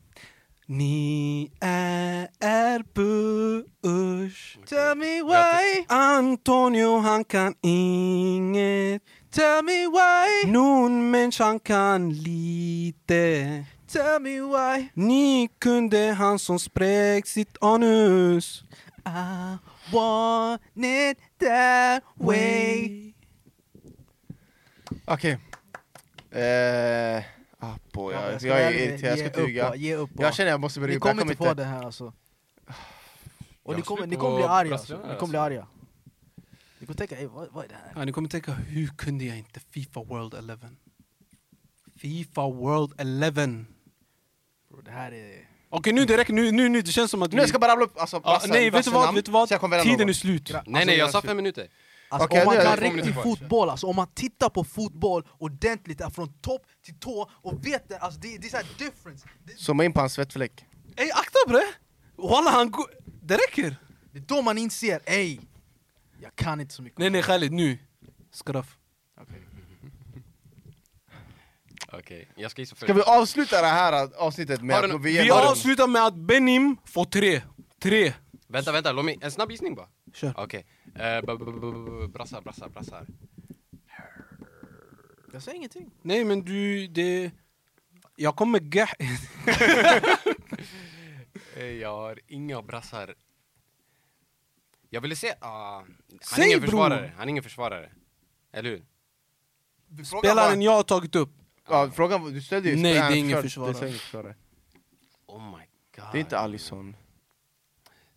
Ni är push
Tell me
Grattis.
why,
Antonio han kan inget
tell me why,
Någon människa han kan lite
tell me why
Ni kunde han som spräck sitt anus
I want it that
Way
way
Okej. Eh, ah, boy,
Ja, men
jag,
ska
jag
vara
är
ärlig med er,
irriterad, jag
ge
ska
upp
inte ljuga.
bara, Ge upp bara.
Jag känner jag måste börja
Ni
jobba, jag
kommer inte få det här alltså. Och ni
Jag
kommer,
slut
ni
på
kommer bli arga.
brasilianer,
Alltså. Ni kommer bli
alltså.
arga. Ni kommer tänka, "Ey, vad, vad är det här?
ja, Ni kommer tänka, hur kunde jag inte Fifa World 11? Fifa World 11
Bro, det här är...
Okej nu direkt, nu, nu, nu, det känns som att
Nu jag ska bara rabbla upp alltså,
ja,
brassar-
Nej vet du vad,
brassarnamn,
vet du
så jag kommer
vad?
välja
Tiden
någon.
är slut
Nej, nej, jag sa
alltså,
fem minuter.
Alltså,
Okej,
om man
nu är
kan
det två
riktig
minuter kvar.
fotboll, alltså, om man tittar på fotboll ordentligt där, från topp till tå och vet det, alltså, det, det är såhär difference. Det,
Zooma in på hans svettfläck.
Ey akta bre! Walla han går... Det räcker!
det är då man inser, ey, jag kan inte så mycket.
Nej nej Khalid, nu! Skraff.
Okej.
Okej, jag ska gissa först.
Ska vi avsluta det här äh, avsnittet med
Har du
att
nå-
gå
vi
Vi
igenom...
avslutar med att Benim får tre. Tre!
Vänta, vänta, låt mig... En snabb gissning bara.
Kör.
Okej. Eh, b- b- b- b- Brassar, brassar, brassar.
Jag säger ingenting.
Nej men du, det... Jag kommer gah...
Eh, Jag har inga brassar. Jag ville se... ah, han är
Säg,
ingen
bror.
försvarare. Han är ingen försvarare. Eller hur?
Du frågar
[laughs] Spelaren
bara-
jag har tagit upp.
Ja, frågan var- du ställde ju...
Nej, det är
spelaren
ingen
försvar-
försvarare.
Det är ingen försvarare.
Oh my god.
Det är inte Alisson.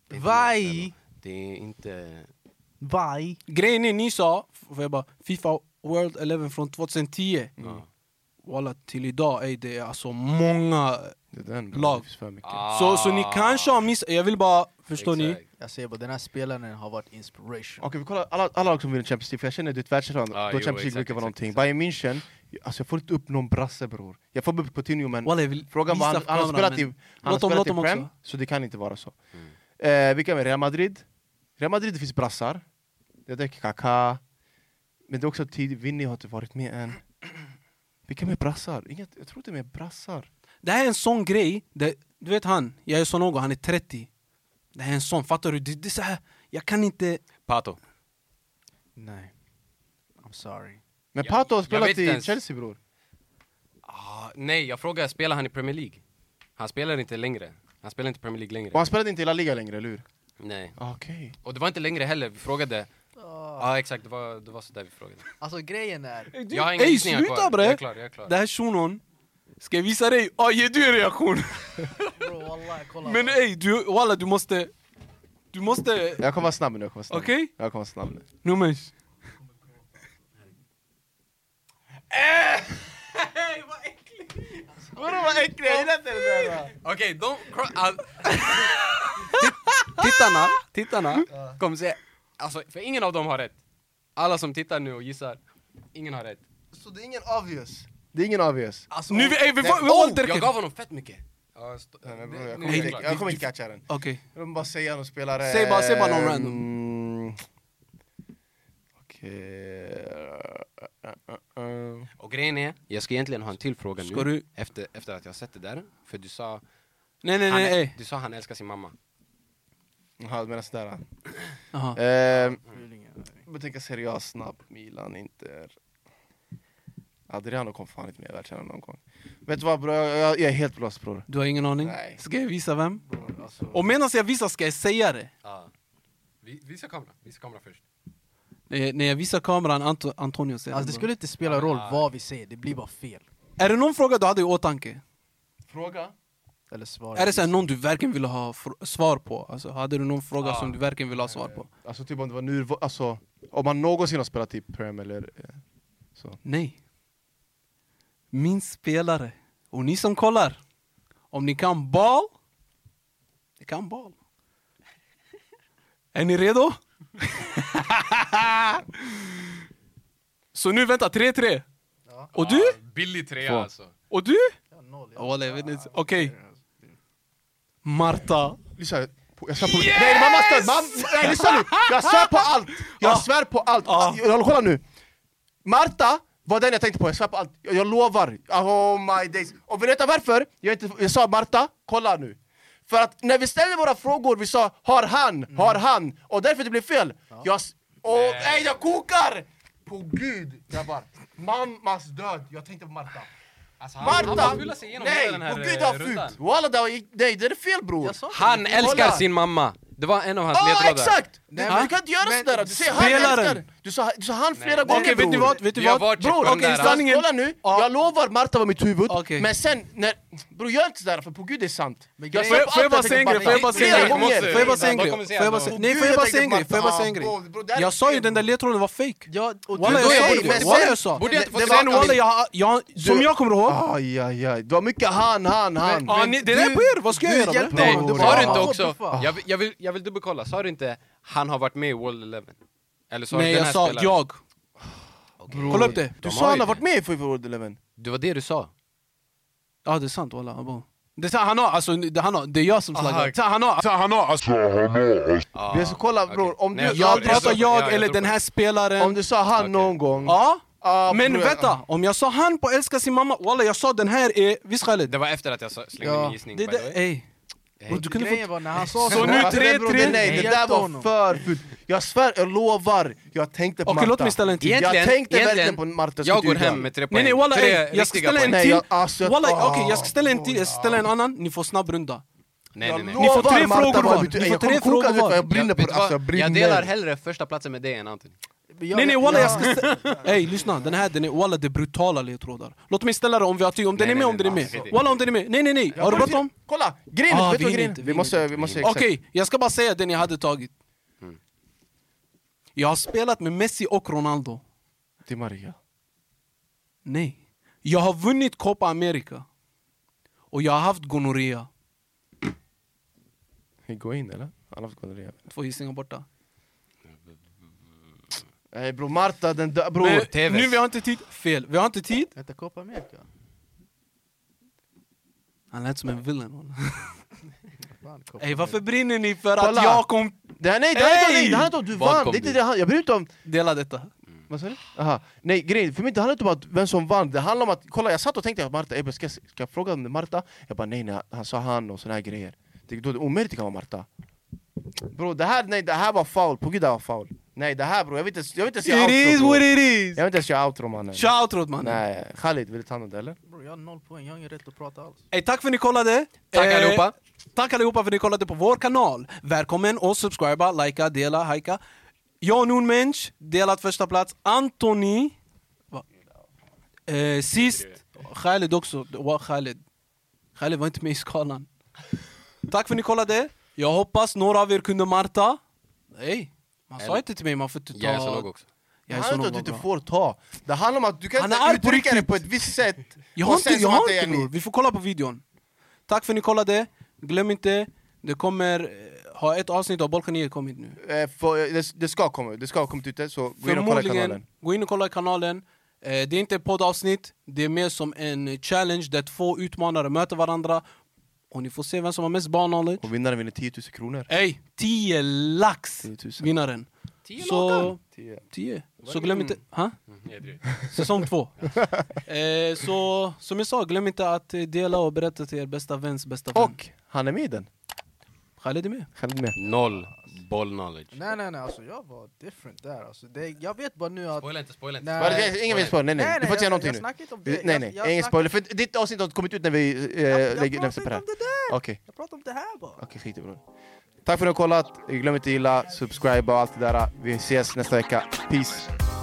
Det är inte
Vai,
Det är inte...
vai.
Grejen är, ni sa, får jag bara, Fifa World 11 från 2010.
Ja.
Walla till idag, ey det är alltså många...
Det är den.
Lag.
Det finns för mycket.
Ah,
Så, så ni kanske har missat, jag vill bara, förstår ni?
exakt.
Jag säger bara, den här spelaren har varit inspiration.
Okej vi kollar alla, alla lag som vinner Champions League, för jag känner att det är ett världsland
Ah,
då
jo,
Champions League
exakt,
brukar vara
exakt,
någonting.
exakt.
Bayern München, alltså jag får inte upp någon brasse bror. Jag får upp Coutinho men
Walla jag vill
frågan var,
visa
han, han har
för
spelat
kameran,
i, han har
Låt dem-
spelat
låt
i
dem
Prem,
också.
så det kan inte vara så.
Mm.
Eh, vilka mer? Real Madrid? Real Madrid, det finns brassar. Jag tänker Kaká. Men det är också tid, Vinny har inte varit med än. Vilka mer brassar? Inget, jag tror inte mer brassar.
Det här är en sån grej, det, du vet han, jag är sån någon, han är 30 Det här är en sån, fattar du? Det, det är så här, jag kan inte...
Pato.
Nej. I'm sorry.
Men
Jag-
Pato har
jag vet
spelat
inte
i
ens.
Chelsea bror.
Ah, nej, jag frågar, spelar han i Premier League? Han spelar inte längre. Han spelar inte Premier League längre. Ah,
Och han spelade inte i La Liga längre, eller hur?
Nej.
Okej.
Och det var inte längre heller, vi frågade
Ah.
Ja exakt, det var, det var sådär vi frågade.
Alltså grejen är...
Jag har inga gissningar
sluta
kvar.
bre!
Jag är klar, jag är klar.
Det här shunon, ska jag visa dig? Ja, ge du en
[laughs]
reaktion!
Bro, wallah, kolla.
Men ey, du, walla du måste... Du måste...
Jag kommer vara snabb nu, jag kommer vara snabb.
Okej?
Jag kommer vara snabb nu.
Numers.
Vadå vad äcklig, jag gillar inte det där!
Okej, de... cro- all-
Tittarna, tittarna
Kom se. Alltså, för ingen av dem har rätt. Alla som tittar nu och gissar, ingen har rätt.
Så det är ingen obvious? Det är ingen obvious.
[laughs] Alltså,
Nu, vi- ey, vi
nej,
får... vi
oh,
håller
jag
direkt.
gav honom fett mycket. Ja, st-
Nej, men
det-
bror, jag
nu
kommer
är
inte-
det klart.
Jag kommer inte catcha den.
Okej.
Jag vill bara säga någon spelare...
Säg bara- säg bara någon
ehm, Okej... eh, eh, eh.
Och grejen är, jag ska egentligen ha en till fråga
Ska
nu,
du-
efter, efter att jag sett det där. För du sa,
Nej, nej,
han,
nej, ey.
du sa han älskar sin mamma.
Jaha, du menar sådär.
Jaha.
Ehm, Jag tänker seriöst snabb, Milan, Inter. Adriano kom fan inte med i världskärnan någon gång. Vet du vad bror, jag, jag, jag är helt blåst bror.
Du har ingen aning?
Nej.
Ska jag visa vem?
Bror, alltså.
Och medan jag visar ska jag säga det.
Ja. Vi, visa kameran, visa kameran först.
Eh, När jag visar kameran, Anto, Antonio säger
Alltså det
bro.
skulle inte spela roll vad vi säger, det blir bara fel.
Är det någon fråga du hade i åtanke?
Fråga?
Eller svar.
Är det så här någon du verkligen ville ha fr- svar på? Alltså, hade du någon fråga
Ja.
som du verkligen ville ha svar på?
Alltså typ om det var nu, alltså om man någonsin har spelat i Prem eller eh, så.
Nej. Min spelare, och ni som kollar, om ni kan ball, ni kan ball. Är ni redo? [laughs] så nu vänta, 3-3.
Ja.
Och du?
Billig trea
Två.
alltså.
Och du?
Ja, noll, ja.
Walla, jag vet inte. Okej. Marta.
Lyssna, på- jag svär på... Nej mamma stör! Mam, nej lyssna nu! Jag svär på allt! Jag
Ah.
svär på allt! Alltså,
Ah.
Jag, jag, kolla nu! Marta var den jag tänkte på, jag svär på allt! Jag, jag lovar! Oh my days! Och vill ni veta varför? Jag, inte, jag sa Marta, kolla nu! För att när vi ställde våra frågor, vi sa har han,
Mm.
har han? Och därför det blev fel! Jag, s- och, nej. jag kokar! På gud grabbar! Mammas död, jag tänkte på Marta!
alltså
Marta!
Han, han sig igenom
nej!
hela den här
på gud
eh,
vad
rundan.
fult! Walla, det var- nej det är fel bror!
Jag sa inte
Han
det.
älskar
Kolla.
sin mamma! Det var en av hans
Ja
ledtrådar.
exakt!
Nej,
du,
men-
du kan inte göra
men-
sådär, du säger han
Spelaren.
älskar! Du sa, du sa han flera
Okej,
gånger
vet ni
bror.
vad? Vet ni
Vi har
vad?
varit
Bror,
på
okej,
den där.
sanningen, kolla nu,
Ja.
jag lovar Marta var mitt huvud,
Okej.
men sen när... Bror gör inte sådär, för på gud det är sant!
Men
Jag
grejen-
sa på
Får jag- får jag
allt
bara säga en
tänkte
grej? Får jag
på
bara
Marta.
säga en
Flera
grej?
gånger.
Får jag bara säga en
Vad
grej?
kommer
Får
säga
jag bara
då?
säga-
På
Nej,
Gud,
får jag bara säga en
tänker
grej? Får jag bara
Marta.
säga en grej?
Ja, bror, det här är
Jag sa ju
fel.
den där ledtråden var fake.
Ja, och
då
Walla jag sa
är
det,
det- men
walla
sen-
jag sa.
Borde jag inte få
Det- det
säga
Sen
var-
något?
walla, jag, har- jag, har- som
Du-
jag kommer ihåg,
Aj, aj, aj, det var mycket han, han, han!
Ja, ni, det där är på er, vad ska jag
du
göra?
hjälper
Nej,
Nej,
det var-
sa du inte
Ja.
också...
Åh, fy fan.
Jag vill, jag, vill, jag vill dubbelkolla, sa du inte han har varit med i World Eleven? Eller sa du
Nej
den
jag
här
sa
spelaren?
jag.
Bror,
Kolla upp det.
Du
De
sa
har
han
ju
har
det.
varit med i Five World Eleven!
Det var det du sa?
Ja det är sant walla. abo. Det är sant, han har, alltså, det, han har, det är jag som
Aha.
slaggar. Det är sant, Han har, alltså, han har, alltså,
Ah,
Vi ska kolla,
okej.
bror, om
Nej,
du-
tror
jag
det,
pratar
tror
pratar
det. Ja,
jag eller
tror
den
det.
här spelaren.
Om du sa han
Okej.
någon gång...
Ja.
ah,
Men
bror,
vänta, om jag sa han på älska sin mamma, walla jag sa den här är, visst Khaled?
Det var efter att jag sa- slängde
Ja,
min gissning
Det
by the
där,
way.
ey. Bro, Du kunde
Grejen
fått...
var när han sa
Så nu
Alltså, det där, bror,
3-3.
det- Nej, det
Hjälpte
där var
honom.
för fult. Jag svär, jag lovar, jag tänkte på
Okej,
Marta.
låt mig ställa en till.
Jag tänkte verkligen
egentligen,
på Marta.
Jag går hem med tre poäng.
Nej nej walla
tre
ey, jag ska
riktiga
ställa en
poäng.
Nej,
till.
jag- alltså, jag-
Walla
Ah,
okej jag ska ställa en till, jag ska ställa en annan, ni får snabb runda.
Nej, nej, nej.
Ni får tre frågor var. Ni får tre frågor var.
Jag brinner
Jag-
på
vet
det,
du vad?
alltså, jag brinner.
Jag delar hellre första platsen med dig än Anthony.
Jag-
nej nej walla
jag-
jag ska ställa... Ey lyssna, den här den är walla det är brutala ledtrådar. Låt mig ställa det om vi har tid, om den
Nej,
är med,
nej,
om den är
nej,
med.
alltså.
Walla om den är med, nej nej nej,
Jag
har du
kommer
bråttom?
till- Kolla, grejen
Ah,
är, vet
vi
du vad
hinner
grejen
inte,
är?
vi
Vi måste, vi måste, exakt.
Okej, jag ska bara säga den jag hade tagit.
Mm.
Jag har spelat med Messi och Ronaldo.
Di Maria.
Nej. Jag har vunnit Copa America. Och jag har haft gonorré.
Gå in eller? Han har fått gonorré.
Två gissningar borta.
Nej bror, Marta den dö... Bror.
Men,
Tevez.
nu vi har inte tid. Fel. Vi har inte tid.
Vänta, Copa America?
Han lät som en villain.
Fan, Copa
Ey, varför
America.
brinner ni för
Kolla.
att jag kom...
Det här, nej, det här
Ey!
är inte om dig, det handlar inte om att du
Vad
vann.
kom
Det är inte
du?
det han- Jag bryr mig inte om...
Dela detta.
Vad sa du? Aha. Nej, grejen, för mig det handlar inte om att vem som vann, det handlar om att, kolla jag satt och tänkte att Marta, jag ska, ska jag fråga om det är Marta? Jag bara nej, nej, han sa han och såna här grejer. Det, då, är det omöjligt det kan vara Marta. Bro, det här, nej, det här var foul, på gud det här var foul. Nej det här bro, jag vill inte, jag vill inte
It
säga
is
outro.
what
bro.
it is!
Jag vill inte ens göra outro mannen.
Shoutout mannen.
Nej, Khalid, vill du ta något eller?
Bro, jag har noll poäng, jag har ingen rätt att prata alls.
Ey, tack för att ni kollade.
Tack
Eh,
allihopa.
Tack allihopa för att ni kollade på vår kanal. Välkommen och subscriba, likea, dela, hajka. Jag Noon Mensch, delat första plats. Anthony va? Eh, sist. Khaled också. Det var Khaled. Khaled var inte med i skalan. Tack för att ni kollade. Jag hoppas några av er kunde Marta. Nej, man sa
Eller-
inte till mig man får inte ta...
Jag är så låg också.
Det
Jag är
handlar
så
inte om
låg
att du inte
var bra.
får ta. Det handlar om att du kan
Han
inte
är arg på
uttrycka det
riktigt.
på ett visst sätt.
Jag
och
har
sen
inte, jag
som att
har
det är
inte
ni.
bror. Vi får kolla på videon. Tack för att ni kollade. Glöm inte, det kommer eh, ha ett avsnitt av Balkanier kommit nu.
Eh, för, eh, det, det ska komma, det ska ha kommit ute, så gå in och kolla i kanalen.
Förmodligen, gå in och kolla i kanalen. Eh, det är inte ett poddavsnitt, det är mer som en challenge där två utmanare möter varandra. Och ni får se vem som har mest barnknowledge.
Och vinnaren vinner 10 000 kronor.
Ey, 10 lax
10 000.
vinnaren.
Tio
Så,
10.
10.
Vad
Så
är
glöm
det? Mm.
inte... Ha?
lakan.
Säsong
[laughs]
två. eh, så som jag sa, glöm inte att eh, dela och berätta till er bästa väns bästa vän.
Och han är med i den.
Khaled är med.
Khalid med.
Noll boll knowledge.
Nej nej nej, alltså jag var different där alltså. Det, jag vet bara nu att...
Spoila inte, spoila inte.
Nej.
Var det- Ingen vill spoila, nej nej. Du får inte säga
jag-
någonting
jag
nu. Eh,
snackar inte om det.
Nej
Jag-
nej,
jag
ingen
snackar-
spoiler. För ditt avsnitt har inte kommit ut när vi
Jag,
eh,
jag
lägger
pratar
nästa på
inte
det här.
om det där!
Okej.
Jag pratar om det här bara.
Okej, skit i bror. Tack för att ni har kollat. Glöm inte att gilla, subscribe och allt det där. Vi ses nästa vecka. Peace!